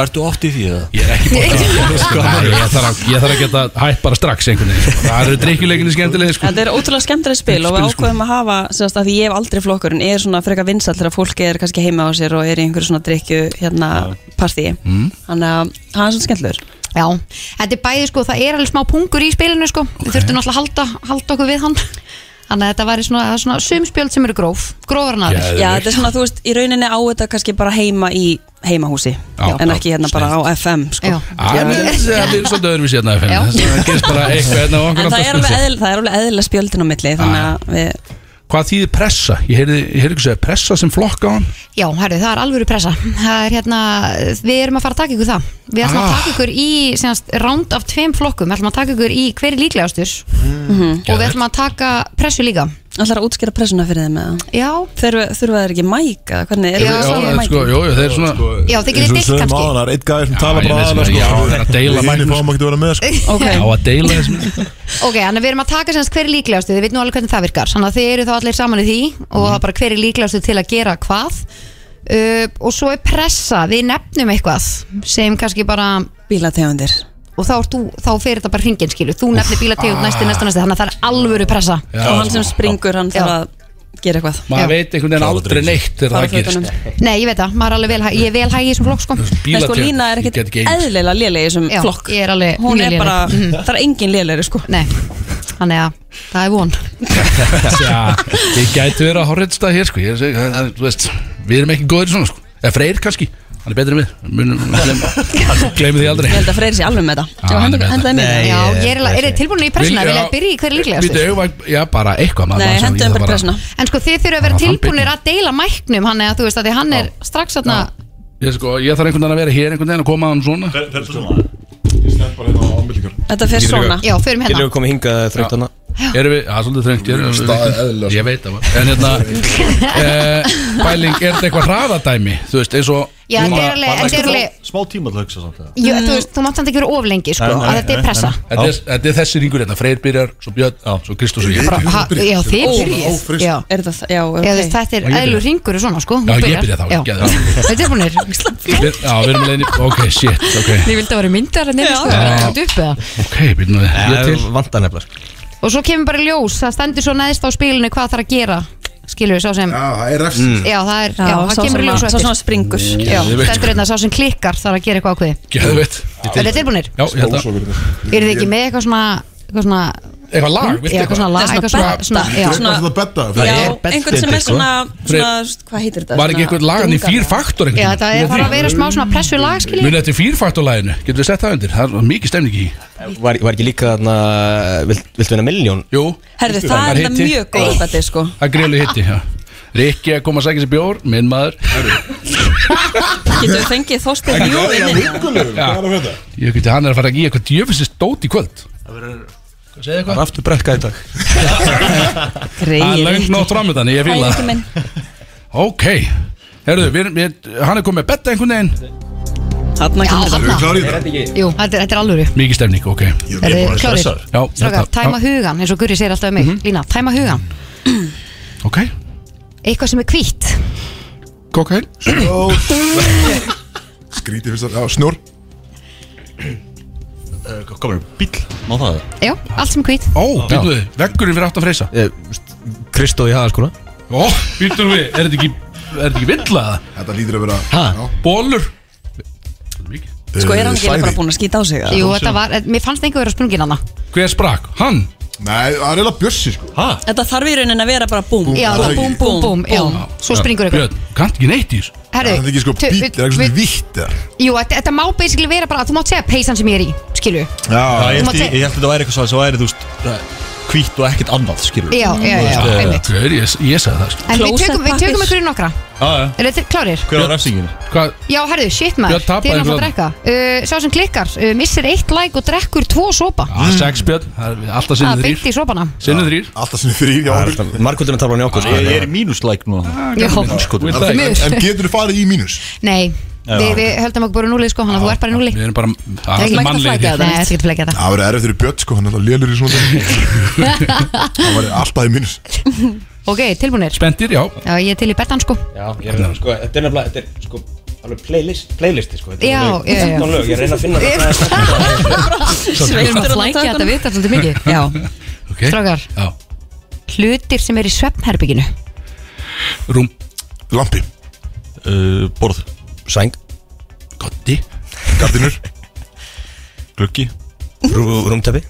[SPEAKER 2] Ertu oft í því eða?
[SPEAKER 3] Ég er ekki bótt
[SPEAKER 9] Sko,
[SPEAKER 3] að Ég þarf að- ég þarf að geta hætt bara strax einhvern veginn sko. Það eru drikkjuleikinni skemmtilegir sko.
[SPEAKER 9] Þetta er ótrúlega skemmtilega spil og við
[SPEAKER 3] Spil, sko.
[SPEAKER 9] ákveðum að hafa sérst, að því ég hef aldrei flokkurinn er svona frekar vinsall þegar fólk er kannski heima á sér og er í einhverju svona drikju hérna partí þannig að það er svona skemmtilegur
[SPEAKER 8] Já, þetta er bæði sko, það er alveg smá pungur í spilinu sko Við þurftum náttúrulega að halda, halda okkur við hann Þannig að þetta var svona, svona sumspjöld sem eru gróf Grófar en aðeins
[SPEAKER 3] Geðveikt.
[SPEAKER 9] Já, þetta er svona, þú veist, í rauninni á þetta kannski bara heima í heimahúsi
[SPEAKER 3] Já.
[SPEAKER 9] en ekki hérna bara á FM sko.
[SPEAKER 8] Já.
[SPEAKER 3] Það er svolítið öðruvísi hérna
[SPEAKER 8] Já.
[SPEAKER 3] FM. Það gerist bara eitthvað hérna á okkur
[SPEAKER 9] En það
[SPEAKER 3] aftur,
[SPEAKER 9] er
[SPEAKER 3] sko.
[SPEAKER 9] alveg eðl- það er alveg eðlilega spjöldin á milli þannig
[SPEAKER 3] Já, já.
[SPEAKER 9] að við
[SPEAKER 3] Hvað þýðir pressa? Ég heyrði, ég heyrði ekki segja pressa sem flokka á hann
[SPEAKER 8] Já, herru, það er alvöru pressa það er, hérna, Við erum að fara að taka ykkur það Við ætlum
[SPEAKER 3] Ah.
[SPEAKER 8] að taka ykkur í senast, round af tveim flokkum Við ætlum að taka ykkur í hver er líklegastur
[SPEAKER 3] Mm.
[SPEAKER 8] Og við ætlum að taka pressu líka
[SPEAKER 9] ætlar Mhm. að útskýra pressuna fyrir þeim eða?
[SPEAKER 8] Já,
[SPEAKER 9] Þurfa, þurfa þeir ekki mæka? Hvernig er
[SPEAKER 8] Já,
[SPEAKER 9] það
[SPEAKER 8] já,
[SPEAKER 9] svona mæka?
[SPEAKER 3] sko, jó, jó, þeir svona
[SPEAKER 8] já þið getið dilt kannski
[SPEAKER 2] Það er eitt gæðir sem tala
[SPEAKER 3] Já, ég
[SPEAKER 2] bara
[SPEAKER 3] veit
[SPEAKER 2] aðalega
[SPEAKER 3] sem-
[SPEAKER 2] sko.
[SPEAKER 3] já, það er að deila
[SPEAKER 2] Í
[SPEAKER 3] mæknum,
[SPEAKER 2] uniform ekki verið með sko.
[SPEAKER 9] Ok,
[SPEAKER 3] Á að deila þessum
[SPEAKER 8] Ok, þannig að við erum að taka senast hver er líklegastur Þið veit nú alveg hvernig það virkar Þannig að þið eru þá allir saman í því
[SPEAKER 3] Mhm.
[SPEAKER 8] Og það er bara hver er líklegastur til að gera hvað uh, Og svo er pressa Við nefnum eitthvað sem kannski bara
[SPEAKER 9] bílategundir
[SPEAKER 8] Og þá, ert þú, þá fer þetta bara hringin skilu Þú nefnir bílategund
[SPEAKER 3] ah.
[SPEAKER 8] næsti, næsti, næsti Þannig að það er alvöru pressa
[SPEAKER 9] og hann sem springur hann þarf
[SPEAKER 8] Já.
[SPEAKER 9] að gera eitthvað
[SPEAKER 3] sko. Maður veit einhvern veginn aldrei neitt þegar
[SPEAKER 9] Fara
[SPEAKER 3] það gerist
[SPEAKER 9] fötunum.
[SPEAKER 8] Nei, ég veit það, maður er alveg vel, ég er vel hæg í þessum flokk sko.
[SPEAKER 9] Nei, sko,
[SPEAKER 3] Bílategund,
[SPEAKER 9] Lína er
[SPEAKER 3] ég get
[SPEAKER 9] ekkert
[SPEAKER 3] ekki eins.
[SPEAKER 9] eðlilega lélega í þessum
[SPEAKER 8] Já,
[SPEAKER 9] flokk
[SPEAKER 8] ég er alveg
[SPEAKER 9] Hún
[SPEAKER 8] mjög
[SPEAKER 9] er
[SPEAKER 8] léleg. Mhm.
[SPEAKER 9] bara, það er engin lélega sko
[SPEAKER 8] Nei, þannig að það er von
[SPEAKER 3] Já, Ég gæti verið að horrendsta hér sko Ég segi, það- það- þú veist, Við erum ekki góðir í svona sko Eða Freyr kannski, hann er betri en við Munum- glem- Gleymum því aldrei
[SPEAKER 9] Ég held að Freyr sé alveg með það
[SPEAKER 3] Já, hann
[SPEAKER 9] Svo
[SPEAKER 3] er
[SPEAKER 9] hendur
[SPEAKER 3] með
[SPEAKER 9] hendur þeim
[SPEAKER 4] Nei.
[SPEAKER 9] í það
[SPEAKER 8] Já, ég er, alveg- er þið tilbúin í pressuna,
[SPEAKER 3] Vil-
[SPEAKER 8] vilja
[SPEAKER 3] já.
[SPEAKER 8] að byrja í hverju
[SPEAKER 3] Býtu,
[SPEAKER 8] líklegastur
[SPEAKER 3] eigum við að- Já, bara eitthvað maður-
[SPEAKER 9] Nei,
[SPEAKER 3] maður-
[SPEAKER 9] hendur
[SPEAKER 3] ég
[SPEAKER 9] hendur
[SPEAKER 3] bara-
[SPEAKER 9] pressuna
[SPEAKER 8] En sko þið þurfa að vera
[SPEAKER 3] Já, hann
[SPEAKER 8] tilbúinir
[SPEAKER 3] byrjar.
[SPEAKER 8] að deila mæknum Hann er, þú veist, að því hann er strax aðna
[SPEAKER 3] Ég sko, ég þarf einhvern veginn að vera hér einhvern veginn að koma að hann svona
[SPEAKER 9] Þetta fer svona
[SPEAKER 8] Já, förum
[SPEAKER 4] Getur
[SPEAKER 8] hérna
[SPEAKER 4] við komið hingað þröngt hana
[SPEAKER 3] Erum við, það er svolítið þrengt erum við-
[SPEAKER 1] Staðið eðlilega, sko.
[SPEAKER 3] Ég veit það En hérna eh, Bæling, er þetta eitthvað hraðadæmi? Þú veist, eins og
[SPEAKER 8] Já, þetta er alveg,
[SPEAKER 2] Maður
[SPEAKER 8] þetta er
[SPEAKER 2] tekur
[SPEAKER 8] alveg
[SPEAKER 2] smá tíma til að hugsa samt það
[SPEAKER 8] Jú, þú veist, þú mátt samt ekki vera of lengi, sko,
[SPEAKER 2] Nei, nei,
[SPEAKER 8] að þetta
[SPEAKER 2] nei,
[SPEAKER 8] er pressa
[SPEAKER 2] nei.
[SPEAKER 3] Þetta er, þetta er þessi ringur hérna, Freyr byrjar, svo Björn, á, svo Kristús og ég
[SPEAKER 8] Bara, ha, Já, þið
[SPEAKER 1] Ó,
[SPEAKER 8] byrjið
[SPEAKER 1] ófrist.
[SPEAKER 8] Já,
[SPEAKER 9] Er það, já,
[SPEAKER 8] Já, þú
[SPEAKER 9] ok
[SPEAKER 8] veist, þetta er
[SPEAKER 3] Og ég byrja.
[SPEAKER 8] eðlur ringur og svona, sko
[SPEAKER 3] Já,
[SPEAKER 8] Þú
[SPEAKER 3] ég
[SPEAKER 8] byrjar.
[SPEAKER 3] byrja þá,
[SPEAKER 8] Já.
[SPEAKER 3] geðu það.
[SPEAKER 8] Þetta er tilbúinir
[SPEAKER 3] Við- Já, við erum leiðin Ok, shit, ok
[SPEAKER 8] Þið vildi að vera myndar en þetta, sko, það er ekkert upp eða
[SPEAKER 3] Ok, byrjum við Ég er til
[SPEAKER 4] Vanda nefnilega
[SPEAKER 8] og svo kemur bara í ljós það stendur svo neðst á spilinu hvað þarf að gera skilur við sá sem já,
[SPEAKER 1] Já, það er refsing
[SPEAKER 8] það, er, já,
[SPEAKER 9] Já,
[SPEAKER 8] það
[SPEAKER 9] sá
[SPEAKER 8] kemur í
[SPEAKER 9] sem,
[SPEAKER 8] ljós á
[SPEAKER 9] sá sem
[SPEAKER 8] eftir
[SPEAKER 9] að springur
[SPEAKER 8] já, stendur einna sá sem klikkar þarf að gera eitthvað ákveði
[SPEAKER 3] Geðveitt
[SPEAKER 8] er þetta tilbúinir?
[SPEAKER 3] Já, ég held að
[SPEAKER 8] eru þið ekki með eitthvað svona, eitthvað svona
[SPEAKER 3] eitthvað lag, viltu
[SPEAKER 8] Já, eitthvað svona lag, eitthvað svona- svona- já.
[SPEAKER 9] Svona-
[SPEAKER 1] Svona bedda
[SPEAKER 9] Já, einhvern sem er svona, svona hvað heitir þetta?
[SPEAKER 3] Var ekki eitthvað lagan í
[SPEAKER 9] Dunga-
[SPEAKER 3] fýrfaktor
[SPEAKER 8] Já, þetta er fara að vera smá svona pressu lag, skilji
[SPEAKER 3] Munið þetta í fýrfaktorlæginu, getur við sett það undir Það er mikið stemning í
[SPEAKER 4] Var, var ekki líka þarna vilt, Viltu vinna milljón?
[SPEAKER 3] Jú
[SPEAKER 9] Herðu, það er þetta mjög góð beti, sko
[SPEAKER 3] Það er greiðlu hitti, já Rikki að koma að segja sér bjór, minn maður
[SPEAKER 9] Getur við fengið þóstið mjög
[SPEAKER 3] Ég veit að hann er að fara að gíja eitthvað djöfisist dót í kvöld
[SPEAKER 2] Það er aftur brekka í dag
[SPEAKER 3] Það er langt nótt framöndan, ég fíla
[SPEAKER 9] Æ, ekki minn.
[SPEAKER 3] það Ok, herðu, við, erum- við, hann er komið með betta einhvern veginn
[SPEAKER 9] Þarna
[SPEAKER 8] Já,
[SPEAKER 9] kemur
[SPEAKER 8] þarna.
[SPEAKER 9] þetta
[SPEAKER 8] Jú, þetta er- þetta er alvöru
[SPEAKER 3] Mikið stemning, ok
[SPEAKER 8] Er þið klárir?
[SPEAKER 3] Já,
[SPEAKER 8] Strákar, tæma hugan, eins og Guri segir alltaf um
[SPEAKER 9] Mhm.
[SPEAKER 8] mig Lína, tæma hugan
[SPEAKER 3] Ok,
[SPEAKER 8] Eitthvað sem er hvítt
[SPEAKER 3] kokain
[SPEAKER 1] Skrítið fyrst að, já, snjór
[SPEAKER 2] Komur, bíl Má það
[SPEAKER 8] Já, allt sem er hvítt
[SPEAKER 3] Ó, býtum við, veggurinn fyrir aftan freysa
[SPEAKER 4] Eh, Kristó í hafa sko
[SPEAKER 3] Ó, býtum við, er þetta ekki, er þetta ekki villa það?
[SPEAKER 1] Þetta lítur að vera já, Eh,
[SPEAKER 3] Bólur
[SPEAKER 9] Sko, er hann ekki
[SPEAKER 1] Svæði.
[SPEAKER 9] bara búin að skýta á sig? eða?
[SPEAKER 8] Jú, þetta var, mér fannst einhver vera sprungin hana
[SPEAKER 3] Hver sprakk? Hann?
[SPEAKER 1] Nei, það er eiginlega bjössi sko
[SPEAKER 2] Hæ?
[SPEAKER 9] Þetta þarf í rauninni að vera bara búm
[SPEAKER 8] Já,
[SPEAKER 1] það er
[SPEAKER 8] búm,
[SPEAKER 1] ekki-
[SPEAKER 8] búm, búm, já Svo springur einhver
[SPEAKER 3] Björn, kannst ekki neitt í þessu
[SPEAKER 1] Það
[SPEAKER 8] Herðu,
[SPEAKER 1] er ekki sko
[SPEAKER 8] tu-
[SPEAKER 1] bíl, það er eitthvað svona
[SPEAKER 8] við-
[SPEAKER 1] vítt eða
[SPEAKER 8] Jú, þetta þetta má basically vera bara að þú mátt segja peysan sem ég er í, skilju
[SPEAKER 2] Já,
[SPEAKER 1] Já,
[SPEAKER 2] ég
[SPEAKER 8] Þú
[SPEAKER 2] held
[SPEAKER 8] mátt
[SPEAKER 2] ég-
[SPEAKER 8] segja-
[SPEAKER 2] ég held þetta væri eitthvað svona sem væri, þú veist Hvít og ekkert annað, skilur
[SPEAKER 8] Já, já, já,
[SPEAKER 2] veist, eh,
[SPEAKER 8] einmitt
[SPEAKER 3] Hver, ég, ég sagði það sko
[SPEAKER 8] En við
[SPEAKER 9] Closet
[SPEAKER 8] tökum, við tökum
[SPEAKER 9] pappír.
[SPEAKER 8] ykkur í nokkra
[SPEAKER 2] já
[SPEAKER 8] Er þetta klárir?
[SPEAKER 2] Hver var refsingin?
[SPEAKER 3] Hvað,
[SPEAKER 8] Já, herðu, shit
[SPEAKER 3] Björn
[SPEAKER 8] maður,
[SPEAKER 3] tapaði
[SPEAKER 8] þið er náttúrulega að
[SPEAKER 3] einhvern
[SPEAKER 8] drekka uh, Sá sem klikkar, uh, missir eitt like og drekkur tvo sopa
[SPEAKER 3] ah, sex Björn, það er alltaf sinnið
[SPEAKER 8] Það Mm. Ah, beint
[SPEAKER 3] þrýr
[SPEAKER 8] í sopana
[SPEAKER 3] Sinnið þrýr
[SPEAKER 1] Alltaf sinni þrýr, já okkur.
[SPEAKER 4] Markvöldurinn talar hann í okkur sko.
[SPEAKER 2] Ég er í mínuslæk núna
[SPEAKER 3] Ah,
[SPEAKER 8] Já.
[SPEAKER 2] Skotum.
[SPEAKER 3] Við
[SPEAKER 1] En-
[SPEAKER 3] það-
[SPEAKER 1] En en getur þú farið í mínus?
[SPEAKER 8] Nei, við, við höldum okkur bara núli sko, hann að þú ert bara í núli
[SPEAKER 3] Við erum bara, það
[SPEAKER 8] Það
[SPEAKER 3] er allir
[SPEAKER 8] er ekki hægt að
[SPEAKER 3] mannlegir hérna.
[SPEAKER 8] flækja
[SPEAKER 3] hér
[SPEAKER 8] þetta. Nei, það er ekki að flækja þetta
[SPEAKER 1] Það verður erfið fyrir bjött sko, hann er alltaf lélur í svona Það verður alltaf í mínus
[SPEAKER 8] Ok, tilbúinir
[SPEAKER 3] Spendir, já
[SPEAKER 8] Já, ég er til í bertan sko
[SPEAKER 4] Já, ég er að sko Þetta er nefnilega, þetta er sko Alveg playlist, playlisti sko Þetta er
[SPEAKER 8] Já,
[SPEAKER 4] alveg
[SPEAKER 8] já, já.
[SPEAKER 4] 15 lög, ég reyna að finna
[SPEAKER 8] Við
[SPEAKER 4] þetta
[SPEAKER 8] erum að flækja þetta við þetta svolítið mikið Já,
[SPEAKER 3] okay.
[SPEAKER 8] strákar,
[SPEAKER 3] Já,
[SPEAKER 8] hlutir sem er í svefnherbygginu
[SPEAKER 3] rúm,
[SPEAKER 1] Lampi,
[SPEAKER 2] Uh, Borð
[SPEAKER 4] Sæng,
[SPEAKER 3] gotti
[SPEAKER 1] gardinur,
[SPEAKER 2] Gluggi
[SPEAKER 4] rú- rúmteppi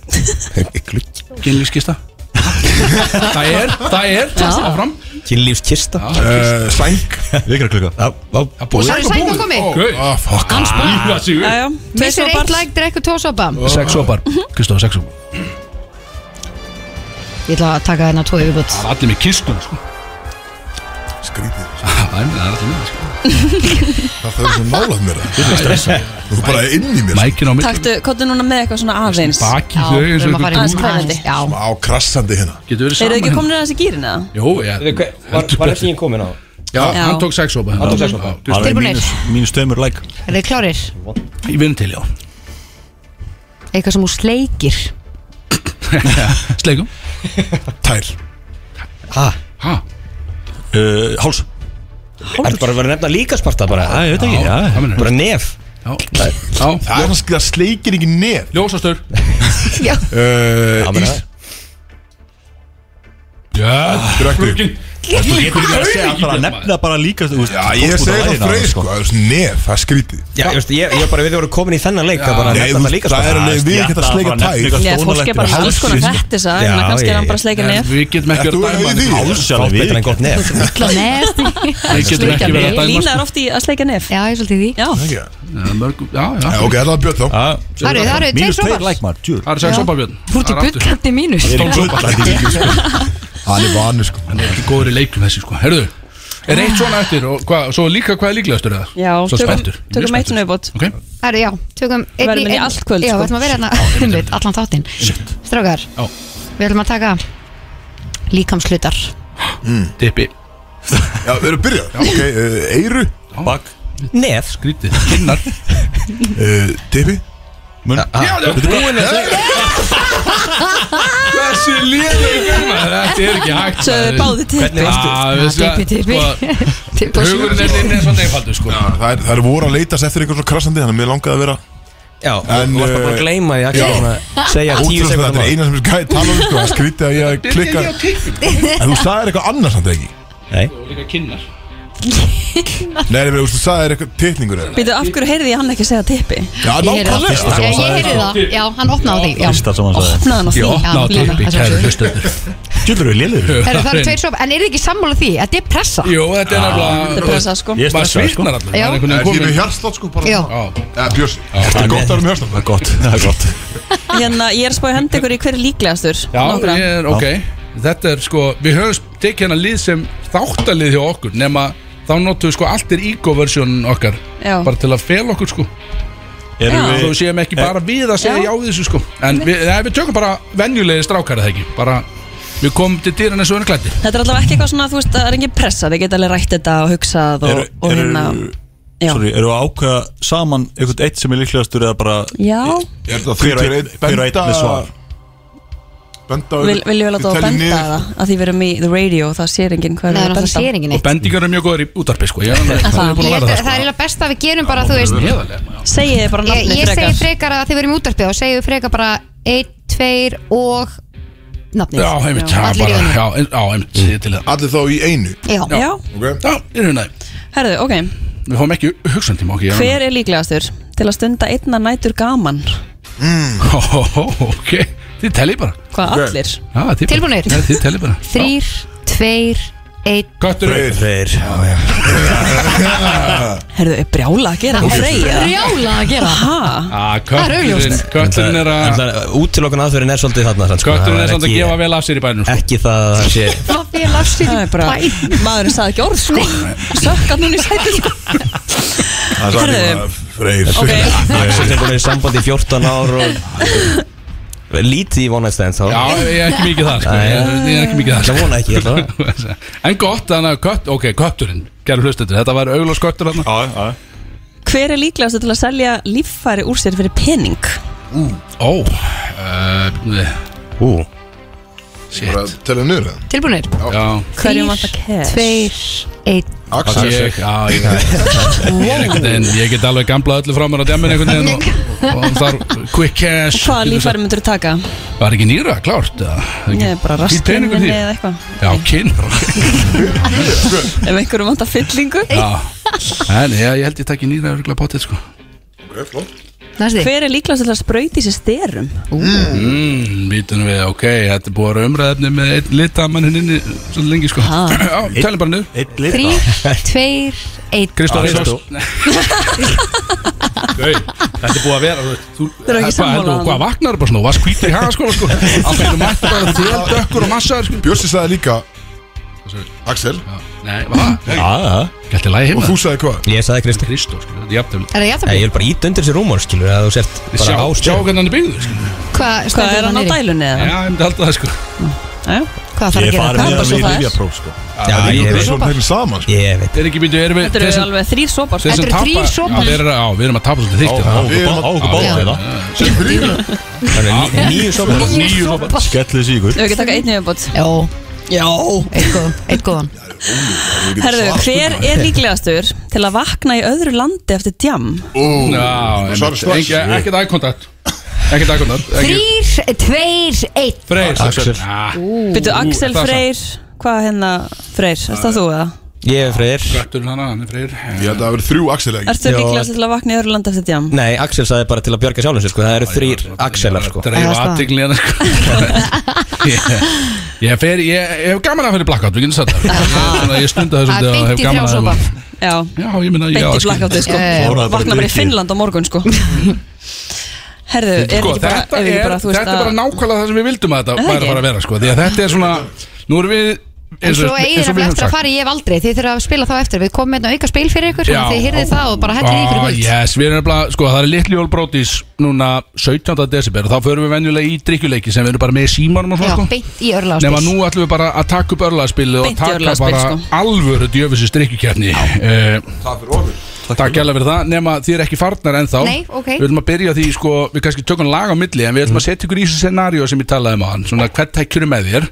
[SPEAKER 3] Kynlífskista Það er, það er, áfram
[SPEAKER 4] Kynlífskista
[SPEAKER 3] Eh,
[SPEAKER 1] uh, sæng
[SPEAKER 2] Vikra klukka
[SPEAKER 4] Já, já,
[SPEAKER 3] Það búið
[SPEAKER 8] Sæ- sæng og komi.
[SPEAKER 3] Gauð,
[SPEAKER 1] Ah, fuck
[SPEAKER 8] Hann sprakk
[SPEAKER 3] lífa sig
[SPEAKER 9] Já,
[SPEAKER 3] upp
[SPEAKER 9] já, tveir
[SPEAKER 8] Missir
[SPEAKER 9] sopar.
[SPEAKER 8] eitt like, drekkur tvo sopa
[SPEAKER 3] Sex opar,
[SPEAKER 8] Mhm.
[SPEAKER 3] Kristof, sex opar
[SPEAKER 8] Ég ætla að taka þennan tvo yfirbútt
[SPEAKER 3] Það er allir með kistum, sko
[SPEAKER 1] Ah, Skrítið
[SPEAKER 3] Það er það er allir með, sko
[SPEAKER 1] Það það er svona nálað mér það. Þú er bara inn í mér
[SPEAKER 3] Mækin á milli
[SPEAKER 9] Taktu, kottu núna með eitthvað svona aðeins
[SPEAKER 3] Baki
[SPEAKER 8] Já,
[SPEAKER 3] þau
[SPEAKER 8] við
[SPEAKER 3] eins
[SPEAKER 8] erum
[SPEAKER 3] og
[SPEAKER 8] að fara
[SPEAKER 3] einhvern dúr.
[SPEAKER 9] Aðeins kvæðandi.
[SPEAKER 8] í núli
[SPEAKER 1] Á
[SPEAKER 8] Já,
[SPEAKER 1] krassandi hérna
[SPEAKER 3] Getur verið
[SPEAKER 9] Eru
[SPEAKER 3] saman
[SPEAKER 9] þið ekki komin að þessi gýrin eða?
[SPEAKER 3] Jú, já
[SPEAKER 4] Var,
[SPEAKER 3] heldur
[SPEAKER 4] var
[SPEAKER 3] betur.
[SPEAKER 4] refsingin komin á?
[SPEAKER 3] Já,
[SPEAKER 9] Já.
[SPEAKER 3] hann tók sex opar
[SPEAKER 4] Hann tók sex sopa.
[SPEAKER 2] Hann er í
[SPEAKER 8] Tilbúinir.
[SPEAKER 2] mínus, mínus tveimur læk
[SPEAKER 8] er þið klárir?
[SPEAKER 3] Ég vinn til, já
[SPEAKER 8] Eitthvað sem hún sleikir
[SPEAKER 3] Sleikum
[SPEAKER 1] Tær
[SPEAKER 4] Ha?
[SPEAKER 3] Ha,
[SPEAKER 1] Eh,
[SPEAKER 2] uh, Háls
[SPEAKER 4] Það er bara að vera nefna líkasparta bara
[SPEAKER 2] Æ, ég veit ekki
[SPEAKER 3] já, það minnur
[SPEAKER 4] Bara nef
[SPEAKER 3] Já, já
[SPEAKER 1] Það er svona það sleikir ekki nef
[SPEAKER 3] Ljósastur
[SPEAKER 1] uh,
[SPEAKER 4] meina
[SPEAKER 1] Ís
[SPEAKER 4] það.
[SPEAKER 3] Já,
[SPEAKER 1] Drekkur
[SPEAKER 2] Getur ekki að segja að bara nefna bara líka þú veist,
[SPEAKER 1] Já ég
[SPEAKER 2] tókst út
[SPEAKER 1] segi það
[SPEAKER 2] á laginu á
[SPEAKER 1] freyð
[SPEAKER 2] það,
[SPEAKER 1] sko Það er svona nef, það er skrítið
[SPEAKER 4] Já, ég veist, ég, ég bara, við vorum komin í þennan leik að bara
[SPEAKER 1] Nei, þú-
[SPEAKER 4] nefna það
[SPEAKER 1] það er
[SPEAKER 4] líkasparta
[SPEAKER 1] alveg við geta sleika tær
[SPEAKER 9] Nei, fólk er bara með alls konar fættis að
[SPEAKER 4] Já,
[SPEAKER 9] kannski er hann
[SPEAKER 4] ég-
[SPEAKER 9] bara að sleika nef
[SPEAKER 3] Við getum ekki
[SPEAKER 1] Ert þú
[SPEAKER 3] verið að dæma
[SPEAKER 1] í því?
[SPEAKER 3] hann.
[SPEAKER 2] Háls er alveg
[SPEAKER 4] Betra en
[SPEAKER 2] við
[SPEAKER 4] gott nef
[SPEAKER 8] Næsti
[SPEAKER 3] Við getum
[SPEAKER 8] Sleikja
[SPEAKER 3] ekki verið að
[SPEAKER 8] nef.
[SPEAKER 3] dæma sko.
[SPEAKER 9] Lína er oft í að sleika nef
[SPEAKER 8] Já, ég er svolítið í því
[SPEAKER 9] Já,
[SPEAKER 1] Já,
[SPEAKER 3] Já, mörgum- Já, já
[SPEAKER 1] Ok, það er það bjött þá
[SPEAKER 8] Það eru- það eru tveir
[SPEAKER 2] Mínus
[SPEAKER 8] sopar.
[SPEAKER 2] tveir læk maður, djúr
[SPEAKER 3] Það er sex opar björn
[SPEAKER 8] Þú ert í
[SPEAKER 3] Það er aftur.
[SPEAKER 8] bullandi mínus
[SPEAKER 1] sko. Hann er vanur sko
[SPEAKER 3] Hann er ekki góður í leikum þessi sko Herðu, er eitt svona eftir og hva, svo líka hvað er líklegastur eða?
[SPEAKER 9] Já,
[SPEAKER 3] svo
[SPEAKER 9] tökum-
[SPEAKER 3] spenntur Ég er
[SPEAKER 9] tökum
[SPEAKER 3] mjög
[SPEAKER 9] eitt
[SPEAKER 3] spenntur.
[SPEAKER 9] viðbót.
[SPEAKER 3] Ok,
[SPEAKER 8] Það eru, já, tökum einn
[SPEAKER 9] Verðum í
[SPEAKER 8] einn-
[SPEAKER 9] allt kvöld,
[SPEAKER 8] Já,
[SPEAKER 9] sko.
[SPEAKER 8] við ætlum að vera hérna Einmitt, allan þáttinn Strákar,
[SPEAKER 3] Já.
[SPEAKER 8] við ætlum að taka líkamslutar
[SPEAKER 3] dippi
[SPEAKER 1] Já, við erum byrjað Ok, uh, eiru
[SPEAKER 2] Bak,
[SPEAKER 4] Nef sko.
[SPEAKER 3] Grítið, kinnar
[SPEAKER 1] uh, Tippi
[SPEAKER 2] mun
[SPEAKER 3] Já, það er búin að segja Þessi liður Þetta er ekki hægt
[SPEAKER 9] svo
[SPEAKER 3] maður.
[SPEAKER 9] báði til
[SPEAKER 4] Hvernig veistu?
[SPEAKER 3] Já, við
[SPEAKER 8] Já,
[SPEAKER 3] sko-
[SPEAKER 8] dippi, dippi.
[SPEAKER 3] sko,
[SPEAKER 8] Tipp og
[SPEAKER 3] Hugurinn er inn eins og nefaldur sko
[SPEAKER 1] Það er, það er voru að leitast eftir eitthvað svo krassandi Þannig að mér langaði að vera
[SPEAKER 4] Já,
[SPEAKER 1] En,
[SPEAKER 4] þú varst bara
[SPEAKER 1] eh,
[SPEAKER 4] búin að gleyma því að
[SPEAKER 1] já.
[SPEAKER 4] svona segja tíu
[SPEAKER 1] Ótrúlega
[SPEAKER 4] sekundar
[SPEAKER 1] þetta er
[SPEAKER 4] mál
[SPEAKER 1] eina sem ég gæti tala um sko Það er skrítið að ég klikka En þú sagðir eitthvað annars hann ekki
[SPEAKER 4] Nei,
[SPEAKER 3] Og líka kinnar
[SPEAKER 1] Nei, ég verið, þú sagði þér eitthvað titningur eða?
[SPEAKER 9] Býtu, af hverju heyrði ég hann ekki segja tippi?
[SPEAKER 1] Já, nákvæmlega
[SPEAKER 8] Já, ég heyrði það, já, hann opnaði því já.
[SPEAKER 2] Fyrsta sem hann sagði
[SPEAKER 9] Opnaði hann á því
[SPEAKER 3] Ég opna á tippi, kæru
[SPEAKER 8] Já, Lína, það sjálfsögðu.
[SPEAKER 3] hlustendur
[SPEAKER 2] Gjöldur við liður
[SPEAKER 8] Herru, það eru tveir sopa, en er þið ekki sammála því? Þetta er pressa
[SPEAKER 3] Jú, þetta er
[SPEAKER 9] Þetta er
[SPEAKER 3] nefnilega
[SPEAKER 9] pressa, sko
[SPEAKER 2] Ég
[SPEAKER 3] Maður
[SPEAKER 2] stressa sko
[SPEAKER 3] svitnar allir
[SPEAKER 8] Já.
[SPEAKER 3] Það
[SPEAKER 1] Það er
[SPEAKER 3] er einhvern veginn
[SPEAKER 1] því með
[SPEAKER 3] komin
[SPEAKER 1] hjartslátt sko bara
[SPEAKER 8] Já.
[SPEAKER 1] Eða Björns, þetta er gott að vera með hjartslátt
[SPEAKER 2] Það er gott, það er gott
[SPEAKER 9] Hérna, ég er að spáði hendi ykkur í hverju líklegastur
[SPEAKER 3] Já,
[SPEAKER 9] Nokkra.
[SPEAKER 3] ég er, ok Þetta er sko, við höfum tekið hennar lið sem þáttalið hjá okkur Nema þá notum við sko allt er ego-versjónin okkar
[SPEAKER 9] Já.
[SPEAKER 3] Bara til að fel okkur sko
[SPEAKER 2] Erum
[SPEAKER 3] Þó við
[SPEAKER 2] við
[SPEAKER 3] séum ekki bara við að segja já, við þessu sko En við, nei, við tökum bara venjulegi strákar eða ekki Bara, við komum til dýran eins og einu klætti
[SPEAKER 9] Þetta er allavega ekki eitthvað svona, þú veist, það er engin pressa Þið geta alveg rætt þetta og hugsað og,
[SPEAKER 2] Eru
[SPEAKER 9] og
[SPEAKER 2] eru-
[SPEAKER 9] hérna Já,
[SPEAKER 2] Sorry, eru við að ákveða saman einhvern eitt sem er líklegastur eða bara
[SPEAKER 9] já
[SPEAKER 1] Er þetta
[SPEAKER 2] Hver og einn- hver og einn með svar.
[SPEAKER 1] Benda
[SPEAKER 9] Vil, viljum við láta á að benda það að því við erum í the radio og það sér enginn
[SPEAKER 8] Nei,
[SPEAKER 9] hvað við
[SPEAKER 8] það
[SPEAKER 9] erum að
[SPEAKER 8] sé
[SPEAKER 9] benda
[SPEAKER 8] enginn
[SPEAKER 3] Og
[SPEAKER 8] neitt
[SPEAKER 3] bendingar eru mjög góður í útarpi sko Ég er
[SPEAKER 9] Það-
[SPEAKER 3] alveg búin
[SPEAKER 8] Ég
[SPEAKER 3] að læra það
[SPEAKER 8] held að Það er
[SPEAKER 3] sko
[SPEAKER 8] eiginlega best að við gerum bara, þú veist
[SPEAKER 3] Neðarlega
[SPEAKER 9] Segið þið bara
[SPEAKER 8] Ég,
[SPEAKER 9] nafnið
[SPEAKER 8] ég segi
[SPEAKER 9] frekar
[SPEAKER 8] frekar að þið verðum í útarpi og segjum frekar bara 1, 2 og nafnið
[SPEAKER 3] Já, einmitt,
[SPEAKER 8] Já.
[SPEAKER 3] já,
[SPEAKER 8] Allir í
[SPEAKER 3] bara,
[SPEAKER 8] einu.
[SPEAKER 3] já, ein- já, einmitt, ég er til í það
[SPEAKER 1] Allir þá í einu
[SPEAKER 8] Já,
[SPEAKER 9] Já,
[SPEAKER 1] Ok
[SPEAKER 3] Já, ég er hundaði
[SPEAKER 9] herðu, ok
[SPEAKER 3] Við fáum ekki hugsan tíma okkur
[SPEAKER 9] Hver er líklegastur til að stunda einna nætur gaman?
[SPEAKER 3] Ok, þið tellið bara
[SPEAKER 9] Hvað
[SPEAKER 1] Ok.
[SPEAKER 9] allir?
[SPEAKER 3] Já, þið bara-
[SPEAKER 8] Tilbúnir?
[SPEAKER 3] Nei, Þið tellið bara
[SPEAKER 8] 3, 2, 1
[SPEAKER 3] Köttur upp
[SPEAKER 2] Freyr
[SPEAKER 9] Herðu, er brjála að gera það freyja?
[SPEAKER 8] Brjála að gera
[SPEAKER 9] Ha?
[SPEAKER 3] Ah,
[SPEAKER 8] Það er
[SPEAKER 3] Kötturinn
[SPEAKER 8] augljóst.
[SPEAKER 3] Kötturinn er að
[SPEAKER 4] Útilokkan aðferðin er svolítið þarna samt, sko.
[SPEAKER 3] Kötturinn
[SPEAKER 4] Það
[SPEAKER 3] er samt að
[SPEAKER 4] ekki-
[SPEAKER 3] gefa vel af sér í bænum sko.
[SPEAKER 4] Ekki það að það sé
[SPEAKER 8] Hvað fyrir lafsir
[SPEAKER 9] Það er bara, maðurinn sagði ekki orð sko Sökka núna í sæti sko
[SPEAKER 1] Það
[SPEAKER 9] Herðu.
[SPEAKER 1] sagði Freyr
[SPEAKER 9] Ok,
[SPEAKER 4] Axel sem búin að vera í sambandi í 14 ár og Lítið í one night stands þá
[SPEAKER 3] Já, ég er ekki mikið það sko.
[SPEAKER 4] Nei.
[SPEAKER 3] ég, er- ég er ekki mikið það
[SPEAKER 4] Það vona ekki alltaf
[SPEAKER 3] sko. En gott, þannig að kött Ok, kötturinn Gerðu hlustendur Þetta var auglós köttur þarna
[SPEAKER 2] Já, já
[SPEAKER 9] hver er líklegastur til að selja líffæri úr sér fyrir pening?
[SPEAKER 3] Ó uh,
[SPEAKER 4] Ú
[SPEAKER 1] Bara
[SPEAKER 3] Shit
[SPEAKER 1] telja niður það
[SPEAKER 8] Tilbúinir?
[SPEAKER 3] Já,
[SPEAKER 9] Hverjum vant að cash?
[SPEAKER 8] 2, 1
[SPEAKER 1] Axel
[SPEAKER 3] ég, já, ég, ég, er einhvern veginn, ég get alveg gamla öllu frá mér á djamin einhvern veginn og, og þar quick
[SPEAKER 9] Og
[SPEAKER 3] cash
[SPEAKER 9] Hvaða líffæri myndur þú taka?
[SPEAKER 3] Var ekki nýra, klárt eða?
[SPEAKER 9] Ég er bara
[SPEAKER 3] Fýtt
[SPEAKER 9] raskinni
[SPEAKER 3] peningur því?
[SPEAKER 9] eða eitthvað
[SPEAKER 3] Já, kinn
[SPEAKER 9] Ef einhverjum vant að fyllingu
[SPEAKER 3] Já, en ég, ég held ég takki nýra örgulega potið sko
[SPEAKER 1] Ok, flott
[SPEAKER 8] Næstu
[SPEAKER 9] Hver er líklegastur til að sprauti sér styrum?
[SPEAKER 3] Mm, vítunum við, ok, þetta er búið að vera umræðefni með einn litamann hinn inni svolítið lengi sko
[SPEAKER 9] Ha.
[SPEAKER 3] Já, tælum bara niður
[SPEAKER 2] Eitt lit
[SPEAKER 8] 3, 2, 1
[SPEAKER 3] Kristó
[SPEAKER 2] Já,
[SPEAKER 3] Reisós
[SPEAKER 2] Kristó.
[SPEAKER 3] Þetta er búið að vera Þú
[SPEAKER 9] Þeir eru ekki sammála
[SPEAKER 3] heldur,
[SPEAKER 9] þarna.
[SPEAKER 3] Hvað vaknar bara svona, þú varst hvítur í hagaskóla sko Allt fyrir mættu bara þér, dökkur og massaður sko
[SPEAKER 1] Björnsi sagði líka Axel
[SPEAKER 3] Já, Nei, hvað?
[SPEAKER 2] Já, já
[SPEAKER 3] Gætti lægi
[SPEAKER 1] Og
[SPEAKER 3] heima
[SPEAKER 1] þú sagði hvað?
[SPEAKER 4] Ég sagði Kristi
[SPEAKER 3] Kristó, sko, þetta er jafnum
[SPEAKER 8] Er það
[SPEAKER 4] Ég
[SPEAKER 8] játtabli?
[SPEAKER 4] vil bara íta undir þessi rúmor skilur að þú sért
[SPEAKER 3] Sjá,
[SPEAKER 4] bara á
[SPEAKER 3] sjá
[SPEAKER 4] stjórn
[SPEAKER 3] hvernig hann er byggður sko
[SPEAKER 8] Hvað
[SPEAKER 9] Hvað
[SPEAKER 8] stendur
[SPEAKER 9] er hann á
[SPEAKER 8] það niður?
[SPEAKER 9] dælunni
[SPEAKER 3] Já,
[SPEAKER 9] eða?
[SPEAKER 3] ég myndi halda það sko
[SPEAKER 9] Já,
[SPEAKER 8] Hvað þarf
[SPEAKER 2] Ég farið
[SPEAKER 8] að gera
[SPEAKER 9] bara
[SPEAKER 2] með það
[SPEAKER 8] það?
[SPEAKER 9] svo
[SPEAKER 2] við
[SPEAKER 9] það er.
[SPEAKER 2] rifjapróf sko
[SPEAKER 4] Já,
[SPEAKER 1] Við
[SPEAKER 4] ég
[SPEAKER 1] erum
[SPEAKER 4] veit
[SPEAKER 1] svona heim saman sko
[SPEAKER 4] Ég veit
[SPEAKER 3] Er ekki myndið, erum við
[SPEAKER 9] Þetta eru
[SPEAKER 3] þessum-
[SPEAKER 9] alveg þrír sópar
[SPEAKER 3] þessum
[SPEAKER 8] Þetta eru þrír
[SPEAKER 3] tapa-
[SPEAKER 8] sópar.
[SPEAKER 3] Já, þeir eru- Já, við erum að tapa svolítið þykkt
[SPEAKER 2] Á okkur bá- á okkur báðum
[SPEAKER 8] Já.
[SPEAKER 2] hérna
[SPEAKER 1] Sem þrýra
[SPEAKER 4] Nýju sopar
[SPEAKER 3] Nýju sópar
[SPEAKER 2] Skellið sígur
[SPEAKER 9] Ef við ekki taka einn yfirbót
[SPEAKER 8] Jó,
[SPEAKER 9] Já
[SPEAKER 8] eitt góðan, eitt góðan
[SPEAKER 9] Herðu, hver er líklegastur til að vakna í öðru landi eftir djam?
[SPEAKER 3] Já,
[SPEAKER 1] Ó Svar
[SPEAKER 3] einmitt.
[SPEAKER 1] strax
[SPEAKER 3] Engi- ekkert aðkontakt Ekkert aðkontakt
[SPEAKER 8] Þrýr, tveir, einn
[SPEAKER 3] Freyr
[SPEAKER 4] Axel.
[SPEAKER 3] Ah,
[SPEAKER 9] Byrju, Axel
[SPEAKER 3] það er
[SPEAKER 9] Freyr, hvað hérna Freyr, er það þú eða?
[SPEAKER 4] Ég er Freyr
[SPEAKER 3] Göttur hana, hann er Freyr
[SPEAKER 1] Ég held að það verið þrjú Axel ekki
[SPEAKER 9] Ertu
[SPEAKER 4] Já.
[SPEAKER 9] líklegastur til að vakna í öðru landi eftir djam?
[SPEAKER 4] Nei, Axel sagði bara til að björga sjálfum sér sko Það eru þrýr Axelar sko
[SPEAKER 8] Já,
[SPEAKER 3] Dreif
[SPEAKER 8] það er
[SPEAKER 3] aðtigli hana sko Ég- Ég fer, ég ég hef gaman að fyrir blackout Við getum satt það Ég- svona, Ég stunda þessum
[SPEAKER 8] Það er
[SPEAKER 3] dag og
[SPEAKER 8] beint
[SPEAKER 3] hef
[SPEAKER 8] í
[SPEAKER 3] gaman
[SPEAKER 8] þrjá
[SPEAKER 3] að
[SPEAKER 8] sopa
[SPEAKER 3] þessu.
[SPEAKER 9] Já,
[SPEAKER 3] Já, ég minna, já
[SPEAKER 9] beint í
[SPEAKER 3] sko.
[SPEAKER 9] blakkáttið sko
[SPEAKER 8] Já, já, já.
[SPEAKER 2] Fór það bara
[SPEAKER 9] Vakna bara í
[SPEAKER 2] drikki.
[SPEAKER 9] Finnland á morgun sko Herðu, er
[SPEAKER 3] Sko,
[SPEAKER 9] ekki bara,
[SPEAKER 3] þetta
[SPEAKER 9] er ekki
[SPEAKER 3] er,
[SPEAKER 9] bara, þú
[SPEAKER 3] þetta
[SPEAKER 9] veist
[SPEAKER 3] er bara
[SPEAKER 9] að
[SPEAKER 3] nákvæmlega það sem við vildum að
[SPEAKER 9] Er
[SPEAKER 3] þetta væri
[SPEAKER 9] það ekki?
[SPEAKER 3] bara að vera sko Því að þetta er svona, nú erum við
[SPEAKER 8] En
[SPEAKER 3] eins og-
[SPEAKER 8] svo eigið
[SPEAKER 3] eins og
[SPEAKER 8] það
[SPEAKER 3] við höfum
[SPEAKER 8] eftir að
[SPEAKER 3] sagt.
[SPEAKER 8] fara í ef aldrei Þið þurfa að spila þá eftir Við komum með auka spil fyrir ykkur
[SPEAKER 3] Já.
[SPEAKER 8] Þið hyrðið það og bara hellið í ykkur í
[SPEAKER 3] Ah,
[SPEAKER 8] kvöld
[SPEAKER 3] Yes, við erum nefnilega, sko, það er litli jólbrótis núna 17. desember og þá förum við venjulega í drikkjuleiki sem við erum bara með í símanum og
[SPEAKER 8] Já,
[SPEAKER 3] svona, sko
[SPEAKER 8] beint í örlaðspil
[SPEAKER 3] Nefna nú ætlum við bara að taka upp örlaðspilið og
[SPEAKER 9] Beint í
[SPEAKER 3] taka
[SPEAKER 9] örlagaspil,
[SPEAKER 3] bara
[SPEAKER 9] sko.
[SPEAKER 3] alvöru djöfisins drikkjukeppni uh,
[SPEAKER 1] Það fyrir ofur
[SPEAKER 3] Takk hérlega fyrir það, nema þið er ekki farnar ennþá
[SPEAKER 8] Nei, ok.
[SPEAKER 3] Við viljum að byrja á því, sko, við kannski tökum lag á milli en við ætlum að setja ykkur í þessu scenaríu sem ég talaði um á hann svona hvert tækjur með þér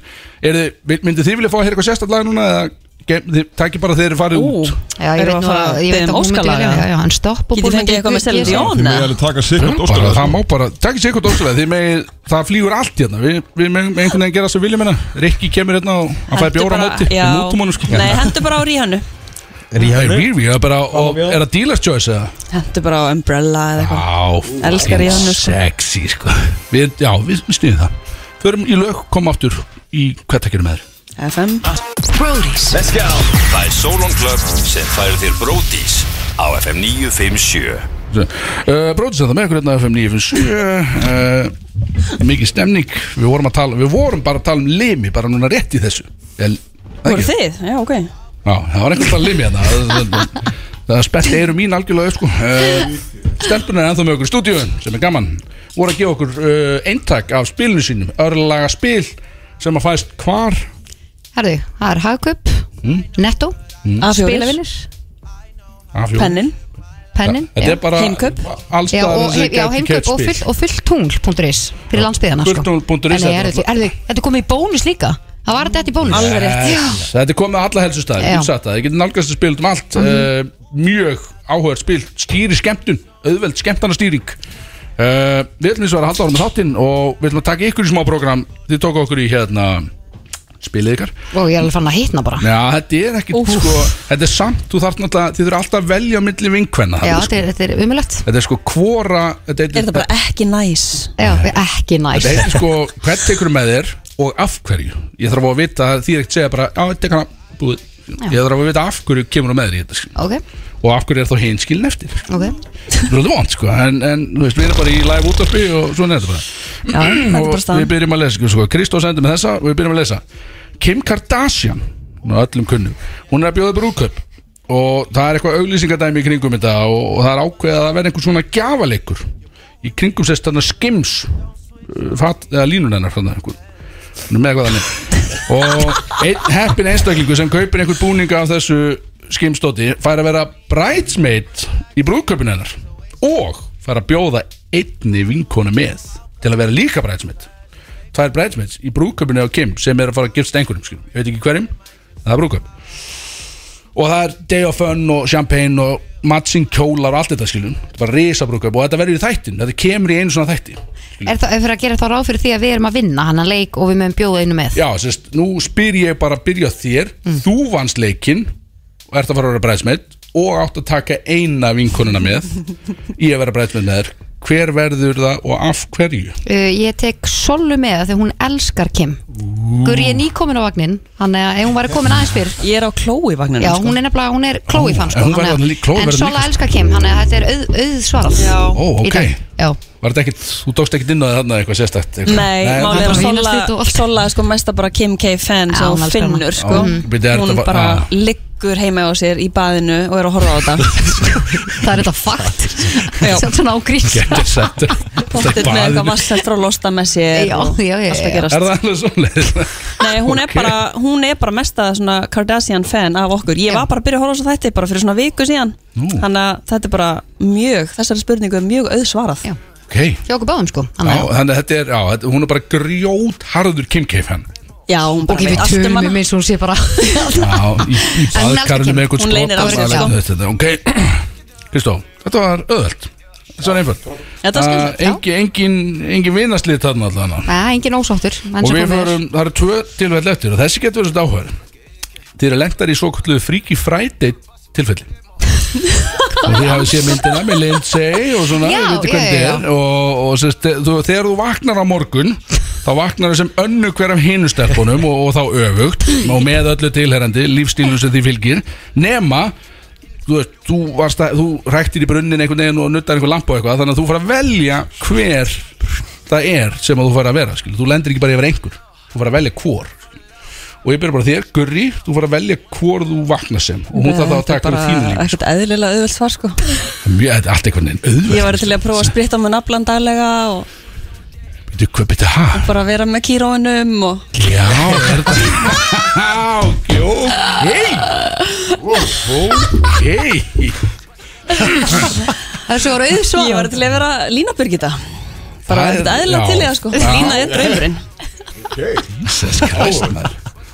[SPEAKER 3] Er þið, myndu þið vilja fá að heyra eitthvað sérstætt lag núna eða gem- þið takir bara þeir farið
[SPEAKER 9] Ú,
[SPEAKER 3] út
[SPEAKER 8] Já, ég
[SPEAKER 9] Erum við
[SPEAKER 8] veit nú
[SPEAKER 9] að fara
[SPEAKER 8] að
[SPEAKER 9] að biðja
[SPEAKER 8] Ég veit
[SPEAKER 9] um
[SPEAKER 8] að hún myndi
[SPEAKER 9] Óskalaga?
[SPEAKER 8] vilja Já, já, hann stopp og
[SPEAKER 9] Getið fengið eitthvað með Celine
[SPEAKER 8] Já,
[SPEAKER 1] Þið
[SPEAKER 9] Dion
[SPEAKER 1] með
[SPEAKER 9] eða?
[SPEAKER 1] alveg taka sikkert
[SPEAKER 3] bara, það
[SPEAKER 1] óskalega
[SPEAKER 3] má bara, takk sér eitthvað óslega því með, það flýgur allt hérna við, við með, með einhvern veginn gera svo viljum hérna Rikki kemur hérna og hann fær
[SPEAKER 9] Hentu
[SPEAKER 3] bjóra á
[SPEAKER 9] bara-
[SPEAKER 3] móti
[SPEAKER 9] já.
[SPEAKER 3] við mútum honum sko
[SPEAKER 9] Nei, hendur bara á ríhannu
[SPEAKER 3] Rehab Rehab er bara og Er það dealer's choice eða?
[SPEAKER 9] Hentu bara á umbrella eða eitthvað
[SPEAKER 3] Já
[SPEAKER 9] Elskar
[SPEAKER 3] fucking
[SPEAKER 9] ég hann, sko.
[SPEAKER 3] Sexy sko við, Já, við snýðum það Förum í lög, komum aftur í hvað takkir með þér
[SPEAKER 9] FM
[SPEAKER 6] Brody's Let's go Það er Solon Club sem færir þér Brody's á FM 957
[SPEAKER 3] uh, Bróðis að það með ykkur hérna á FM 957 uh, Mikið stemning Við vorum að tala Við vorum bara að tala um limi Bara núna rétt í þessu El,
[SPEAKER 9] Voru þið? Já, ok
[SPEAKER 3] Já, það var einhvern veginn limi hérna Það- það- Það spennt eru mín algjörlega upp, sko. uh, Stelpunar er ennþá með okkur í stúdíun sem er gaman voru að gefa okkur uh, eintak af spilinu sínum örlaga spil sem að fæst hvar
[SPEAKER 8] Herðu, það er Hagkup,
[SPEAKER 3] Mm.
[SPEAKER 8] Netto,
[SPEAKER 9] A4.
[SPEAKER 8] Spilavinnir,
[SPEAKER 3] Afjó.
[SPEAKER 9] Pennin
[SPEAKER 8] Pennin
[SPEAKER 3] Þetta er bara alls
[SPEAKER 8] Já,
[SPEAKER 3] staðar
[SPEAKER 8] og,
[SPEAKER 3] þar sem þið
[SPEAKER 8] já,
[SPEAKER 3] gætu
[SPEAKER 8] heimkaup
[SPEAKER 3] keypt
[SPEAKER 8] og,
[SPEAKER 3] spil.
[SPEAKER 8] full, og fulltungl.is fyrir landsbyðana sko.
[SPEAKER 3] Fulltungl.is,
[SPEAKER 8] En
[SPEAKER 3] þetta
[SPEAKER 8] nei,
[SPEAKER 3] er
[SPEAKER 8] herðu,
[SPEAKER 3] náttúrulega-
[SPEAKER 8] herðu, Þetta er komið í bónus líka Það var þetta í bónus
[SPEAKER 3] Yes. Þetta er komið að alla helsustæði
[SPEAKER 8] Já.
[SPEAKER 3] Ég satt það, ég geti nálgast að spila um allt uh, Mjög áhugað spil Stýri skemmtun, auðveld skemmtana stýring uh, Við ætlum eins og að halda ára með þáttinn Og við ætlum að taka ykkur í smá program Þið tóku okkur í hérna Spilið ykkar
[SPEAKER 8] Og ég er alveg fann að hitna bara
[SPEAKER 3] Já, þetta er ekkert sko Þetta er samt, þú þarf náttúrulega Þið þurfa alltaf að velja á milli vinkvenna
[SPEAKER 8] Já,
[SPEAKER 3] þarna, sko.
[SPEAKER 8] þetta er, þetta er umulegt
[SPEAKER 3] Þetta er sko hvora Þetta
[SPEAKER 9] Er það bara ekki næs?
[SPEAKER 8] Já, ekki næs
[SPEAKER 3] Þetta heitir sko, hvern tekur með þér og af hverju Ég þarf að vita, því er ekki að segja bara Já, þetta er hana, búið Ég þarf að vita af hverju kemur þú með þér í þetta sko. skil.
[SPEAKER 8] Ok,
[SPEAKER 3] Og af hverju er þá hinn skilin eftir
[SPEAKER 8] ok
[SPEAKER 3] Þetta er alveg vant sko En, en þú veist, við erum bara í live útarpi og svona er þetta bara
[SPEAKER 9] Já, þetta er
[SPEAKER 3] Og
[SPEAKER 9] bara staðan.
[SPEAKER 3] við byrjum að lesa sko, sko. Kristó sendi með þessa og við byrjum að lesa Kim Kardashian, hún er öllum kunnum Hún er að bjóða brúðkaup Og það er eitthvað auglýsingadæmi í kringum þetta Og, og það er ákveðið að það verði einhver svona gjafaleikur Í kringum sérst þarna skims uh, fat, Eða línun hennar þarna einhver Hún er með hvað þannig Og einn heppin einstaklingu sem kaupir einhver búninga af þessu skimstóti fær að vera bridesmaid í brúðkaupinu hennar og fær að bjóða einni vinkonu með til að vera líka bridesmaid tvær bridesmaids í brúðkaupinu á Kim sem er að fara að giftast einhverjum skil. ég veit ekki hverjum, það er brúðkaup og það er day of fun og champagne og matching kjólar og allt þetta skiljum þetta er bara risa brúðkaup og þetta verður í þættin þetta kemur í einu svona þætti
[SPEAKER 8] Er það er fyrir að gera þá ráð fyrir því að við erum að vinna hann að leik og við mögum bjóða einu með
[SPEAKER 3] Já, sérst, nú spyr ég bara að byrja á þér Þú vannst leikinn og ert að fara að vera bræðsmeitt og átt að taka eina vinkonuna með í að vera bræðsmeitt með þér Hver verður það og af hverju?
[SPEAKER 8] uh, Ég tek Sollu með af því að hún elskar Kim Gur, ég er nýkomin á vagnin Þannig að ef hún væri komin aðeins fyrr
[SPEAKER 9] Ég er á sko. klói vagninu
[SPEAKER 8] Já, hún er nefnilega, hún er Chloe fan sko,
[SPEAKER 3] Hún verður
[SPEAKER 8] þannig að-
[SPEAKER 3] líka- Chloe
[SPEAKER 8] En
[SPEAKER 3] verður
[SPEAKER 8] Sola
[SPEAKER 3] líka-
[SPEAKER 8] elskar Kim, þannig að þetta er auð, auð svarað
[SPEAKER 9] Já.
[SPEAKER 3] Ó,
[SPEAKER 8] Í
[SPEAKER 3] ok
[SPEAKER 8] dag. Já,
[SPEAKER 3] Var þetta ekkit, þú tókst ekkit inn á þér þarna eitthvað sérstætt eitthvað?
[SPEAKER 9] Nei, málið er
[SPEAKER 8] bara
[SPEAKER 9] að
[SPEAKER 8] vínast
[SPEAKER 9] Sola-
[SPEAKER 8] þetta og allt.
[SPEAKER 9] Sola er sko mesta bara Kim K fan
[SPEAKER 8] Já,
[SPEAKER 9] sem
[SPEAKER 8] hún
[SPEAKER 9] hún
[SPEAKER 8] elskar hana.
[SPEAKER 9] finnur sko
[SPEAKER 3] Já, byrju, er
[SPEAKER 9] Hún
[SPEAKER 3] þetta-
[SPEAKER 9] bara
[SPEAKER 3] ah.
[SPEAKER 9] liggur heima á sér í baðinu og er að horfa á þetta
[SPEAKER 8] það er þetta fakt
[SPEAKER 9] Já.
[SPEAKER 8] Sjátt svona ágrís
[SPEAKER 3] Þetta er sætt
[SPEAKER 9] Pottir með eitthvað vasselt frá losta með sér
[SPEAKER 8] Já,
[SPEAKER 9] og
[SPEAKER 8] já, já,
[SPEAKER 9] allt
[SPEAKER 8] já.
[SPEAKER 9] að
[SPEAKER 3] Er
[SPEAKER 9] gerast
[SPEAKER 3] það alveg svona?
[SPEAKER 9] Nei, hún er
[SPEAKER 3] Ok.
[SPEAKER 9] bara, hún er bara mesta svona Kardashian fan af okkur Ég var bara að byrja að horfa á þessu þætti bara fyrir svona viku síðan Þannig að þetta er bara mjög, þessari spurningu er mjög auðsvarað
[SPEAKER 8] Já.
[SPEAKER 3] Ok, já,
[SPEAKER 8] Hjá okkur báðum sko Þannig að-
[SPEAKER 3] þannig að þetta er, já, þetta- hún er bara grjót harður Kim K. fan
[SPEAKER 9] Já, hún
[SPEAKER 8] Ok,
[SPEAKER 9] bara
[SPEAKER 8] við
[SPEAKER 9] veit allt um
[SPEAKER 8] tölum um
[SPEAKER 9] hana
[SPEAKER 8] eins og hún sé bara
[SPEAKER 3] Já, í, í
[SPEAKER 8] En
[SPEAKER 3] baðkarinu
[SPEAKER 8] hún elskar
[SPEAKER 3] með
[SPEAKER 8] Kim.
[SPEAKER 3] eitthvað
[SPEAKER 9] Hún leynir á sér,
[SPEAKER 3] sprota- þetta, Ok, Kristó, þetta var öðvöld Þetta var einföld
[SPEAKER 9] Þetta var skemmtilegt, já.
[SPEAKER 3] Engi, Ah, engin, engin vinarslið þarna allan
[SPEAKER 8] Æ, engin ósáttur
[SPEAKER 3] Og við förum, það eru tvö tilfell eftir Og þessi getur verið áhverð Þið eru lengtar í svo kallu fríki fræti tilfelli og þið hafið séð myndina með Lindsay og svona,
[SPEAKER 8] Já,
[SPEAKER 3] við veitum
[SPEAKER 8] já,
[SPEAKER 3] hvernig
[SPEAKER 8] já,
[SPEAKER 3] þetta er og, og sérst, þú, þegar þú vaknar á morgun þá vaknar þau sem önnu hver af hinustelpunum og, og þá öfugt og með öllu tilherrandi lífstílum sem því fylgir nema þú, veist, þú, varst að, þú ræktir í brunnin einhvern veginn og nuttar einhver lampa og eitthvað þannig að þú fara að velja hver það er sem að þú fara að vera skil. þú lendir ekki bara yfir einhver, þú fara að velja hvor og ég byrja bara á þér, Gurri þú fara að velja hvor þú vaknar sem og hún þarf þá að
[SPEAKER 9] Þetta er
[SPEAKER 3] taka úr þínu lífi
[SPEAKER 9] bara ekkert eðlilega auðvöld svar sko
[SPEAKER 3] Mjög, þetta er allt einhvern veginn auðvöld
[SPEAKER 9] Ég var til að prófa að spritta með naflan daglega og
[SPEAKER 3] Býtu, hvað býtu, hæ?
[SPEAKER 9] bara vera með kíróinum og
[SPEAKER 3] Já, er þetta Já, ok Ok
[SPEAKER 8] Þessu var auðsvarað
[SPEAKER 9] Ég var til að vera Lína Birgitta Bara
[SPEAKER 3] Það er-
[SPEAKER 9] ekkert eðlilega
[SPEAKER 3] já.
[SPEAKER 9] til í það sko
[SPEAKER 3] Já.
[SPEAKER 9] Lína er draumurinn
[SPEAKER 3] Jesus Christ, maður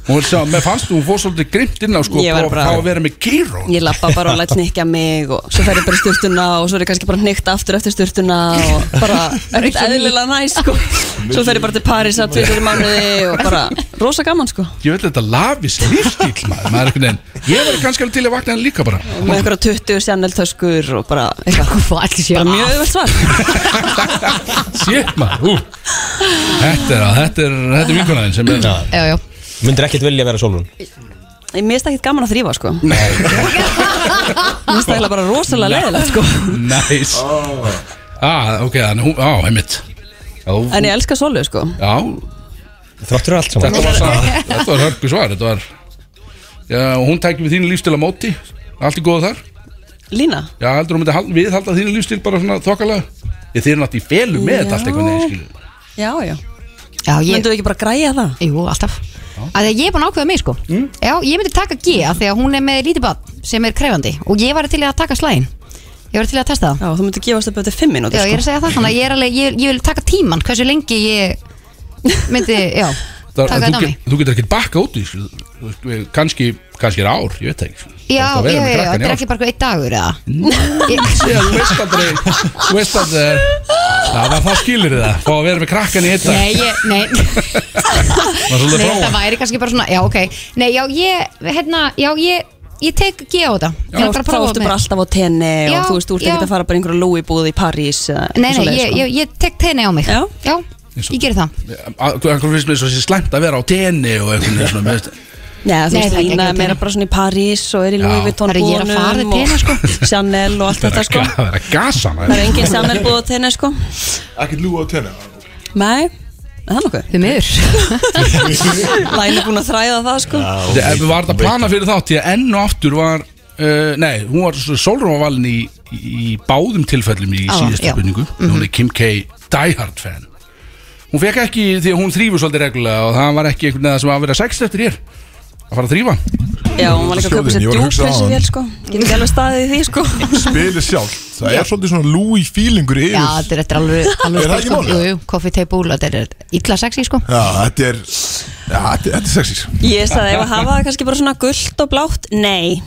[SPEAKER 3] og hún sagði, mér fannst þú, hún fór svolítið grimt inn á sko,
[SPEAKER 9] Ég var
[SPEAKER 3] og
[SPEAKER 9] bara-
[SPEAKER 3] þá að vera með gyro
[SPEAKER 9] Ég lappa bara og læt nikja mig og svo fer ég bara í sturtuna og svo er ég kannski bara hnykt aftur eftir sturtuna og bara ekkert eðlilega næ sko Svo fer ég bara til París að tvisur í mánuði og bara rosa gaman sko
[SPEAKER 3] Ég veit þetta lafis lífstíl maður, maður er einhvern veginn Ég verði kannski alveg til að vakna hann líka bara
[SPEAKER 9] með einhverja 20 Chanel töskur og bara eitthvað
[SPEAKER 8] Bara
[SPEAKER 9] mjög auðvelt svar
[SPEAKER 3] Sétt maður, ú Þetta er, þetta er, þetta er vinkonaðin sem er
[SPEAKER 8] Já, já
[SPEAKER 4] Myndir ekkert vilja vera Solrún?
[SPEAKER 9] Ég mist ekkert gaman að þrýfa sko Mér finnst það eiginlega bara rosalega leiðilegt sko
[SPEAKER 3] Næs Ah, ok, þannig hún, á, heimitt
[SPEAKER 9] En ég elska solu sko
[SPEAKER 3] Já
[SPEAKER 4] Þráttur allt saman
[SPEAKER 3] Þetta var, sa- þetta var hörku svar Þetta var Já, hún tækir við þínu lífstil á móti Allt í góða þar
[SPEAKER 9] Lína
[SPEAKER 3] Já, heldur hún myndi hal- viðhalda þínu lífstil bara svona þokkalega Ég þeir nátt í felu með þetta allt einhvern veginn skilur.
[SPEAKER 9] Já, já
[SPEAKER 8] Já, ég
[SPEAKER 9] Myndu ekki bara græja það?
[SPEAKER 8] Jú, alltaf að því að ég er búin að ákveða mig sko
[SPEAKER 3] Mm.
[SPEAKER 8] Já, ég myndi taka G að því að hún er með lítið bann sem er krefandi og ég var til í að taka slægin ég var til í að testa það
[SPEAKER 9] Já, þú myndir gefast upp eftir 5 minútur
[SPEAKER 8] Já,
[SPEAKER 9] sko.
[SPEAKER 8] ég er að segja það þannig að ég, er alveg, ég, ég vil taka tíman hversu lengi ég myndi, já
[SPEAKER 3] Það,
[SPEAKER 8] Taka
[SPEAKER 3] þú,
[SPEAKER 8] þetta á
[SPEAKER 3] get, þú getur ekkert bakka út í þessu. Þú veist, við- kannski, kannski er ár, ég veit það ekki sko.
[SPEAKER 8] Já,
[SPEAKER 3] Þú
[SPEAKER 8] já,
[SPEAKER 3] veist, að vera
[SPEAKER 8] já,
[SPEAKER 3] með
[SPEAKER 8] já,
[SPEAKER 3] krakkann í
[SPEAKER 8] þetta er
[SPEAKER 3] ár, sko.
[SPEAKER 8] ekki bara eitthvað einn dagur eða
[SPEAKER 3] Ég- þú veist aldrei Þú veist að eh, Já, það, það skilur þið það Fá að vera með krakkan í eitt dag
[SPEAKER 8] Nei, ég, nei
[SPEAKER 3] Það er svolítið
[SPEAKER 8] Nei,
[SPEAKER 3] frá
[SPEAKER 8] það væri kannski bara svona, já, ok Nei, já, ég, hérna, já, ég Ég tek G á þetta Ég
[SPEAKER 9] Þá
[SPEAKER 8] vil bara
[SPEAKER 9] þá
[SPEAKER 8] prófa
[SPEAKER 9] ertu
[SPEAKER 8] með.
[SPEAKER 9] bara alltaf á tenni
[SPEAKER 8] Já,
[SPEAKER 9] og þú veist, þú ert
[SPEAKER 8] já.
[SPEAKER 9] ekkert að fara bara í einhverju lúi búð í París eða
[SPEAKER 8] Nei,
[SPEAKER 9] eitthvað svoleiðis,
[SPEAKER 8] nei, ég,
[SPEAKER 9] sko.
[SPEAKER 8] ég, ég tek tenni á mig
[SPEAKER 9] Já.
[SPEAKER 8] ég geri það
[SPEAKER 3] Hvernig finnst mér svo þessi slæmt að vera á tenni og einhvern veginn svona með-
[SPEAKER 9] Nei, þú veist,
[SPEAKER 8] Nei, það er ekki
[SPEAKER 9] Lína
[SPEAKER 8] ekki
[SPEAKER 9] er meira
[SPEAKER 8] tenni.
[SPEAKER 9] bara svona í París og er í Louis Vuitton
[SPEAKER 8] Það er ég er að fara
[SPEAKER 9] búðunum
[SPEAKER 8] þig tenni, sko.
[SPEAKER 9] og Chanel og allt þetta sko
[SPEAKER 3] Það er að gasa
[SPEAKER 9] Það
[SPEAKER 3] hana
[SPEAKER 9] er engin Chanel búð á tenni sko
[SPEAKER 1] Ekkert lúa á tenni
[SPEAKER 9] Nei, er það nokkuð
[SPEAKER 8] Þið miður
[SPEAKER 9] Læn er búin að þræða það sko
[SPEAKER 3] Ef við varum að plana fyrir þátt Því að enn og aftur var uh, Nei, hún var Solrún var valin í, í báðum tilfellum í
[SPEAKER 8] Á,
[SPEAKER 3] síðustu
[SPEAKER 8] já.
[SPEAKER 3] spurningu mm Hún er Kim K. diehard fan Hún fekk ekki því að hún þrýfur svolítið reglulega og það var ekki einhvern veginn sem var að vera sext eftir hér að fara að þrýfa
[SPEAKER 9] Já, hún var líka að köpa
[SPEAKER 1] Skjóðin,
[SPEAKER 9] sér
[SPEAKER 1] ég var að hugsa á
[SPEAKER 9] djúpelsi
[SPEAKER 1] hann.
[SPEAKER 9] vel sko Getur ekki alveg staðið í því sko
[SPEAKER 1] Spilið sjálf Það er svolítið svona lúi fílingur yfir
[SPEAKER 8] Já, þetta er- þetta er alveg, alveg
[SPEAKER 1] Er það ekki
[SPEAKER 8] sko,
[SPEAKER 1] málið?
[SPEAKER 8] Jú, jú, coffee table, þetta er illa sexy sko
[SPEAKER 1] Já, þetta er Já, þetta þetta er sexís
[SPEAKER 9] Ég sagði, ef að hafa það kannski bara svona gult og blátt Nei,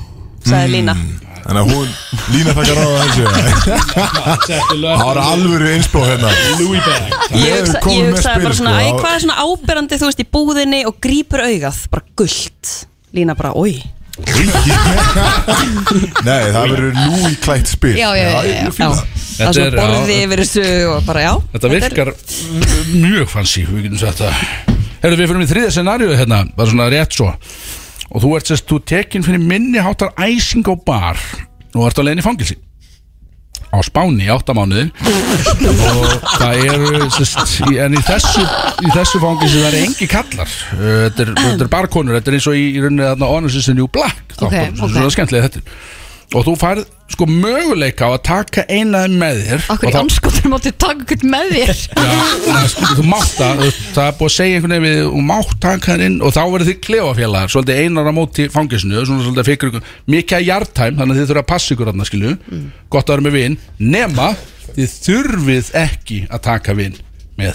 [SPEAKER 9] sagði Lína
[SPEAKER 1] Þannig að hún lína þakkar á þessu Það var alvöru einspó hérna Lúi bag
[SPEAKER 9] Ég hugsa- ég hugsaði bara
[SPEAKER 1] sko.
[SPEAKER 9] svona, æ, hvað er svona áberandi þú veist í búðinni og grípur augað, bara gult Lína bara, oi
[SPEAKER 1] Nei, það verður lúi klætt spil
[SPEAKER 8] Já, já, já, já,
[SPEAKER 1] ég
[SPEAKER 8] já.
[SPEAKER 1] fíla það.
[SPEAKER 9] Það er svona borði
[SPEAKER 3] já,
[SPEAKER 9] yfir þessu og bara, já
[SPEAKER 3] Þetta virkar m- mjög fancy Við getum sagt það Herru, við fyrir í þriðja scenariðu hérna Bara svona rétt svo Og þú ert sérst, þú tekin fyrir minni hátar æsing á bar Og ert á leiðin í fangilsi Á Spáni í áttamánuði Og það eru sérst, í- En í þessu, í þessu fangilsi Það eru engi kallar Uh, Þetta er, þetta er barkonur, þetta er eins og í, í rauninni Þarna Onusis in New Black
[SPEAKER 8] Ok,
[SPEAKER 3] þáttunum, sem er
[SPEAKER 8] ok.
[SPEAKER 3] Svona skemmtilega þetta er. Og þú færð sko möguleika á að taka einaði með þér
[SPEAKER 8] Akkur
[SPEAKER 3] Og
[SPEAKER 8] í
[SPEAKER 3] þá-
[SPEAKER 8] anskotur máttu taka hvern með þér
[SPEAKER 3] Já, sko, þú mátt það þú- það er búið að segja einhvern veginn við þú mátt taka hann inn og þá verður þið klefafélagar svolítið einar á móti fangisnu svona svolítið fyrir ykkur mikið að jartæm þannig að þið þurfa að passa ykkur hann skilju gott að vera með vin nema þið þurfið ekki að taka vin með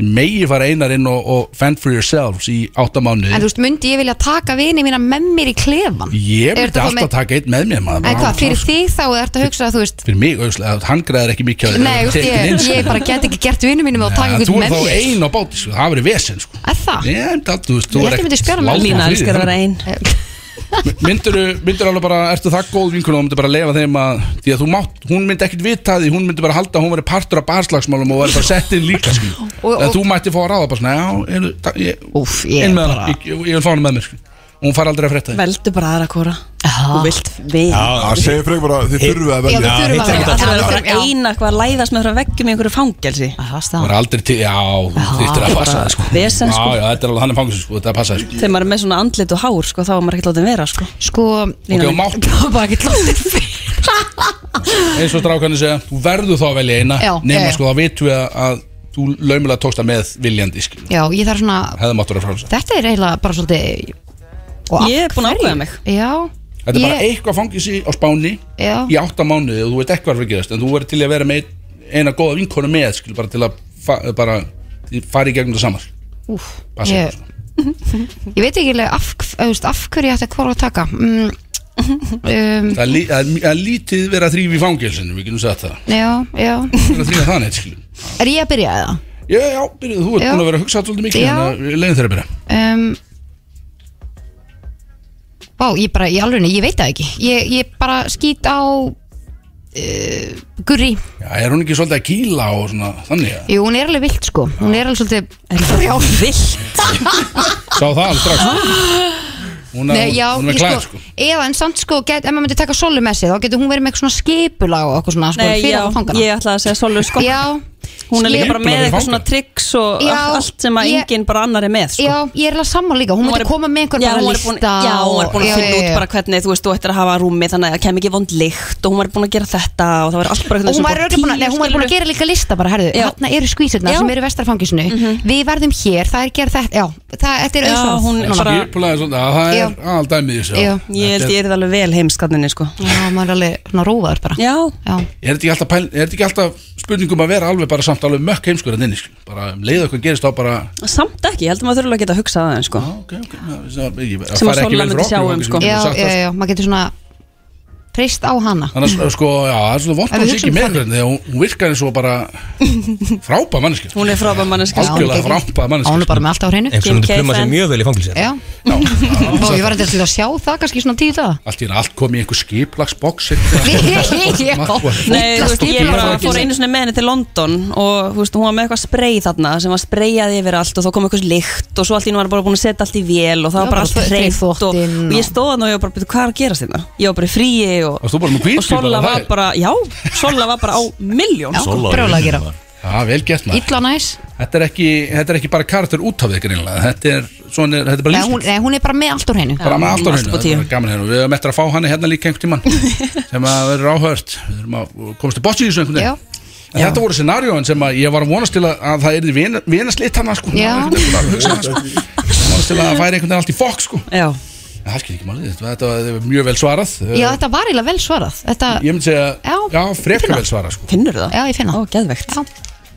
[SPEAKER 3] þið megi fara einar inn og, og fend for yourselves í áttamánuði
[SPEAKER 8] En þú veist, myndi ég vilja taka vini mína með mér í klefan
[SPEAKER 3] ég
[SPEAKER 8] Er
[SPEAKER 3] myndi
[SPEAKER 8] þetta þá
[SPEAKER 3] alltaf
[SPEAKER 8] með-
[SPEAKER 3] taka einn með mér maður
[SPEAKER 8] En
[SPEAKER 3] bara
[SPEAKER 8] hvað,
[SPEAKER 3] alveg
[SPEAKER 8] fyrir
[SPEAKER 3] klár.
[SPEAKER 8] þig þá er þetta að hugsa að þú veist
[SPEAKER 3] fyrir mig, auðvitað, hann græðir ekki mikið á því,
[SPEAKER 8] Nei,
[SPEAKER 3] hann
[SPEAKER 8] þú
[SPEAKER 3] er
[SPEAKER 8] veist,
[SPEAKER 3] tekinn inn,
[SPEAKER 8] ég,
[SPEAKER 3] sko.
[SPEAKER 8] ég bara get ekki gert vinnu mínum og taka
[SPEAKER 3] Ja, Þú
[SPEAKER 8] hvern
[SPEAKER 3] er
[SPEAKER 8] með
[SPEAKER 3] þá
[SPEAKER 8] mér
[SPEAKER 3] ein á báti, sko, það verið vesen sko.
[SPEAKER 8] Er það?
[SPEAKER 3] Ég held að þú veist, þú
[SPEAKER 8] Ég
[SPEAKER 3] er
[SPEAKER 8] held ég myndi spjara mig.
[SPEAKER 9] Lína elskar að vera einn
[SPEAKER 3] Myndirðu, myndirðu alveg bara, ertu það góð vinkun og myndir bara leifa þeim að Því að þú mátt, hún myndi ekkit vita því Hún myndi bara halda að hún veri partur af barslagsmálum Og veri bara sett inn líka skil
[SPEAKER 8] Og- og-
[SPEAKER 3] En þú mætti fá að ráða bara svona Já, er, ta, ég,
[SPEAKER 8] Úf, ég
[SPEAKER 3] inn
[SPEAKER 8] er
[SPEAKER 3] með
[SPEAKER 8] bara
[SPEAKER 3] hana, ég, ég, ég vil fá hana með mér skil Og hún far aldrei að frétta því
[SPEAKER 9] Veldu bara aðra hvora Þú
[SPEAKER 8] Aha.
[SPEAKER 9] vilt við
[SPEAKER 1] Það segir frekar bara að þið þurfið að
[SPEAKER 8] Já,
[SPEAKER 1] velja
[SPEAKER 8] við þurfum að
[SPEAKER 9] Það er
[SPEAKER 8] vera
[SPEAKER 9] bara eina hvað að læðast með frá veggjum í einhverju fangelsi
[SPEAKER 8] Aha,
[SPEAKER 3] Hún
[SPEAKER 8] stað
[SPEAKER 3] er aldrei til, já, þú þýttir að
[SPEAKER 9] bara
[SPEAKER 3] passa það sko
[SPEAKER 9] vesen, sko.
[SPEAKER 3] Já, já, þetta er alveg hann er fangis sko, þetta er að passa það sko
[SPEAKER 9] Þegar maður er með svona andlit og hár sko, þá er maður ekkert látið vera sko
[SPEAKER 8] Sko,
[SPEAKER 3] Ok, og mátt,
[SPEAKER 8] það var bara ekki lóttir fyrir
[SPEAKER 3] eins og strákanir segja Þú verður þá að velja eina
[SPEAKER 8] Já, já,
[SPEAKER 3] Nefna
[SPEAKER 8] já.
[SPEAKER 3] sko, þá vitum við að- að þú laumulega tókst það með viljandi skil
[SPEAKER 8] Já, ég þarf svona
[SPEAKER 3] Hefði mátt vera frá
[SPEAKER 8] Þetta er eiginlega bara svolítið og af
[SPEAKER 9] Ég er búin að
[SPEAKER 8] hverju?
[SPEAKER 9] ákveða mig.
[SPEAKER 8] Já
[SPEAKER 3] Þetta er bara
[SPEAKER 8] Ég-
[SPEAKER 3] eitthvað fangisi á Spáni
[SPEAKER 8] Já.
[SPEAKER 3] í átta mánuði og þú veit ekkert hvað er að gerast en þú verður til í að vera með einn- eina góða vinkonu með skil, bara til að fa bara, þið farið í gegnum það saman
[SPEAKER 8] Úf,
[SPEAKER 3] Passa
[SPEAKER 8] ég,
[SPEAKER 3] ykkur.
[SPEAKER 8] Ég veit ekki alveg af, þú veist, af hverju ég ætti að hvora að taka mm, um,
[SPEAKER 3] Það er lí- það er það er lítið verið að þrýfa í fangelsinu, við getum sagt það
[SPEAKER 8] Já, já
[SPEAKER 3] Það er að þrýfa þannig, skilum
[SPEAKER 8] Er ég að byrja eða?
[SPEAKER 3] Já, já, byrjuðu, þú ert
[SPEAKER 8] Já.
[SPEAKER 3] búin að vera að hugsa alltaf mikið
[SPEAKER 8] Já.
[SPEAKER 3] Þannig að leiðum þeirra að byrja
[SPEAKER 8] um, Vá, ég bara, í alveg, ég veit það ekki Ég, ég bara skýt á uh, Gurri
[SPEAKER 3] Já, er hún ekki svolítið að kýla og svona þannig að
[SPEAKER 8] Jú, hún er alveg vilt sko Hún er alveg svolítið Brjál vilt
[SPEAKER 3] Sá það alveg strax Hún er,
[SPEAKER 8] Nei, já,
[SPEAKER 3] hún er
[SPEAKER 8] ég
[SPEAKER 3] með klæð,
[SPEAKER 8] sko,
[SPEAKER 3] sko
[SPEAKER 8] Ef en samt sko, get, ef maður myndi taka solu með sér þá getur hún verið með eitthvað svona skipulag og eitthvað svona sko,
[SPEAKER 9] Nei,
[SPEAKER 8] fyrir
[SPEAKER 9] já,
[SPEAKER 8] okkur fangana
[SPEAKER 9] ég ætlaði að segja Solu sko
[SPEAKER 8] Já,
[SPEAKER 9] Hún er líka
[SPEAKER 8] Ég-
[SPEAKER 9] bara með eitthvað svona triks og
[SPEAKER 8] Já,
[SPEAKER 9] allt- allt sem að
[SPEAKER 8] ég-
[SPEAKER 9] enginn bara annar er með sko.
[SPEAKER 8] Já, ég er alveg sammál líka, hún, hún myndi
[SPEAKER 9] er-
[SPEAKER 8] koma með einhvern
[SPEAKER 9] já,
[SPEAKER 8] bara
[SPEAKER 9] hún er
[SPEAKER 8] lista
[SPEAKER 9] búin, já, hún er búin
[SPEAKER 8] og-
[SPEAKER 9] að finna
[SPEAKER 8] já, já,
[SPEAKER 9] út
[SPEAKER 8] já.
[SPEAKER 9] bara hvernig þú veist, þú ættir að hafa rúmi þannig að það kem ekki vond lykt og hún var búin að gera þetta og það var allt bara
[SPEAKER 8] og hún var örugglega búin, að- nei, hún var búin að gera líka lista bara, herðu,
[SPEAKER 9] Já.
[SPEAKER 8] hérna eru skvísurnar
[SPEAKER 9] Já. Mhm.
[SPEAKER 8] sem eru vestrafangísinu við verðum hér, það er gerð þetta já, það, þetta er
[SPEAKER 9] Já,
[SPEAKER 8] auðsvarað
[SPEAKER 9] hún er
[SPEAKER 8] núna.
[SPEAKER 9] bara-
[SPEAKER 3] Skipulaði svona, að það
[SPEAKER 8] Já.
[SPEAKER 3] er aldæmið í þessu
[SPEAKER 8] Já.
[SPEAKER 9] Ég held ég er það alveg vel heimskarninni sko
[SPEAKER 8] já, maður er alveg svona róðaður bara
[SPEAKER 9] Já,
[SPEAKER 8] já,
[SPEAKER 3] Er þetta ekki alltaf pæl- er þetta ekki alltaf spurningum að vera alveg bara samt alveg mökk heimskur að inni, sko Bara um leiða okkur gerist á bara
[SPEAKER 9] samt ekki, ég held að maður þurfa að geta að hugsa það sko.
[SPEAKER 3] Já, ok, ok na, það- ég- það
[SPEAKER 9] Sem
[SPEAKER 3] fær
[SPEAKER 9] að
[SPEAKER 3] ekki
[SPEAKER 9] Solla
[SPEAKER 3] vel
[SPEAKER 9] myndi
[SPEAKER 3] frá okkur,
[SPEAKER 9] sjá um,
[SPEAKER 3] okkur
[SPEAKER 9] sko.
[SPEAKER 3] sem
[SPEAKER 8] já,
[SPEAKER 3] hefur sagt
[SPEAKER 8] já,
[SPEAKER 3] það,
[SPEAKER 8] já, maður getur svona treyst á hana
[SPEAKER 3] sko. Annars, sko, já, það er svona vort
[SPEAKER 8] Ef við
[SPEAKER 3] hún sé ekki
[SPEAKER 8] hugsum
[SPEAKER 3] með
[SPEAKER 8] þannig.
[SPEAKER 3] hvernig Þegar hún- hún virkar eins og bara frábæð manneskja sko.
[SPEAKER 9] Hún er frábæð manneska
[SPEAKER 8] Já, hún
[SPEAKER 3] Algjörlega
[SPEAKER 8] geggjum.
[SPEAKER 3] frábæð
[SPEAKER 8] Já, hún er
[SPEAKER 3] manneskja sko.
[SPEAKER 8] bara með allt á hreinu
[SPEAKER 4] Einhvers
[SPEAKER 9] Kim
[SPEAKER 4] myndi
[SPEAKER 9] K.
[SPEAKER 4] pluma sér
[SPEAKER 9] fan.
[SPEAKER 4] mjög vel í fangilsi
[SPEAKER 8] já, og ég var eitthvað til að sjá það kannski svona tíu daga
[SPEAKER 3] Allt í enn allt kom í einhver hérna. skiplagsboks
[SPEAKER 8] Já.
[SPEAKER 9] Nei, þú veist, ég
[SPEAKER 8] Illa
[SPEAKER 9] bara
[SPEAKER 8] fangin.
[SPEAKER 9] fór einu sinni með henni til London og þú veist, hún var með eitthvað sprey þarna sem var spreyjað yfir allt og þá kom eitthvað lykt og svo allt í hún var bara búin að setja allt í vél og það
[SPEAKER 8] Já,
[SPEAKER 9] var bara
[SPEAKER 8] bara
[SPEAKER 9] allt hreint og, og
[SPEAKER 8] þvottinn og-
[SPEAKER 9] ég stóð hann og ég var bara, "Bíddu, hvað er að gerast þetta? Ég var bara í fríi og,
[SPEAKER 3] Varst þú bara með hvítbýr
[SPEAKER 9] og Sola
[SPEAKER 3] bara, það
[SPEAKER 9] var
[SPEAKER 3] er?
[SPEAKER 9] bara, já, Sola var bara á miljón
[SPEAKER 8] Já.
[SPEAKER 9] sko.
[SPEAKER 2] Sola,
[SPEAKER 8] brjálæði að
[SPEAKER 2] ég-
[SPEAKER 8] gera.
[SPEAKER 3] Já, vel gert maður
[SPEAKER 8] illa næs
[SPEAKER 3] þetta er, ekki, þetta er ekki bara karakter út af þig greinlega Þetta er, svona, þetta er bara
[SPEAKER 8] Nei,
[SPEAKER 3] lífstíl
[SPEAKER 8] hún, nei, hún er bara með allt á hreinu
[SPEAKER 3] bara með
[SPEAKER 9] Já,
[SPEAKER 3] allt á
[SPEAKER 9] allt
[SPEAKER 3] hennu,
[SPEAKER 9] upp
[SPEAKER 3] það
[SPEAKER 9] á
[SPEAKER 3] er
[SPEAKER 9] tíu.
[SPEAKER 3] bara gaman hennu við höfum eftir að fá hann hérna líka einhvern tímann sem að verður áhört við þurfum að komast til botsi í þessu einhvern
[SPEAKER 8] Já.
[SPEAKER 3] veginn en þetta voru scenarióin sem að ég var að vonast til að, að það yrði vina- vinaslit hann sko,
[SPEAKER 8] Já.
[SPEAKER 3] Einhvern veginn bara að hugsa það, sko. Ég vonast til að það færi einhvern veginn allt í fokk sko.
[SPEAKER 9] Já,
[SPEAKER 3] En það skil ekki málið, þetta, þetta var mjög vel svarað
[SPEAKER 8] já, þetta var eiginlega vel svarað þetta,
[SPEAKER 3] ég myndi segja,
[SPEAKER 8] Já,
[SPEAKER 3] já, frekar
[SPEAKER 8] finna.
[SPEAKER 3] vel svarað sko.
[SPEAKER 9] finnur það?
[SPEAKER 8] Já, ég finn það.
[SPEAKER 9] Ó, geðvegt
[SPEAKER 8] Já.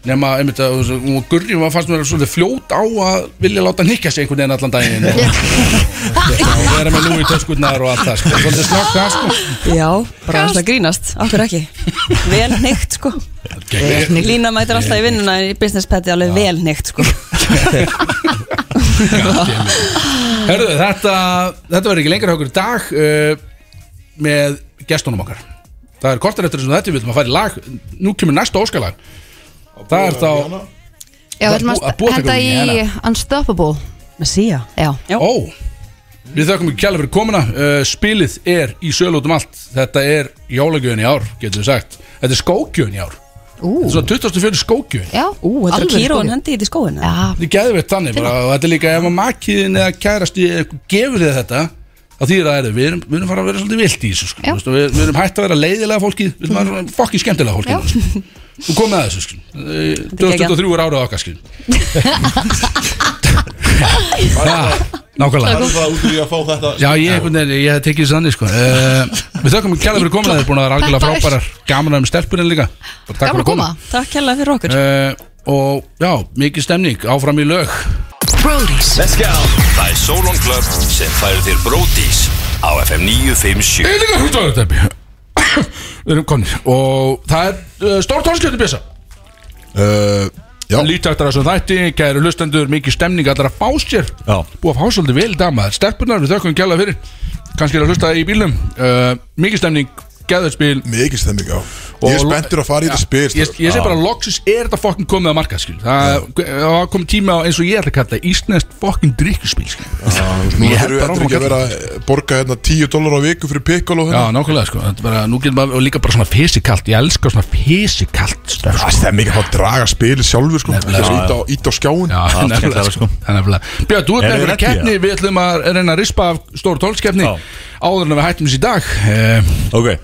[SPEAKER 3] nema, einmitt að hún var gurri, hún fannst mér svolítið fljót á að vilja láta nikka sig einhvern veginn allan daginn og, og vera með lúi töskurnar og allt það sko. svolítið snöggt það sko.
[SPEAKER 9] Já, bara að grínast, okkur ekki Vel neitt, sko Lína mætir alltaf í vinnuna í business peti alveg vel neitt, sko
[SPEAKER 3] Herðu, þetta, þetta verður ekki lengra hjá okkur í dag uh, með gestunum okkar Það er kortar eftir þessum þetta við viljum að fara í lag Nú kemur næsta óskalag Það er þá,
[SPEAKER 8] já,
[SPEAKER 3] Það
[SPEAKER 8] við ætlum
[SPEAKER 3] er bú- að
[SPEAKER 8] að
[SPEAKER 3] búa til
[SPEAKER 8] henda
[SPEAKER 3] eitthvað
[SPEAKER 8] í
[SPEAKER 3] nýja
[SPEAKER 8] Unstoppable
[SPEAKER 9] Með síja
[SPEAKER 8] já,
[SPEAKER 9] Já.
[SPEAKER 3] ó Við þökkum ekki kjæla fyrir komuna uh, Spilið er í sölu út um allt Þetta er jólagjöðin í ár, getum við sagt Þetta er skókjöðin í ár
[SPEAKER 8] ú,
[SPEAKER 3] Þetta er svona 24 skókjöðin
[SPEAKER 8] já
[SPEAKER 9] Ú, þetta er
[SPEAKER 8] alvöru
[SPEAKER 9] að kýra og
[SPEAKER 8] skóli.
[SPEAKER 9] hendi í þetta í skóinu
[SPEAKER 8] já,
[SPEAKER 3] Þetta er geðveitt þannig bara, og þetta er líka ef að makiðin eða kærasti gefur þið þetta þá þýðir það er við erum, við erum fara að vera svolítið vilt í þessu sko.
[SPEAKER 8] Já.
[SPEAKER 3] Þú veist, og við, við erum hægt að vera leiðilega fólkið við erum að vera svona fokki skemmtilega
[SPEAKER 8] Já.
[SPEAKER 3] fólkið sko. og komið að þessu sko. Eh, 2023 er árað okkar sko. ja, nákvæmlega
[SPEAKER 2] Það út í að fá þetta
[SPEAKER 3] Já, ég, einhvern veginn, ég hef tekið þessu þannig sko. uh, Við þökkum kjæla fyrir komin að þið er búin að vera algjörlega
[SPEAKER 8] Takk fyrir.
[SPEAKER 3] frábærar Gaman að með stelpunni líka Bara takk
[SPEAKER 8] gaman
[SPEAKER 3] fyrir
[SPEAKER 8] að koma
[SPEAKER 9] Takk hella fyrir okkur
[SPEAKER 3] Eh, Og já, mikið stemning, áfram í lög
[SPEAKER 6] Let's go Það er Solon Club sem færir þér Bródís á FM 957
[SPEAKER 3] Eilingar hundvarðardæmi Við erum konir Og það er uh, stór tónskjöldi bjösa
[SPEAKER 1] Uh, já,
[SPEAKER 3] Lítið eftir þessum þætti, kæru lustendur, mikið stemning allar að fá sér
[SPEAKER 2] Já.
[SPEAKER 3] Búið að fá svolítið vel í dag maður Stelpunar við þökkum gæla fyrir Kannski er að hlusta í bílum uh, Mikið stemning, geðarspil
[SPEAKER 1] mikið stemming á Ég er
[SPEAKER 3] Og-
[SPEAKER 1] spenntur að fara í þetta spil sko.
[SPEAKER 3] Ég,
[SPEAKER 1] strákar.
[SPEAKER 3] ég segi bara, loksins er þetta fokkin komið að marka skil Það það var komið tíma á eins og ég ætla að kalla það, Ísnest fokkin drikkuspil skil
[SPEAKER 1] Nú
[SPEAKER 3] Ég held
[SPEAKER 1] þurfum við eftir ekki
[SPEAKER 3] bara
[SPEAKER 1] að vera að borga hérna 10 dólar á viku fyrir pikkol og
[SPEAKER 3] Já,
[SPEAKER 1] hérna
[SPEAKER 3] nákvæmlega sko, þetta er bara, nú getur maður og líka bara svona fysikalt, ég elska svona fysikalt sko. stöf
[SPEAKER 1] Það er stemming að fá að draga spilið sjálfur sko Það er ít á, ít á skjáin
[SPEAKER 3] Já,
[SPEAKER 2] það er skemmtilega,
[SPEAKER 3] nefnilega sko
[SPEAKER 2] sko.
[SPEAKER 3] Það er nefnilega Björn, þú ert
[SPEAKER 2] Eru þið
[SPEAKER 3] með
[SPEAKER 2] ready,
[SPEAKER 3] einhverja keppni
[SPEAKER 2] já?
[SPEAKER 3] Við ætlum að reyna að rispa af stóru tólskeppni
[SPEAKER 2] Já.
[SPEAKER 3] Áður en við hættum þessi í dag Eh,
[SPEAKER 2] Ok,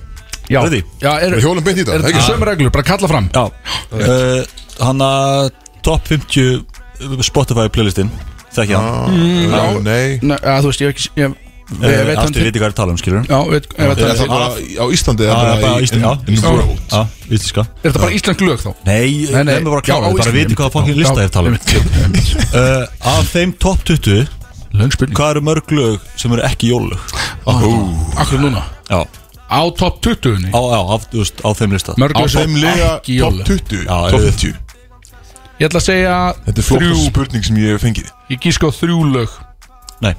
[SPEAKER 3] Já,
[SPEAKER 2] Ready?
[SPEAKER 3] já er,
[SPEAKER 1] Við hjólum beint í þetta,
[SPEAKER 3] Er þetta ekki
[SPEAKER 1] ekki?
[SPEAKER 3] sömu reglur, bara kalla fram
[SPEAKER 2] já uh, Hann að top 50 Spotify playlistin Þekki hann
[SPEAKER 1] Já, nei
[SPEAKER 3] Nei, að, Þú veist, ég hef ekki ég, ég
[SPEAKER 2] Eh,
[SPEAKER 3] veit hann
[SPEAKER 2] Asti
[SPEAKER 3] til
[SPEAKER 2] viti hvað er að tala um, skilur
[SPEAKER 3] Já, veit, ég veit
[SPEAKER 1] Er
[SPEAKER 3] hann
[SPEAKER 1] það
[SPEAKER 3] til
[SPEAKER 1] bara á Íslandi eða
[SPEAKER 2] Já,
[SPEAKER 1] bara
[SPEAKER 2] bara
[SPEAKER 1] í-
[SPEAKER 2] Ísland,
[SPEAKER 1] in- in
[SPEAKER 2] já
[SPEAKER 1] world?
[SPEAKER 2] Já, íslenska
[SPEAKER 3] Er þetta bara íslensk lög þá?
[SPEAKER 2] Nei,
[SPEAKER 3] Nei, nei,
[SPEAKER 2] nefnum bara að
[SPEAKER 3] já,
[SPEAKER 2] klára,
[SPEAKER 3] á
[SPEAKER 2] þið bara
[SPEAKER 3] Íslandi.
[SPEAKER 2] viti hvaða fokkin
[SPEAKER 3] Já,
[SPEAKER 2] lista er tala um
[SPEAKER 3] einmitt.
[SPEAKER 2] uh, Af um. þeim top 20
[SPEAKER 3] Löng spurning
[SPEAKER 2] Hvað eru mörg lög sem eru ekki jólug?
[SPEAKER 3] Akkur núna
[SPEAKER 2] Já
[SPEAKER 3] Á top 20
[SPEAKER 2] Á, já, á, þú veist, á þeim lista
[SPEAKER 3] Mörg
[SPEAKER 1] Á
[SPEAKER 3] lög sem
[SPEAKER 1] þeim liða
[SPEAKER 3] ekki
[SPEAKER 1] top
[SPEAKER 3] jólalag.
[SPEAKER 1] 20
[SPEAKER 2] Já,
[SPEAKER 1] Top
[SPEAKER 2] auðvitað.
[SPEAKER 1] 50
[SPEAKER 3] Ég ætla að segja
[SPEAKER 1] Þetta er
[SPEAKER 3] þrjú
[SPEAKER 1] flokkast spurning sem ég hef fengið
[SPEAKER 3] Ég gísk á þrjú lög
[SPEAKER 2] Nei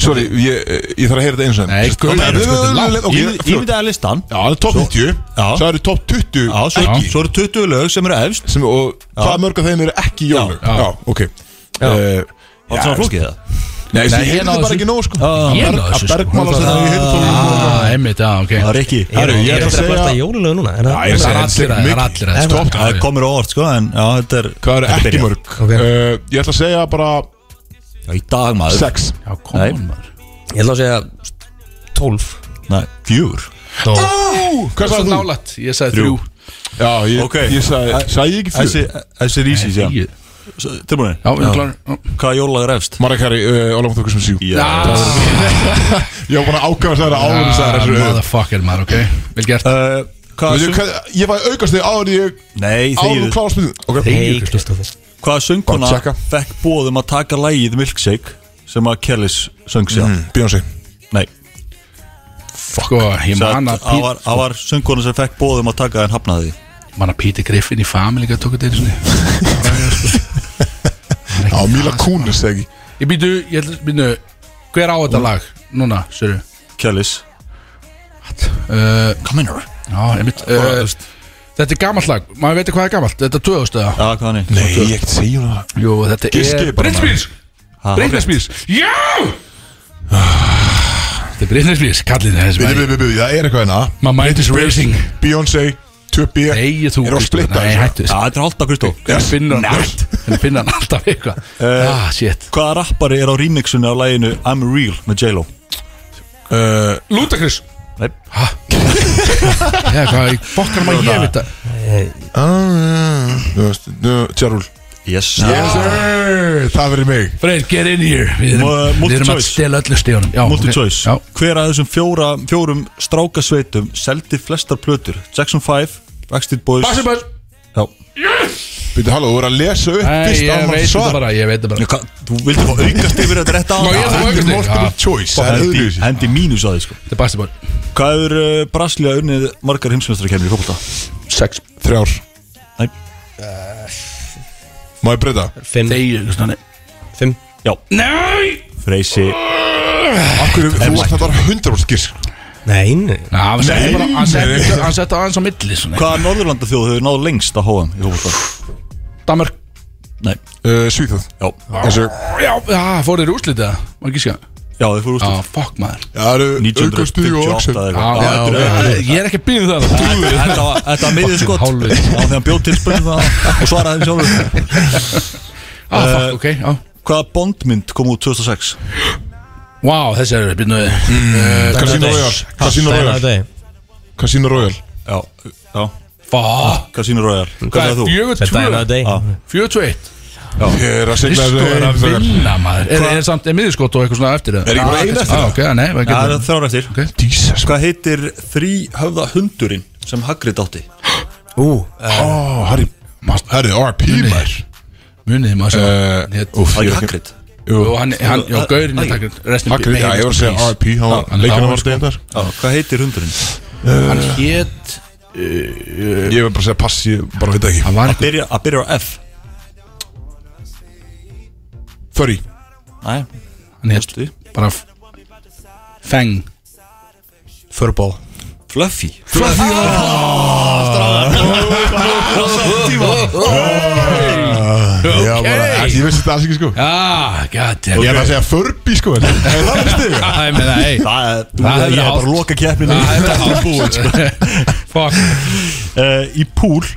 [SPEAKER 1] Sorry, ég, eh, ég þarf að heyra þetta eins og
[SPEAKER 3] Nei, gaur,
[SPEAKER 1] Ok,
[SPEAKER 3] þetta er langt.
[SPEAKER 1] ok,
[SPEAKER 2] Ég
[SPEAKER 1] fljótt.
[SPEAKER 2] myndi að listan
[SPEAKER 1] Já, það er top 50
[SPEAKER 2] Já.
[SPEAKER 1] Svo eru top 20
[SPEAKER 2] Já, svo,
[SPEAKER 3] Ekki.
[SPEAKER 2] svo eru 20 lög sem eru efst
[SPEAKER 1] sem, Og hvað mörg af þeim eru ekki jólug
[SPEAKER 3] Já.
[SPEAKER 1] Já, ok Eh,
[SPEAKER 2] Var það svona flókið það?
[SPEAKER 1] Nei,
[SPEAKER 3] Nei,
[SPEAKER 1] ég
[SPEAKER 3] ég
[SPEAKER 1] heyrði
[SPEAKER 3] náði
[SPEAKER 1] bara
[SPEAKER 3] þessu.
[SPEAKER 1] ekki nóg sko
[SPEAKER 3] Ég
[SPEAKER 1] Að
[SPEAKER 3] náði
[SPEAKER 1] Berg-
[SPEAKER 3] þessu,
[SPEAKER 1] Að
[SPEAKER 3] sko.
[SPEAKER 1] bergmála þess að það ég heyrði tónum
[SPEAKER 3] Ah, einmitt, já, ok
[SPEAKER 2] Það er ekki
[SPEAKER 1] Herru, ég er að
[SPEAKER 4] að
[SPEAKER 1] segja-
[SPEAKER 4] blasta jólulegu núna er það-
[SPEAKER 1] Já, ég er að
[SPEAKER 3] Það er
[SPEAKER 1] segja
[SPEAKER 3] allir að það er allir að
[SPEAKER 1] Stopp.
[SPEAKER 2] Það komir á orð, sko, en já, þetta er
[SPEAKER 1] Hvað eru
[SPEAKER 2] þetta
[SPEAKER 1] ekki
[SPEAKER 2] byrjar.
[SPEAKER 1] mörg?
[SPEAKER 4] Ok.
[SPEAKER 1] Eh, Ég ætla að segja bara
[SPEAKER 2] Já, í dag maður
[SPEAKER 1] 6
[SPEAKER 3] Já, kom
[SPEAKER 2] Nei.
[SPEAKER 3] on maður
[SPEAKER 4] Ég ætla að segja 12
[SPEAKER 2] Nei, fjögur
[SPEAKER 1] Hvað
[SPEAKER 3] Hvað svo
[SPEAKER 1] sagði þú?
[SPEAKER 3] nálætt? Ég sagði
[SPEAKER 2] Þrjú.
[SPEAKER 3] þrjú
[SPEAKER 1] Já, ég
[SPEAKER 2] Ok.
[SPEAKER 1] ég sagði Sagði ég ekki
[SPEAKER 2] Þessi
[SPEAKER 1] fyrir?
[SPEAKER 2] þessi er easy,
[SPEAKER 3] Tíu.
[SPEAKER 2] já Tilbúinni?
[SPEAKER 3] Já, við erum klárir
[SPEAKER 2] Hvað jólag er efst?
[SPEAKER 1] Marakari, Ólafur Þókar sem síg
[SPEAKER 2] Já
[SPEAKER 1] Ég var búin að ákvæða þess að það er áður þess að það er þessu
[SPEAKER 3] Motherfucker maður, ok Vel gert
[SPEAKER 2] Eh, Hvað
[SPEAKER 1] Veitu
[SPEAKER 2] söng-
[SPEAKER 1] hvað- Ég var aukast þig áður en ég
[SPEAKER 2] Nei,
[SPEAKER 1] Áður og
[SPEAKER 2] þegið
[SPEAKER 1] klára spilin Ok
[SPEAKER 4] Hei Kristófur
[SPEAKER 2] Hvaða söngkona
[SPEAKER 1] Bara að checka.
[SPEAKER 2] fekk bóðum að taka lægið Milkshake sem að Kellis söng sér
[SPEAKER 1] Mm, Beyoncé
[SPEAKER 2] Nei,
[SPEAKER 3] Sko, ég
[SPEAKER 2] það
[SPEAKER 3] man að
[SPEAKER 2] það var,
[SPEAKER 3] Pete-
[SPEAKER 2] það var söngkona sem fekk bóðum að taka en hafnaði því.
[SPEAKER 3] ég man að Peter Griffin í Family Guy tók þetta einu sinni
[SPEAKER 1] Já, Mila Kunis segi
[SPEAKER 3] Ég býtu, ég ætla- býtu Hver á þetta lag? Núna, sérðu
[SPEAKER 2] Kellis
[SPEAKER 3] Uh,
[SPEAKER 2] Come in her
[SPEAKER 3] Já, einmitt uh, Þetta er gamalt lag, maður veitir hvað er gamalt Þetta er 2000 eða?
[SPEAKER 2] Já, hvað hann er?
[SPEAKER 1] Nei, ég ekkert segja hún það
[SPEAKER 3] Jú, þetta
[SPEAKER 1] Giskið bara,
[SPEAKER 3] er
[SPEAKER 1] maður.
[SPEAKER 3] Britney Spears
[SPEAKER 2] Ha,
[SPEAKER 3] Britney
[SPEAKER 2] ok.
[SPEAKER 3] Spears Já Þetta er Britney Spears, kallið þið
[SPEAKER 1] Bíði,
[SPEAKER 3] þessum
[SPEAKER 1] bíði, bíði, það er eitthvað hérna
[SPEAKER 3] My mind is racing
[SPEAKER 1] Beyoncé 2B
[SPEAKER 3] Nei, þú
[SPEAKER 1] Er það að splitta
[SPEAKER 3] Nei,
[SPEAKER 1] þessu? Ah,
[SPEAKER 3] hættu
[SPEAKER 2] Já, þetta er halda Kristó
[SPEAKER 3] Hvernig finna hann Hvernig finna hann alltaf eitthvað
[SPEAKER 1] Eh.
[SPEAKER 3] Ah, shit
[SPEAKER 2] Hvaða rappari er á remixinu af læginu I'm Real með J-Lo?
[SPEAKER 1] Eh,
[SPEAKER 3] Ludacris
[SPEAKER 2] Nei.
[SPEAKER 3] Hæ? Já, hvað, bokkar maður ég veit það
[SPEAKER 1] ah, Þú veist Tjarúl
[SPEAKER 2] Yes
[SPEAKER 1] Yes sir Það verður mig
[SPEAKER 3] Freyr, get in here Við erum,
[SPEAKER 2] Mo-
[SPEAKER 3] við erum að
[SPEAKER 2] multi-choice.
[SPEAKER 3] stela öllu stíðunum Já,
[SPEAKER 2] Multi-choice
[SPEAKER 3] ok.
[SPEAKER 2] Hver af þessum fjóra, fjórum strákasveitum seldi flestar plötur? Jackson 5, Backstreet Boys
[SPEAKER 3] Já Bassi Böll
[SPEAKER 2] Já
[SPEAKER 1] Býtti, halló, þú verður að lesa upp
[SPEAKER 3] Nei,
[SPEAKER 1] fyrst
[SPEAKER 3] ég
[SPEAKER 1] annað
[SPEAKER 3] veit það
[SPEAKER 1] svar.
[SPEAKER 3] bara Ég veit það
[SPEAKER 2] Nei,
[SPEAKER 3] bara
[SPEAKER 2] hvað, Þú vildi fá aukast yfir þetta rétt á
[SPEAKER 3] Má ég fá aukast yfir?
[SPEAKER 1] Multiple
[SPEAKER 3] Já.
[SPEAKER 1] choice Það er
[SPEAKER 2] Hendi,
[SPEAKER 1] öðruvísi
[SPEAKER 2] hendi mínus á því sko
[SPEAKER 3] Þetta er Bassi Böll
[SPEAKER 2] Hvað er uh, Brasilia unnið margar heimsmestrakefnir í fólkvölda?
[SPEAKER 3] Sex
[SPEAKER 1] Þrjár
[SPEAKER 2] Nei.
[SPEAKER 1] Má ég breyta?
[SPEAKER 4] 5
[SPEAKER 3] Þeir, þú veist hann
[SPEAKER 4] 5
[SPEAKER 2] Já,
[SPEAKER 3] Nei
[SPEAKER 2] Freysi
[SPEAKER 1] Akkur, þú varst þetta bara 100% gísk
[SPEAKER 4] Nei nei.
[SPEAKER 3] Ná, hann setti
[SPEAKER 1] Nei.
[SPEAKER 3] bara Hann setti hann setti aðeins á milli svona.
[SPEAKER 2] Hvaða Norðurlanda þjóð hefur náð lengst að HM í fólkvölda?
[SPEAKER 3] Danmark
[SPEAKER 2] Nei,
[SPEAKER 1] Uh, Svíþjóð
[SPEAKER 2] já
[SPEAKER 1] Þessu
[SPEAKER 3] Já, já, fór þeir í úrslitið það Var ekki skjá
[SPEAKER 2] Já, þau fóru úr
[SPEAKER 3] Já,
[SPEAKER 2] stúr
[SPEAKER 3] fuck maður
[SPEAKER 1] Það eru aukastíð og
[SPEAKER 2] 1958
[SPEAKER 1] Axel
[SPEAKER 2] eða
[SPEAKER 3] Já,
[SPEAKER 2] eitthvað.
[SPEAKER 3] já,
[SPEAKER 2] Já, þetta er-
[SPEAKER 3] já, Ég er ekki að býða það
[SPEAKER 2] Þetta var- þetta var miðið skott
[SPEAKER 3] Hálfviti.
[SPEAKER 2] Já, Þegar hann bjóð til spurningu um og svaraði þeim sjálfur
[SPEAKER 3] Á, Ah, fuck, ok, já
[SPEAKER 2] Hvaða bondmynd kom út 2006?
[SPEAKER 3] Vá, þessi er byrnuði
[SPEAKER 1] Casino
[SPEAKER 4] Day.
[SPEAKER 1] Royale Casino
[SPEAKER 4] Dæna
[SPEAKER 1] Royale
[SPEAKER 4] þetta
[SPEAKER 1] Casino Royale
[SPEAKER 2] Já, já
[SPEAKER 3] Fuck
[SPEAKER 2] Casino Royale Hvað er þú?
[SPEAKER 3] Fjögur
[SPEAKER 4] Þetta er
[SPEAKER 3] tvö
[SPEAKER 4] dæna þetta
[SPEAKER 3] Fjögur tvö eitt
[SPEAKER 1] Ég er að segla
[SPEAKER 3] Kristó er að
[SPEAKER 1] þessu heim
[SPEAKER 3] vinna maður Er, er samt miðurskott og eitthvað svona eftir það?
[SPEAKER 1] Er ekki bara ein
[SPEAKER 3] Ah,
[SPEAKER 1] eftir
[SPEAKER 3] ah, ok, nei,
[SPEAKER 2] Já, það er
[SPEAKER 3] ekki
[SPEAKER 2] þrjára eftir
[SPEAKER 3] Ok.
[SPEAKER 1] Jesus
[SPEAKER 2] Hvað heitir þrý höfða hundurinn sem Hagrid átti?
[SPEAKER 4] Ú
[SPEAKER 1] Oh, Harry Herri, RP maður
[SPEAKER 3] Munið maður sem
[SPEAKER 1] Eh,
[SPEAKER 3] Hét-
[SPEAKER 1] úff,
[SPEAKER 2] Það er
[SPEAKER 1] ég veit ekki.
[SPEAKER 2] ekki Hagrid
[SPEAKER 1] Jú.
[SPEAKER 3] Og hann, hann, já,
[SPEAKER 2] Æ, æ.
[SPEAKER 3] Gaurin er takkur Restin
[SPEAKER 1] Akkur, já, ég var að segja RP hann var-
[SPEAKER 3] hann er
[SPEAKER 1] Leikinn
[SPEAKER 3] dáinn,
[SPEAKER 1] var
[SPEAKER 3] sko.
[SPEAKER 1] stegndar
[SPEAKER 2] Já, hvað heitir hundurinn?
[SPEAKER 3] Hann hét
[SPEAKER 1] Ég vil bara segja pass, ég bara veit það ekki
[SPEAKER 3] Hann var
[SPEAKER 2] Að
[SPEAKER 3] eitthvað
[SPEAKER 2] byrja, að byrja á F
[SPEAKER 1] Furry
[SPEAKER 2] Nei,
[SPEAKER 3] Hann hét
[SPEAKER 2] veistu
[SPEAKER 3] bara f- Feng
[SPEAKER 4] Furball
[SPEAKER 2] Fluffy
[SPEAKER 1] Já, bara, æst, ég vissi þetta alls ekki sko
[SPEAKER 3] Ah, god damn
[SPEAKER 1] Ég er að segja Furby sko en- en Það er stig
[SPEAKER 3] Það er með það, ei
[SPEAKER 2] Það er, þú,
[SPEAKER 3] Það
[SPEAKER 2] ég
[SPEAKER 3] hefði
[SPEAKER 2] er bara
[SPEAKER 3] átt.
[SPEAKER 2] að loka keppninu
[SPEAKER 3] Það er það búið
[SPEAKER 1] sko.
[SPEAKER 3] Fuck
[SPEAKER 2] uh, Í pool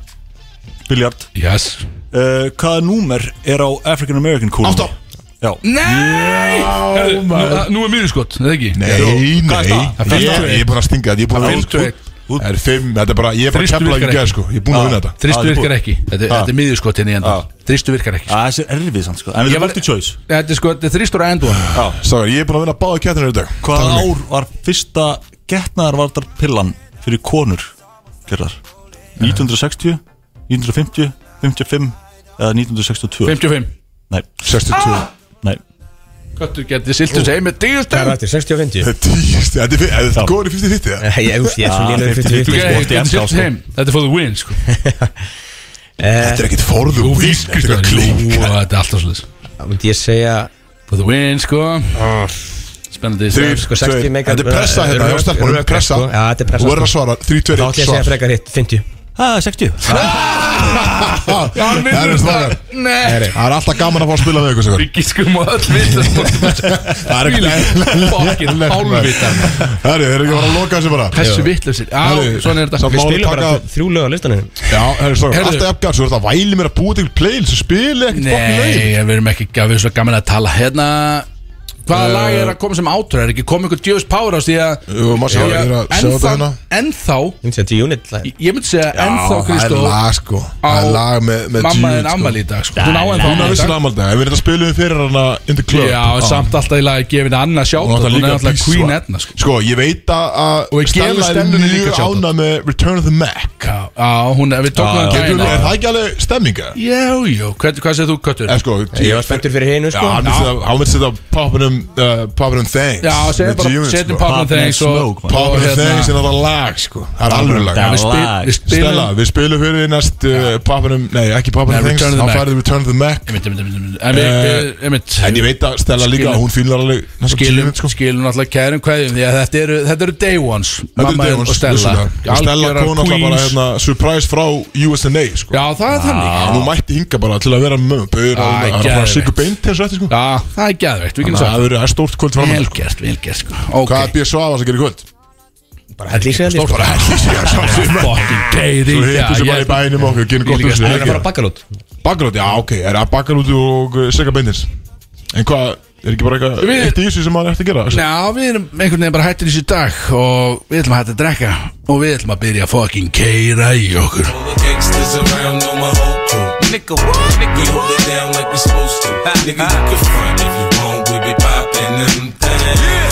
[SPEAKER 2] Biljard
[SPEAKER 3] Yes
[SPEAKER 2] uh, Hvaða númer er á African American kúlum?
[SPEAKER 1] Átta.
[SPEAKER 2] Já
[SPEAKER 3] Nei Herru, nú- ah, Nú er miðurskott, það ekki
[SPEAKER 1] Nei,
[SPEAKER 2] Hvað er
[SPEAKER 1] nei
[SPEAKER 2] það?
[SPEAKER 1] Ég ég er búin að stinga þetta Ég er búin að
[SPEAKER 3] Fimmtu eitt.
[SPEAKER 1] Það er fimm Þetta er bara Ég er bara að
[SPEAKER 3] Þrýstu
[SPEAKER 1] kepla ekki
[SPEAKER 3] virkar
[SPEAKER 1] gæð sko Ég er búin að vinna þetta
[SPEAKER 3] Þristu
[SPEAKER 2] það er
[SPEAKER 3] virkar
[SPEAKER 2] búið.
[SPEAKER 3] ekki Þetta
[SPEAKER 1] Ah.
[SPEAKER 3] er- þetta er miðurskottin í enda Þristu virkar ekki
[SPEAKER 2] Æ, Þessi er erfið samt sko En við
[SPEAKER 3] Ég
[SPEAKER 2] erum
[SPEAKER 3] var-
[SPEAKER 2] multi choice
[SPEAKER 3] Þetta er sko, þetta er þristur að endur
[SPEAKER 1] Ah. Ságar, ég er búin að vinna báða kettinu í dag
[SPEAKER 2] Hvaða
[SPEAKER 1] Takk fyrir mig.
[SPEAKER 2] ár var fyrsta getnaðarvartarpillan fyrir konur gerðar?
[SPEAKER 3] Eh.
[SPEAKER 2] 1960, 1950, 55 eða 1962?
[SPEAKER 3] 55
[SPEAKER 2] Nei,
[SPEAKER 1] 62
[SPEAKER 2] nei,
[SPEAKER 3] Hvað Köttur geti siltu segi með 10
[SPEAKER 4] Hvað er
[SPEAKER 3] stöðum
[SPEAKER 4] þetta, 60 og 50?
[SPEAKER 1] Tíst, þetta er fi- er þetta góður í 50-50 eða?
[SPEAKER 4] Nei, ég, ég er svo
[SPEAKER 2] Ah,
[SPEAKER 4] lélur
[SPEAKER 2] 50-50,
[SPEAKER 3] Þú
[SPEAKER 4] 50-50
[SPEAKER 2] sko.
[SPEAKER 4] sko.
[SPEAKER 3] geti-
[SPEAKER 2] Gott í
[SPEAKER 3] geti
[SPEAKER 2] enda,
[SPEAKER 3] siltu
[SPEAKER 2] sko.
[SPEAKER 3] heim Þetta er for the win sko
[SPEAKER 1] Þetta er ekkit forðu
[SPEAKER 3] Þú
[SPEAKER 1] win,
[SPEAKER 3] vískist
[SPEAKER 1] Þetta er
[SPEAKER 3] það
[SPEAKER 1] klík
[SPEAKER 3] Jú, Þetta er alltaf svolítið
[SPEAKER 4] Það myndi ég segja
[SPEAKER 3] For the win sko
[SPEAKER 1] Ah.
[SPEAKER 3] Spennandi
[SPEAKER 1] Þrír,
[SPEAKER 4] Sko, 60
[SPEAKER 1] tveir.
[SPEAKER 4] megar-
[SPEAKER 1] Þetta er pressa hérna,
[SPEAKER 4] Rök-
[SPEAKER 1] hjá stelpunum,
[SPEAKER 4] rök,
[SPEAKER 1] pressa.
[SPEAKER 4] sko. Já, þetta er pressa,
[SPEAKER 1] Þú verður að
[SPEAKER 4] sko.
[SPEAKER 1] svara, 3, 2, 1,
[SPEAKER 4] Þá ætti ég að segja
[SPEAKER 1] svar
[SPEAKER 4] frekar hitt, 50
[SPEAKER 2] Það er 60
[SPEAKER 1] Já, Það er svarar
[SPEAKER 3] Nei
[SPEAKER 1] Það er alltaf gaman að fá að spila með ykkur sigur
[SPEAKER 3] Við gískum á öll vitlaust.
[SPEAKER 1] Það er ekki
[SPEAKER 3] Fucking hálfvitar
[SPEAKER 1] Herri, þeir eru ekki að fara að loka þessu bara
[SPEAKER 3] Þessu vitlausir Já,
[SPEAKER 1] Herri,
[SPEAKER 3] svona er þetta
[SPEAKER 1] samt
[SPEAKER 4] Við
[SPEAKER 1] Máli
[SPEAKER 4] spilum bara
[SPEAKER 1] taka-
[SPEAKER 4] þrjú lög á listanum
[SPEAKER 1] Já, herri, strákar,
[SPEAKER 3] Herri.
[SPEAKER 1] alltaf uppgjátt Svo er þetta að væli mér að búa til playlist Svo spili ekkert fokkin lögin
[SPEAKER 3] Nei, við erum ekki Já, við erum svo gaman að tala Hérna Hvaða lag er að koma sem átrú Er ekki komið einhver djöðs power ás því að
[SPEAKER 1] Eh. Jú, maður sjá, ég er að sjá þetta hérna
[SPEAKER 3] Ennþá
[SPEAKER 4] Ég myndi segja 10 unit lag.
[SPEAKER 3] Ég myndi segja ennþá
[SPEAKER 1] Já, það er
[SPEAKER 3] Kristó
[SPEAKER 1] lag sko
[SPEAKER 3] á
[SPEAKER 1] Það er lag með, með
[SPEAKER 3] Mamma
[SPEAKER 1] Jude,
[SPEAKER 3] en
[SPEAKER 1] sko.
[SPEAKER 3] ammali í dag sko. Hún á ennþá
[SPEAKER 1] Hún er
[SPEAKER 3] afmæli í
[SPEAKER 1] vissin
[SPEAKER 3] dag
[SPEAKER 1] ammaldið Við erum að spila við fyrir hana In the club
[SPEAKER 3] Já, en samt alltaf í lagi að gefa henni annað
[SPEAKER 1] Ah.
[SPEAKER 3] sjátt
[SPEAKER 1] Hún
[SPEAKER 3] Hún er alltaf
[SPEAKER 1] písva.
[SPEAKER 3] Queen Edna sko.
[SPEAKER 1] Sko, ég veit að að
[SPEAKER 3] Og ég gef
[SPEAKER 1] Stella er
[SPEAKER 3] Stellunni líka
[SPEAKER 1] mjög
[SPEAKER 3] shout-out.
[SPEAKER 1] ánað með Return of the Mac Ah,
[SPEAKER 3] Já, á, hún er, við tókum hann
[SPEAKER 1] Getur-
[SPEAKER 3] gæna
[SPEAKER 1] Er það ekki alveg stemminga?
[SPEAKER 3] Jú, jú, hvað, hvað segir þú, Köttur?
[SPEAKER 1] En sko,
[SPEAKER 4] Ég var spenntur fyrir hinu
[SPEAKER 1] Já,
[SPEAKER 4] sko
[SPEAKER 1] hann myndi setja- hann myndi setja poppinum uh, poppinum thanks
[SPEAKER 3] Já, segjum
[SPEAKER 1] með
[SPEAKER 3] bara,
[SPEAKER 1] G-Unit,
[SPEAKER 3] setjum
[SPEAKER 1] sko.
[SPEAKER 3] Pablo
[SPEAKER 2] Pop
[SPEAKER 3] Thangs
[SPEAKER 2] and
[SPEAKER 3] og
[SPEAKER 2] Smoke, man.
[SPEAKER 1] Pop
[SPEAKER 3] og
[SPEAKER 1] and
[SPEAKER 3] hérna-
[SPEAKER 1] Thangs er þetta lag sko Það er alveg lag
[SPEAKER 3] Já, við spil-
[SPEAKER 2] Lag.
[SPEAKER 3] Við
[SPEAKER 1] Stella,
[SPEAKER 3] spilum
[SPEAKER 1] við spilum fyrir þér í næst uh, Popinum, nei ekki Popinum
[SPEAKER 3] Nei,
[SPEAKER 1] Thanks
[SPEAKER 3] Return of the
[SPEAKER 1] Þá
[SPEAKER 3] Mac.
[SPEAKER 1] færðu Return of the Mac
[SPEAKER 3] Einmitt, einmitt, einmitt, einmitt. En við-
[SPEAKER 1] Eh,
[SPEAKER 3] við- einmitt
[SPEAKER 1] En ég veit að Stella líka,
[SPEAKER 3] Skilum.
[SPEAKER 1] hún fílar alveg þessa
[SPEAKER 3] Skilum,
[SPEAKER 1] G-Unit, sko.
[SPEAKER 3] skilum alltaf kærum kveðjum Því að þetta eru, þetta eru day ones
[SPEAKER 1] Þetta er
[SPEAKER 3] Mamma
[SPEAKER 1] Demons,
[SPEAKER 3] og Stella
[SPEAKER 1] vissulega. Og Stella
[SPEAKER 3] Algjörar
[SPEAKER 1] kom náttúrulega bara
[SPEAKER 3] queens.
[SPEAKER 1] hérna Surprise frá USA sko
[SPEAKER 3] Já, það er þannig
[SPEAKER 1] Hún mætti hinga bara til að vera með Böður að það
[SPEAKER 3] Æ,
[SPEAKER 1] er að fara
[SPEAKER 3] geðveikt.
[SPEAKER 1] Sigur Beint þessu eftir sko
[SPEAKER 3] Já, það er gæðvegt,
[SPEAKER 1] Þannig
[SPEAKER 3] við getum
[SPEAKER 1] að
[SPEAKER 3] sagt
[SPEAKER 1] Það verður- það er stórt kvöld fram að
[SPEAKER 3] Velgert, velgert sko Ok,
[SPEAKER 1] Hvað er B.S. Svava sem gerir í kvöld?
[SPEAKER 4] Bara held lísið
[SPEAKER 3] stórt
[SPEAKER 4] Það
[SPEAKER 3] bara Fucking geiði
[SPEAKER 1] Svo hittu sem bara í bænum okkur Gynni gott
[SPEAKER 3] Ég líka
[SPEAKER 1] úr
[SPEAKER 4] er að fara
[SPEAKER 1] þessu
[SPEAKER 4] að bakkalút
[SPEAKER 1] Bakalút, já ok Er það bakalút og uh, Sigur Beintins? En hvað, er ekki bara eitthvað
[SPEAKER 3] Við-
[SPEAKER 1] Eitt í þessu sem maður eftir að gera? Axel?
[SPEAKER 3] Já, við erum einhvern veginn bara hættir í þessu dag Og við ætlum að hætta að drekka Og við ætlum að byrja að fucking keira í okkur
[SPEAKER 10] Gangsters around on my whole crew. Nigga, what? Nigga, we hold it down like we supposed to. Nigga, you can front if you want, we be poppin' them things.